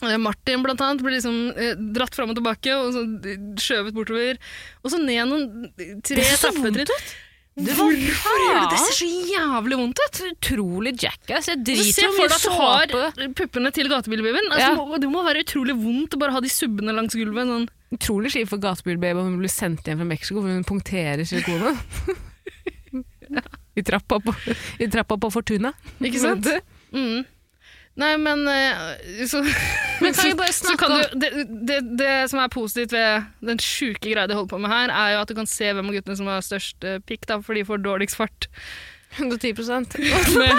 [SPEAKER 2] Eh, Martin blant annet blir liksom eh, dratt fram og tilbake og så d- skjøvet bortover. Og så ned noen eh, tre
[SPEAKER 1] Det ser så vondt
[SPEAKER 2] trappetrinn.
[SPEAKER 1] Det var-
[SPEAKER 2] Hvorfor gjør du det? Det
[SPEAKER 1] Ja.
[SPEAKER 2] ser så jævlig vondt ut!
[SPEAKER 1] Utrolig jackass. Jeg
[SPEAKER 2] Og Så se
[SPEAKER 1] driter jo
[SPEAKER 2] for
[SPEAKER 1] mye
[SPEAKER 2] deg at du
[SPEAKER 1] såpe.
[SPEAKER 2] har puppene til gatebilbabyen. Altså,
[SPEAKER 1] Ja.
[SPEAKER 2] det må- Det må være utrolig vondt å bare ha de subbene langs gulvet. Sånn.
[SPEAKER 1] Utrolig skiv for gatebilbaby om hun blir sendt hjem fra Mexico for hun punkterer silikonet. I trappa på, i trappa på Fortuna.
[SPEAKER 2] Ikke sant? Mm. Nei, men eh, så,
[SPEAKER 1] Men kan vi bare
[SPEAKER 2] så- så
[SPEAKER 1] snakke
[SPEAKER 2] kan du, det, det, det som er positivt ved den sjuke greia de holder på med her, er jo at du kan se hvem av guttene som har størst eh, pikk, da, for de får dårligst fart.
[SPEAKER 1] 110 prosent.
[SPEAKER 2] Men,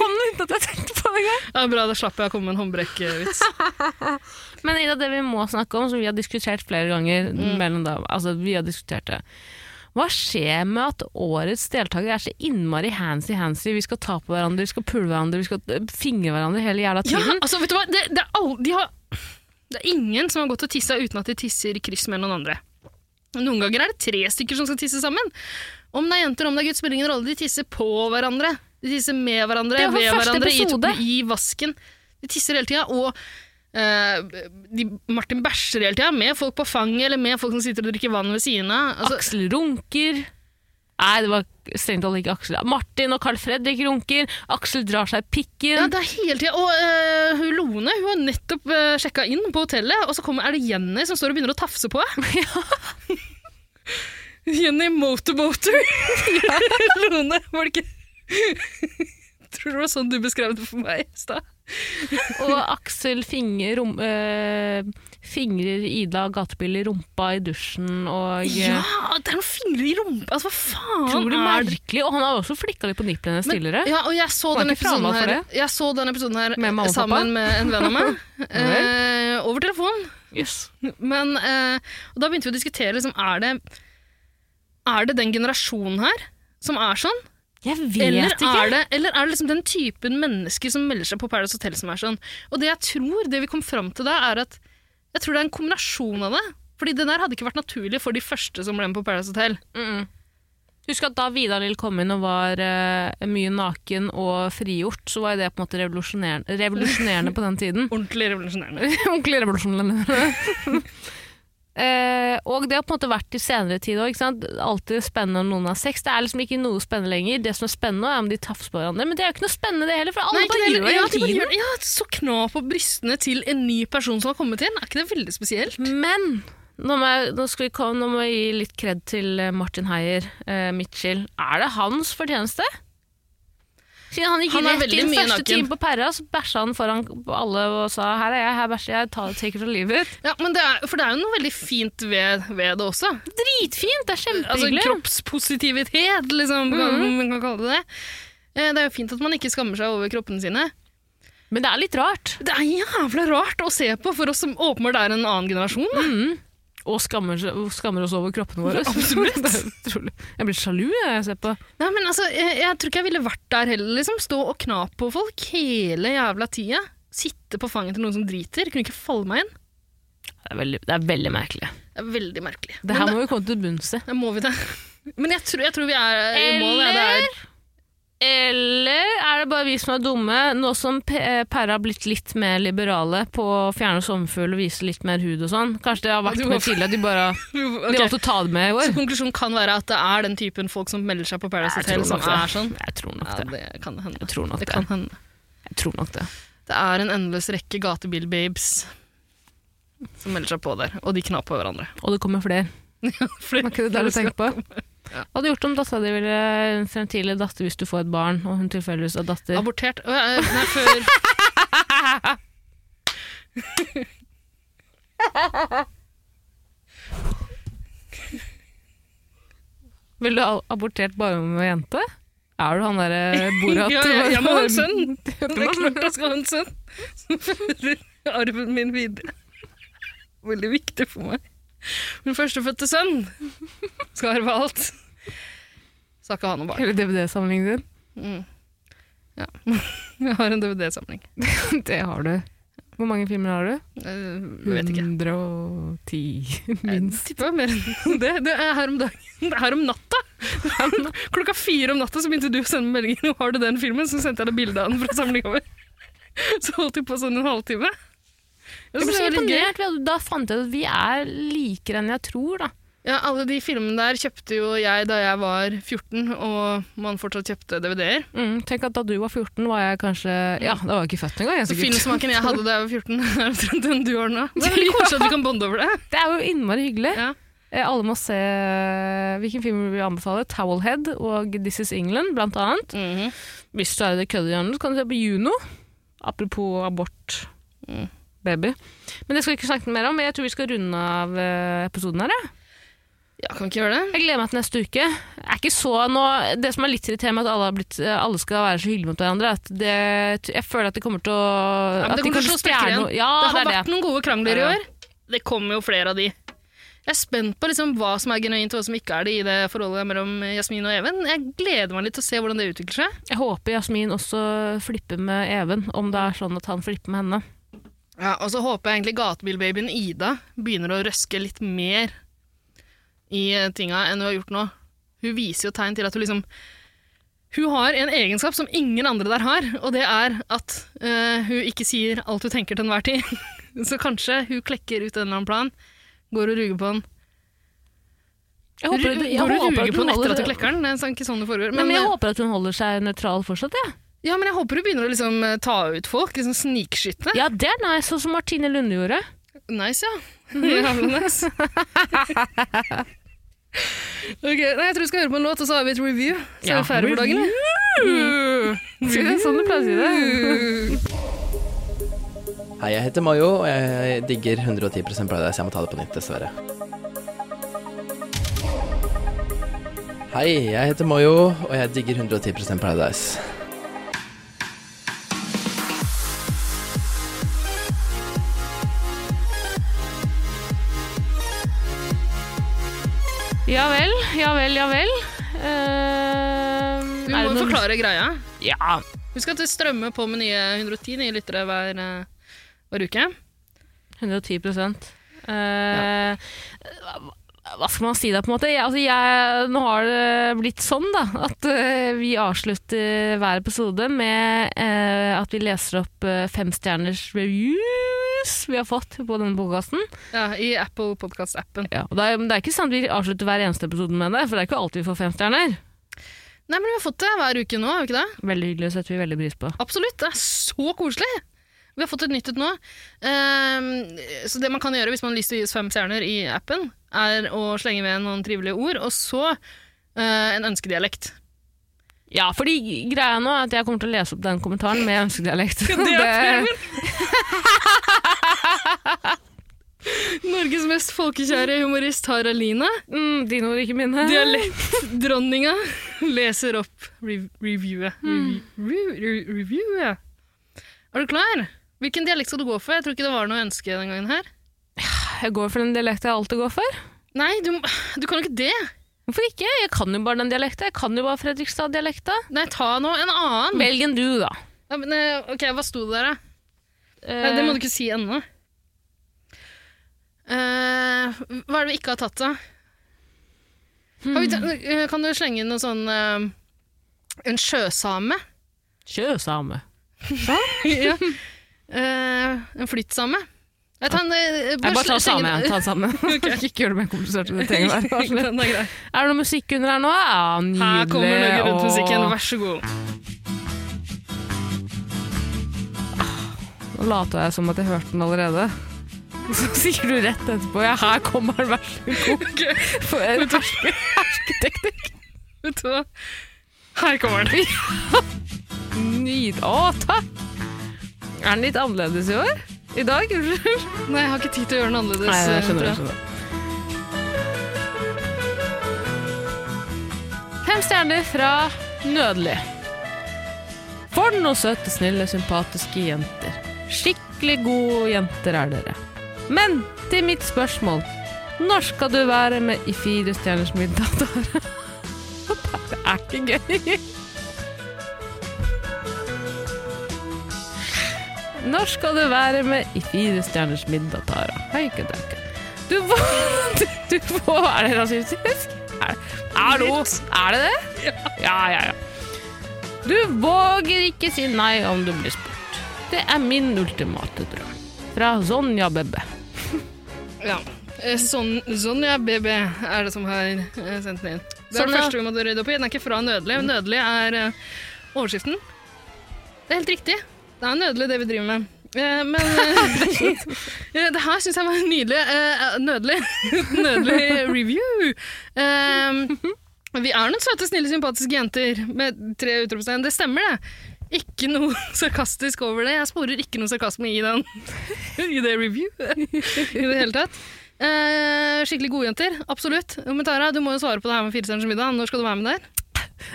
[SPEAKER 1] Kom det uten at jeg tenkte på det engang?
[SPEAKER 2] ja, bra, da slapp jeg å komme med en håndbrekkvits.
[SPEAKER 1] Men Ida, det vi må snakke om, som vi har diskutert flere ganger
[SPEAKER 2] Mm.
[SPEAKER 1] mellom da, altså vi har diskutert det. Hva skjer med at årets deltakere er så innmari handsy-handsy? Vi skal ta på hverandre, vi skal pulle hverandre, vi skal øh, fingre hverandre hele jævla
[SPEAKER 2] Ja,
[SPEAKER 1] tiden.
[SPEAKER 2] altså, vet du hva? Det, det, er all, de har, det er ingen som har gått og tissa uten at de tisser i kryss med noen andre. Noen ganger er det tre stykker som skal tisse sammen. Om det er jenter om det er gutt, spiller ingen rolle. De tisser på hverandre. De tisser med hverandre,
[SPEAKER 1] Det var
[SPEAKER 2] ved
[SPEAKER 1] første
[SPEAKER 2] hverandre,
[SPEAKER 1] episode.
[SPEAKER 2] i, i vasken. De tisser hele tida. Og eh, de, Martin bæsjer hele tida, med folk på fanget eller med folk som sitter og drikker vann ved siden av. Altså,
[SPEAKER 1] Aksel runker. Nei, det var strengt tatt ikke Aksel. Martin og Carl Fredrik runker. Aksel drar seg i pikken.
[SPEAKER 2] ja, det er hele tida. Og eh, hun Lone hun har nettopp uh, sjekka inn på hotellet, og så kommer, er det Jenny som står og begynner å tafse på henne. Jenny Motorboater. Lone, var det ikke Tror du det var sånn du beskrev det for meg i stad?
[SPEAKER 1] Og Aksel finger, rom, øh, fingrer Ida gatebil i rumpa i dusjen. Og eh,
[SPEAKER 2] Ja, det er noen fingre i rumpa! Altså, hva faen
[SPEAKER 1] utrolig
[SPEAKER 2] er det?
[SPEAKER 1] merkelig. Og han har også flikka litt på nipplene hennes tidligere.
[SPEAKER 2] Ja, og jeg så,
[SPEAKER 1] Var
[SPEAKER 2] den
[SPEAKER 1] ikke
[SPEAKER 2] episoden
[SPEAKER 1] frama for
[SPEAKER 2] her, jeg så den episoden her
[SPEAKER 1] Med mamma og pappa?
[SPEAKER 2] sammen med en venn av meg. eh, over telefon.
[SPEAKER 1] Yes.
[SPEAKER 2] Men eh, og da begynte vi å diskutere liksom, er, det, er det den generasjonen her som er sånn?
[SPEAKER 1] Jeg vet
[SPEAKER 2] Eller
[SPEAKER 1] ikke.
[SPEAKER 2] er, det, eller er det liksom den typen mennesker som melder seg på Paradise Hotel som er sånn? Og det jeg tror, det vi kom fram til da, er at jeg tror det er en kombinasjon av det. Fordi det der hadde ikke vært naturlig for de første som ble med på Paradise Hotel.
[SPEAKER 1] Mm. Husk at da Vidar Lill kom inn og var øh, mye naken og frigjort, så var jo det på en måte revolusjonerende, revolusjonerende på den tiden.
[SPEAKER 2] Ordentlig revolusjonerende.
[SPEAKER 1] Ordentlig revolusjonerende. Eh, og det har på en måte vært i senere tid òg. Alltid spennende om noen har sex. Det er liksom ikke noe spennende lenger. Det som er spennende, er om de tafser på hverandre. Men det er jo ikke noe spennende det heller, for alle
[SPEAKER 2] Nei, ikke
[SPEAKER 1] bare
[SPEAKER 2] det
[SPEAKER 1] gjør det
[SPEAKER 2] heller. Ja,
[SPEAKER 1] hele
[SPEAKER 2] de bare
[SPEAKER 1] tiden.
[SPEAKER 2] gjør det. Ja, så kna på brystene til en ny person som har kommet inn. Er ikke det veldig spesielt?
[SPEAKER 1] Men nå må, jeg, nå, skal vi komme, nå må jeg gi litt kred til eh, Martin Heier, eh, Mitchell. Er det hans fortjeneste? Siden han gikk
[SPEAKER 2] Han er
[SPEAKER 1] rett
[SPEAKER 2] veldig
[SPEAKER 1] inn
[SPEAKER 2] mye
[SPEAKER 1] første
[SPEAKER 2] naken.
[SPEAKER 1] time på Perra, så bæsja han foran alle og sa 'her er jeg, her bæsjer jeg, ta det, take it or leave it'.
[SPEAKER 2] Ja, men det er, For det er jo noe veldig fint ved, ved det også.
[SPEAKER 1] Dritfint! Det er
[SPEAKER 2] Altså
[SPEAKER 1] kjempehyggelig.
[SPEAKER 2] kroppspositivitet, liksom, kan-
[SPEAKER 1] Mm.
[SPEAKER 2] man kan kalle det det. Eh, Det er jo fint at man ikke skammer seg over kroppene sine.
[SPEAKER 1] Men det er litt rart.
[SPEAKER 2] Det er jævla rart å se på for oss som åpenbart er en annen generasjon. da.
[SPEAKER 1] Mm. Og skammer, skammer oss over kroppene våre.
[SPEAKER 2] Absolutt.
[SPEAKER 1] Det er utrolig. Jeg blir sjalu jeg, når jeg ser på.
[SPEAKER 2] Nei, men altså, jeg, jeg tror ikke jeg ville vært der heller. liksom. Stå og kna på folk hele jævla tida. Sitte på fanget til noen som driter. Kunne ikke falle meg inn.
[SPEAKER 1] Det er veldig, det er veldig merkelig.
[SPEAKER 2] Det er veldig merkelig.
[SPEAKER 1] Det her
[SPEAKER 2] Men
[SPEAKER 1] må vi komme til bunns i.
[SPEAKER 2] da- da må vi det. Men jeg tror, jeg tror vi er i mål. Ja, det er
[SPEAKER 1] Eller er det bare vi som er dumme, nå som P- eh, Perra har blitt litt mer liberale på å fjerne sommerfugl og vise litt mer hud og sånn? Kanskje det har vært
[SPEAKER 2] Ja, du må-
[SPEAKER 1] med tidligere, de bare
[SPEAKER 2] Ok,
[SPEAKER 1] de valgte å ta det med i
[SPEAKER 2] Så
[SPEAKER 1] år?
[SPEAKER 2] konklusjonen kan være at det er den typen folk som melder seg på Paradise
[SPEAKER 1] Jeg
[SPEAKER 2] Hotel
[SPEAKER 1] tror
[SPEAKER 2] som
[SPEAKER 1] nok
[SPEAKER 2] er
[SPEAKER 1] det.
[SPEAKER 2] sånn.
[SPEAKER 1] Jeg tror nok
[SPEAKER 2] Ja,
[SPEAKER 1] det.
[SPEAKER 2] det kan hende.
[SPEAKER 1] Jeg tror nok
[SPEAKER 2] Det
[SPEAKER 1] det.
[SPEAKER 2] kan hende.
[SPEAKER 1] Jeg tror nok det.
[SPEAKER 2] Det er en endeløs rekke gatebil-babes som melder seg på der, og de kna på hverandre.
[SPEAKER 1] Og det kommer flere.
[SPEAKER 2] Fordi-
[SPEAKER 1] Var ikke det det du tenkte på? Hva hadde du gjort om dattera di ville en fremtidig datter hvis du får et barn, og hun tilfeldigvis er datter?
[SPEAKER 2] Abortert Å, ja, eh, Nei, før
[SPEAKER 1] Ville du ha abortert bare om du var jente? Er du han derre Borat?
[SPEAKER 2] ja, jeg, jeg må ha en sønn! Det er klart jeg skal ha en sønn som fører arven min videre. Veldig viktig for meg. Min førstefødte sønn skal arve alt. Skal ikke ha noe barn. Mm.
[SPEAKER 1] Hele DVD-samlingen din?
[SPEAKER 2] Jeg har en DVD-samling.
[SPEAKER 1] Det har du. Hvor mange filmer har du?
[SPEAKER 2] Eh, vet ikke.
[SPEAKER 1] 110, minst.
[SPEAKER 2] Tippa mer enn det. Det er her om dagen. Det er her om natta! Klokka fire om natta så begynte du å sende meg meldinger om har du den filmen, så sendte jeg deg bilde av den fra samlinga vår. Så holdt vi på sånn en halvtime.
[SPEAKER 1] Jeg
[SPEAKER 2] Jeg synes
[SPEAKER 1] ble
[SPEAKER 2] det
[SPEAKER 1] så
[SPEAKER 2] var litt gøy.
[SPEAKER 1] imponert. Vi- Da fant jeg ut at vi er likere enn jeg tror, da.
[SPEAKER 2] Ja, alle de filmene der kjøpte jo jeg da jeg var 14, og man fortsatt kjøpte DVD-er.
[SPEAKER 1] Mm, tenk at da du var 14, var jeg kanskje Ja, da var jeg ikke født engang. jeg,
[SPEAKER 2] Så
[SPEAKER 1] sikkert.
[SPEAKER 2] filmsmaken jeg hadde da jeg var 14, er omtrent den du har nå. Det er veldig koselig at vi kan bonde over det.
[SPEAKER 1] Det er jo innmari hyggelig.
[SPEAKER 2] Ja.
[SPEAKER 1] Eh, Alle må se eh, Hvilken film vil vi anbefale? Mhm. 'Towelhead' og 'This Is England', blant annet. Hvis du er i det køddehjørnet, så kan du se på Juno. Apropos abort, Mm. baby. Men det skal vi ikke snakke mer om. Jeg tror vi skal runde av eh, episoden her. Jeg.
[SPEAKER 2] Ja, kan vi ikke gjøre det?
[SPEAKER 1] jeg gleder meg til neste uke. Jeg Er ikke så nå, det som er litt irriterende med at alle, har blitt, eh, alle skal være så hyggelige mot hverandre, at det, jeg føler at det kommer til å
[SPEAKER 2] Ja,
[SPEAKER 1] at
[SPEAKER 2] men det
[SPEAKER 1] de
[SPEAKER 2] kommer til å slå
[SPEAKER 1] kanskje
[SPEAKER 2] sprekker
[SPEAKER 1] stjeler
[SPEAKER 2] igjen.
[SPEAKER 1] noe- Ja,
[SPEAKER 2] det
[SPEAKER 1] det
[SPEAKER 2] har
[SPEAKER 1] er det.
[SPEAKER 2] vært noen gode krangler i
[SPEAKER 1] Ja, ja.
[SPEAKER 2] år. Det kommer jo flere av de. Jeg er spent på liksom hva som er genuint og hva som ikke er det i det forholdet mellom Jasmin og Even. Jeg gleder meg litt til å se hvordan det utvikler seg.
[SPEAKER 1] Jeg håper Jasmin også flipper med Even, om det er sånn at han flipper med henne.
[SPEAKER 2] Ja, og så håper jeg egentlig gatebilbabyen Ida begynner å røske litt mer i eh, tinga enn hun har gjort nå. Hun viser jo tegn til at hun liksom Hun har en egenskap som ingen andre der har, og det er at eh, hun ikke sier alt hun tenker til enhver tid. så kanskje hun klekker ut en eller annen plan, går og ruger på den.
[SPEAKER 1] Jeg
[SPEAKER 2] Ru-
[SPEAKER 1] håper,
[SPEAKER 2] Går
[SPEAKER 1] jeg
[SPEAKER 2] og
[SPEAKER 1] håper
[SPEAKER 2] ruger
[SPEAKER 1] at hun
[SPEAKER 2] på den etter
[SPEAKER 1] holder,
[SPEAKER 2] at hun klekker den? Det er sånn- ikke sånn det foregår.
[SPEAKER 1] Nei, men jeg
[SPEAKER 2] eh,
[SPEAKER 1] håper at hun holder seg nøytral fortsatt, jeg.
[SPEAKER 2] ja, men jeg håper hun begynner å liksom eh, ta ut folk. Liksom snikskyte.
[SPEAKER 1] Ja, det er nice, sånn som Martine Lunde gjorde.
[SPEAKER 2] Nice, ja. Jævla nice. ok, nei, Jeg tror vi skal høre på en låt, og så har vi et review. Så er
[SPEAKER 1] Ja,
[SPEAKER 2] vi ferdig for dagen.
[SPEAKER 1] Skal- Sånn du pleier å si det.
[SPEAKER 7] Hei, jeg heter Mayo, og jeg digger 110 Paradise. Jeg må ta det på nytt, dessverre. Hei, jeg heter Mayo, og jeg digger 110 Paradise.
[SPEAKER 1] Ja vel, ja vel, ja vel. Ehm,
[SPEAKER 2] Vi
[SPEAKER 1] er
[SPEAKER 2] må
[SPEAKER 1] det
[SPEAKER 2] jo
[SPEAKER 1] noe-
[SPEAKER 2] forklare greia.
[SPEAKER 1] Ja.
[SPEAKER 2] Husk at det strømmer på med nye 110 nye lyttere hver, eh, hver uke.
[SPEAKER 1] 110 Eh, Hva skal man si da, på en måte? Jeg, altså, jeg, nå har det blitt sånn da, at eh, vi avslutter hver episode med eh, at vi leser opp eh, femstjerners reviews vi har fått på denne podkasten.
[SPEAKER 2] Ja, I Apple Podcast-appen.
[SPEAKER 1] Ja, og det, er, men det er ikke sant vi avslutter hver eneste episode med det, for det er ikke alltid vi får femstjerner.
[SPEAKER 2] Nei, men Vi har fått det hver uke nå, har vi ikke det?
[SPEAKER 1] Veldig hyggelig, og setter vi veldig pris på.
[SPEAKER 2] Absolutt, det er så koselig! Vi har fått et nytt et nå. Ehm, så det man kan gjøre hvis man har lyst til å gi oss fem stjerner i appen, er å slenge med noen trivelige ord, og så eh, en ønskedialekt.
[SPEAKER 1] Ja, fordi greia nå er at jeg kommer til å lese opp den kommentaren med ønskedialekt.
[SPEAKER 2] Norges mest folkekjære humorist Haralina,
[SPEAKER 1] mm, dine ord, ikke mine.
[SPEAKER 2] dialektdronninga, leser opp rev reviewet. Revi- rev- rev- reviewet. Er du klar? Hvilken dialekt skal du gå for? Jeg tror ikke det var noe ønske den gangen her.
[SPEAKER 1] Jeg går for den dialekten jeg alltid går for.
[SPEAKER 2] Nei, du, må- du kan jo ikke det.
[SPEAKER 1] Hvorfor ikke? Jeg kan jo bare den dialekta. Jeg kan jo bare Fredrikstad-dialekta.
[SPEAKER 2] Nei, ta nå en annen.
[SPEAKER 1] Velg en du, da.
[SPEAKER 2] Ja, men, eh, ok, hva sto det der, da? Nei, det må du ikke si ennå. Eh, hva er det vi ikke har tatt, da? Har vi ta eh, kan du slenge inn noe sånn eh, En sjøsame?
[SPEAKER 1] Sjøsame.
[SPEAKER 2] ja. Eh, en flyttsame? Jeg tar en, eh,
[SPEAKER 1] Jeg bare
[SPEAKER 2] sle-
[SPEAKER 1] tar
[SPEAKER 2] slenge
[SPEAKER 1] samme.
[SPEAKER 2] den-
[SPEAKER 1] Ta samme. ikke gjør det mer komplisert enn det trenger å være.
[SPEAKER 2] Den er grei.
[SPEAKER 1] Er det noe musikk under her nå? Ja, nydelig.
[SPEAKER 2] Her kommer Norge Rundt-musikken,
[SPEAKER 1] og-
[SPEAKER 2] vær så god.
[SPEAKER 1] Nå later jeg som at jeg hørte den allerede. Så sier du rett etterpå ja, her kommer den, vær så god.
[SPEAKER 2] Ok,
[SPEAKER 1] For en herske- hersketeknikk.
[SPEAKER 2] vet du hva? Her kommer den.
[SPEAKER 1] Nyd... Å, takk! Er den litt annerledes i år? I dag? Unnskyld.
[SPEAKER 2] Nei, jeg har ikke tid til å gjøre den annerledes.
[SPEAKER 1] Nei, jeg skjønner,
[SPEAKER 2] tror
[SPEAKER 1] jeg skjønner. Fem stjerner fra Nødelig. For noen søte, snille, sympatiske jenter. Skikkelig gode jenter er dere. Men til mitt spørsmål Når skal du være med i Fire stjerners middag, Tare? Det er ikke gøy. Når skal du være med i Fire stjerners middag, Tara? Hei, ikke døkke. Du får, du får Er det rasistisk? Er, er, det, er det det? Ja, ja, ja. Du våger ikke si nei om du blir spurt. Det er min ultimate drøm. Fra Sonja Bebbe.
[SPEAKER 2] Ja. Eh, Sånn, Sonja BB er det som har eh, sendt den inn. Det er
[SPEAKER 1] Sonja.
[SPEAKER 2] det første vi måtte rydde opp i. Den er ikke fra Nødelig. men Nødelig er eh, overskriften. Det er helt riktig. Det er Nødelig, det vi driver med. Eh, Men eh, det her syns jeg var nydelig. eh, Nødelig. Nødelig review. Ehm, Eh, Vi er noen søte, snille, sympatiske jenter med tre utropstegn. Det stemmer, det. ikke noe sarkastisk over det. Jeg sporer ikke noe sarkasme i, den, i det review i det hele tatt. Eh, skikkelig gode jenter, absolutt. Men Tara, du må jo svare på det her med Firestjerners middag. Når skal du være med der?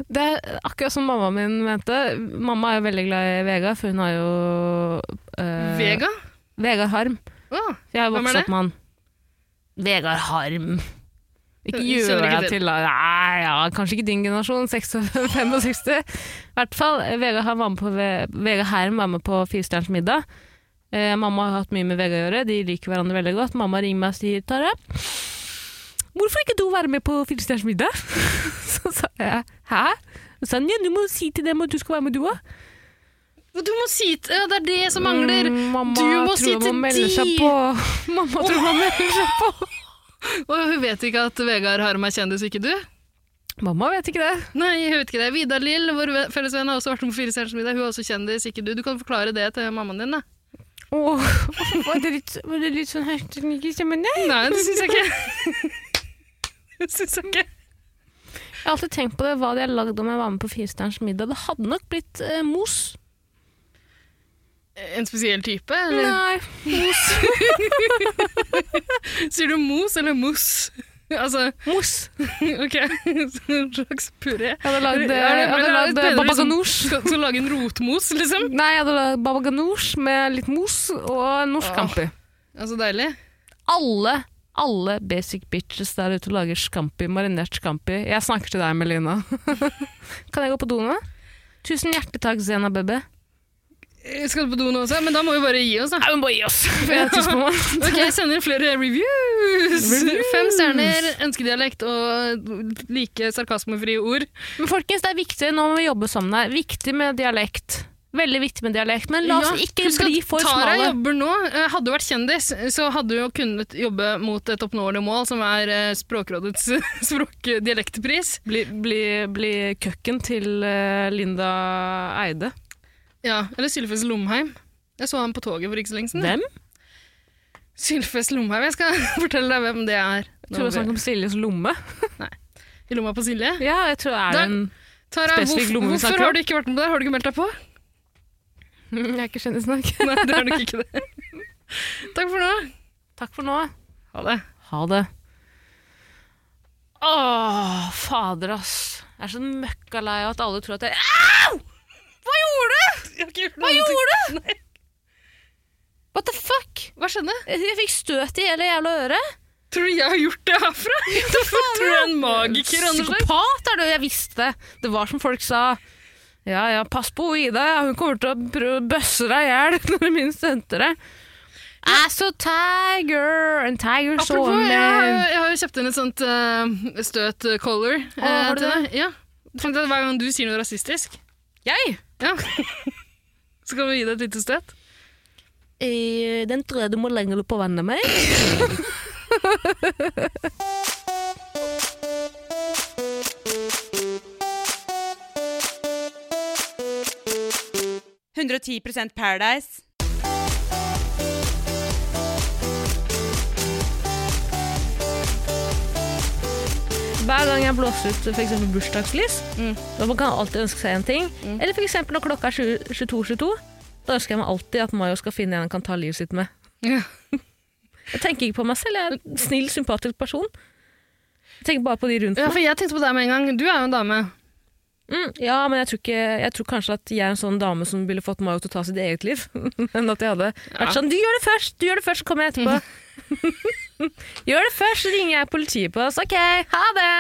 [SPEAKER 1] Det er akkurat som mamma min mente. Mamma er jo veldig glad i Vegard, for hun har jo eh,
[SPEAKER 2] Vega?
[SPEAKER 1] Vegard Harm.
[SPEAKER 2] Å,
[SPEAKER 1] Jeg har jo
[SPEAKER 2] Hvem er
[SPEAKER 1] vokst
[SPEAKER 2] det?
[SPEAKER 1] opp med han. Vegard Harm. Ikke
[SPEAKER 2] Jeg
[SPEAKER 1] gjør
[SPEAKER 2] kjenner ikke
[SPEAKER 1] deg
[SPEAKER 2] til.
[SPEAKER 1] til da. Nei, ja, kanskje ikke din generasjon, 65. 65. I hvert fall, eh, Vegard Harm var med på, Ve- Vegard Harm var med på Firestjerners middag. Eh, mamma har hatt mye med Vegard å gjøre, de liker hverandre veldig godt. Mamma ringer meg og sier, Tara, hvorfor ikke du være med på Firestjerners middag? Så sa jeg, hæ? Hun sa, ja, du må si til dem at du skal være med du også.
[SPEAKER 2] Du må si til Ja, det er det som mangler!
[SPEAKER 1] Mm, Mamma
[SPEAKER 2] du må
[SPEAKER 1] tror
[SPEAKER 2] si
[SPEAKER 1] hun
[SPEAKER 2] til
[SPEAKER 1] må melde
[SPEAKER 2] de!
[SPEAKER 1] seg på. Mamma tror hun må melde seg på.
[SPEAKER 2] Og hun vet ikke at Vegard Harm er kjendis, ikke du?
[SPEAKER 1] Mamma vet ikke det.
[SPEAKER 2] Nei, jeg vet ikke det. Vidar Lill, vår ve- felles venn, har også vært med på Firestjerners middag. Hun er også kjendis, ikke du. Du kan forklare det til mammaen din, da.
[SPEAKER 1] Åh, var det litt, var det litt sånn hersteknikk i stemmen? Nei.
[SPEAKER 2] Nei, det syns jeg ikke. Det syns jeg ikke.
[SPEAKER 1] Jeg har alltid tenkt på det, hva de hadde lagd om jeg var med på Firestjerners middag. Det hadde nok blitt eh, mos.
[SPEAKER 2] En spesiell type? Eller?
[SPEAKER 1] Nei.
[SPEAKER 2] Sier du mos eller mos? Altså,
[SPEAKER 1] Mos.
[SPEAKER 2] ok, så en slags puré.
[SPEAKER 1] Jeg hadde
[SPEAKER 2] Er
[SPEAKER 1] lagd,
[SPEAKER 2] det-
[SPEAKER 1] eh,
[SPEAKER 2] er det
[SPEAKER 1] jeg hadde
[SPEAKER 2] bedre
[SPEAKER 1] lagd eh,
[SPEAKER 2] liksom-
[SPEAKER 1] baba ganoush.
[SPEAKER 2] Skal, skal lage en rotmos, liksom?
[SPEAKER 1] Nei, jeg hadde lagd baba ganoush med litt mos og norsk scampi.
[SPEAKER 2] Altså, deilig.
[SPEAKER 1] Alle, alle basic bitches der ute lager scampi, marinert scampi. Jeg snakker til deg, Melina. kan jeg gå på do nå? Tusen hjertelig takk, Zena Bebe.
[SPEAKER 2] Eh, Skal du på do nå også? Men da må vi bare gi oss, da.
[SPEAKER 1] Hun bare gi oss, for jeg er tyst på meg.
[SPEAKER 2] Ok, jeg sender flere reviews.
[SPEAKER 1] Reviews.
[SPEAKER 2] Fem stjerner, ønskedialekt og like sarkasmefrie ord.
[SPEAKER 1] Men folkens, det er viktig, nå må vi jobbe sammen her. Viktig med dialekt. Veldig viktig med dialekt, men la oss
[SPEAKER 2] Ja,
[SPEAKER 1] ikke
[SPEAKER 2] husk at
[SPEAKER 1] bli for
[SPEAKER 2] Tara
[SPEAKER 1] smale.
[SPEAKER 2] jobber nå. Eh, Hadde du vært kjendis, så hadde du jo kunnet jobbe mot et oppnåelig mål, som er eh, Språkrådets språkdialektpris.
[SPEAKER 1] Bli, bli, bli køkken til eh, Linda Eide.
[SPEAKER 2] Ja, eller Sylfest Lomheim. Jeg så han på toget for ikke så lenge siden.
[SPEAKER 1] Hvem?
[SPEAKER 2] Sylfest Lomheim. Jeg skal fortelle deg hvem det er.
[SPEAKER 1] Jeg sånn tror det var snakk om Siljes lomme.
[SPEAKER 2] I lomma på Silje.
[SPEAKER 1] Ja, jeg tror er
[SPEAKER 2] Da-
[SPEAKER 1] det en...
[SPEAKER 2] Tara,
[SPEAKER 1] Spesifikk
[SPEAKER 2] hvorfor,
[SPEAKER 1] lomme vi snakker
[SPEAKER 2] hvorfor
[SPEAKER 1] om.
[SPEAKER 2] har du ikke vært med på det? Har du ikke meldt deg på?
[SPEAKER 1] Jeg er ikke kjendisnok.
[SPEAKER 2] Nei, det er nok ikke det. Takk for nå.
[SPEAKER 1] Takk for nå.
[SPEAKER 2] Ha det.
[SPEAKER 1] Ha det. Åh, fader ass. Jeg er så møkka lei av at alle tror at jeg... Au! Hva gjorde du? Hva gjorde du? What the fuck?
[SPEAKER 2] Hva skjedde?
[SPEAKER 1] Jeg jeg fikk støt i hele jævla øret.
[SPEAKER 2] Tror du jeg har gjort det herfra? Hvorfor tror du jeg er en magiker? Anders?
[SPEAKER 1] Psykopat er du, jeg visste det. Det var som folk sa. Ja, ja, pass på Ida, ja. hun kommer til å prøve å bøsse deg i hjel når du minst venter det. As a tiger, and tiger saw
[SPEAKER 2] Apropos, jeg, har jo-
[SPEAKER 1] me.
[SPEAKER 2] jeg har jo kjøpt inn et sånt eh, støt eh, collar. eh,
[SPEAKER 1] har du
[SPEAKER 2] til
[SPEAKER 1] det?
[SPEAKER 2] deg. Ja. Fant jeg at hver gang du sier noe rasistisk,
[SPEAKER 1] Jeg?
[SPEAKER 2] ja. så kan vi gi deg et lite støt.
[SPEAKER 1] Eh, Den tror jeg du må lenger på vannet med.
[SPEAKER 8] Paradise.
[SPEAKER 1] Hver gang jeg blåser ut for eksempel bursdagslys,
[SPEAKER 2] Mm.
[SPEAKER 1] da kan jeg alltid ønske seg en ting. Eller for eksempel når klokka er 22.22, da ønsker jeg meg alltid at Mayo skal finne en han kan ta livet sitt med.
[SPEAKER 2] Ja.
[SPEAKER 1] Jeg tenker ikke på meg selv, jeg er en snill, sympatisk person. Jeg tenker bare på de rundt
[SPEAKER 2] Ja,
[SPEAKER 1] meg.
[SPEAKER 2] for jeg tenkte på deg med en gang. Du er jo en dame.
[SPEAKER 1] Mm, ja, men jeg tror, ikke, jeg tror kanskje at jeg er en sånn dame som ville fått Mayo til å ta sitt eget liv. Enn at jeg hadde vært sånn, du gjør det først, du gjør det først, så kommer jeg etterpå. gjør det først, så ringer jeg politiet på oss. Ok, ha det!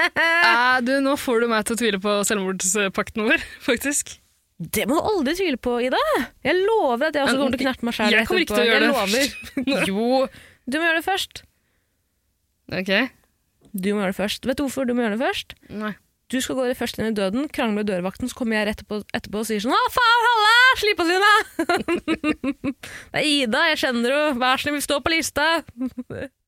[SPEAKER 2] Eh, du, nå får du meg til å tvile på selvmordspakten vår, faktisk.
[SPEAKER 1] Det må du aldri tvile på, Ida. Jeg lover at jeg også kommer til å knerte meg sjæl.
[SPEAKER 2] Jeg kommer ikke til å gjøre det først.
[SPEAKER 1] Jo, du må gjøre det først.
[SPEAKER 2] Ok.
[SPEAKER 1] Du må gjøre det først. Vet du hvorfor du må gjøre det først?
[SPEAKER 2] Nei.
[SPEAKER 1] Du skal gå først inn i døden, krangle med dørvakten, så kommer jeg rett etterpå, etterpå og sier sånn 'Å, faen, halla! Slipp oss inn, da!' det er Ida, jeg kjenner henne. Vær så snill, vi står på lista.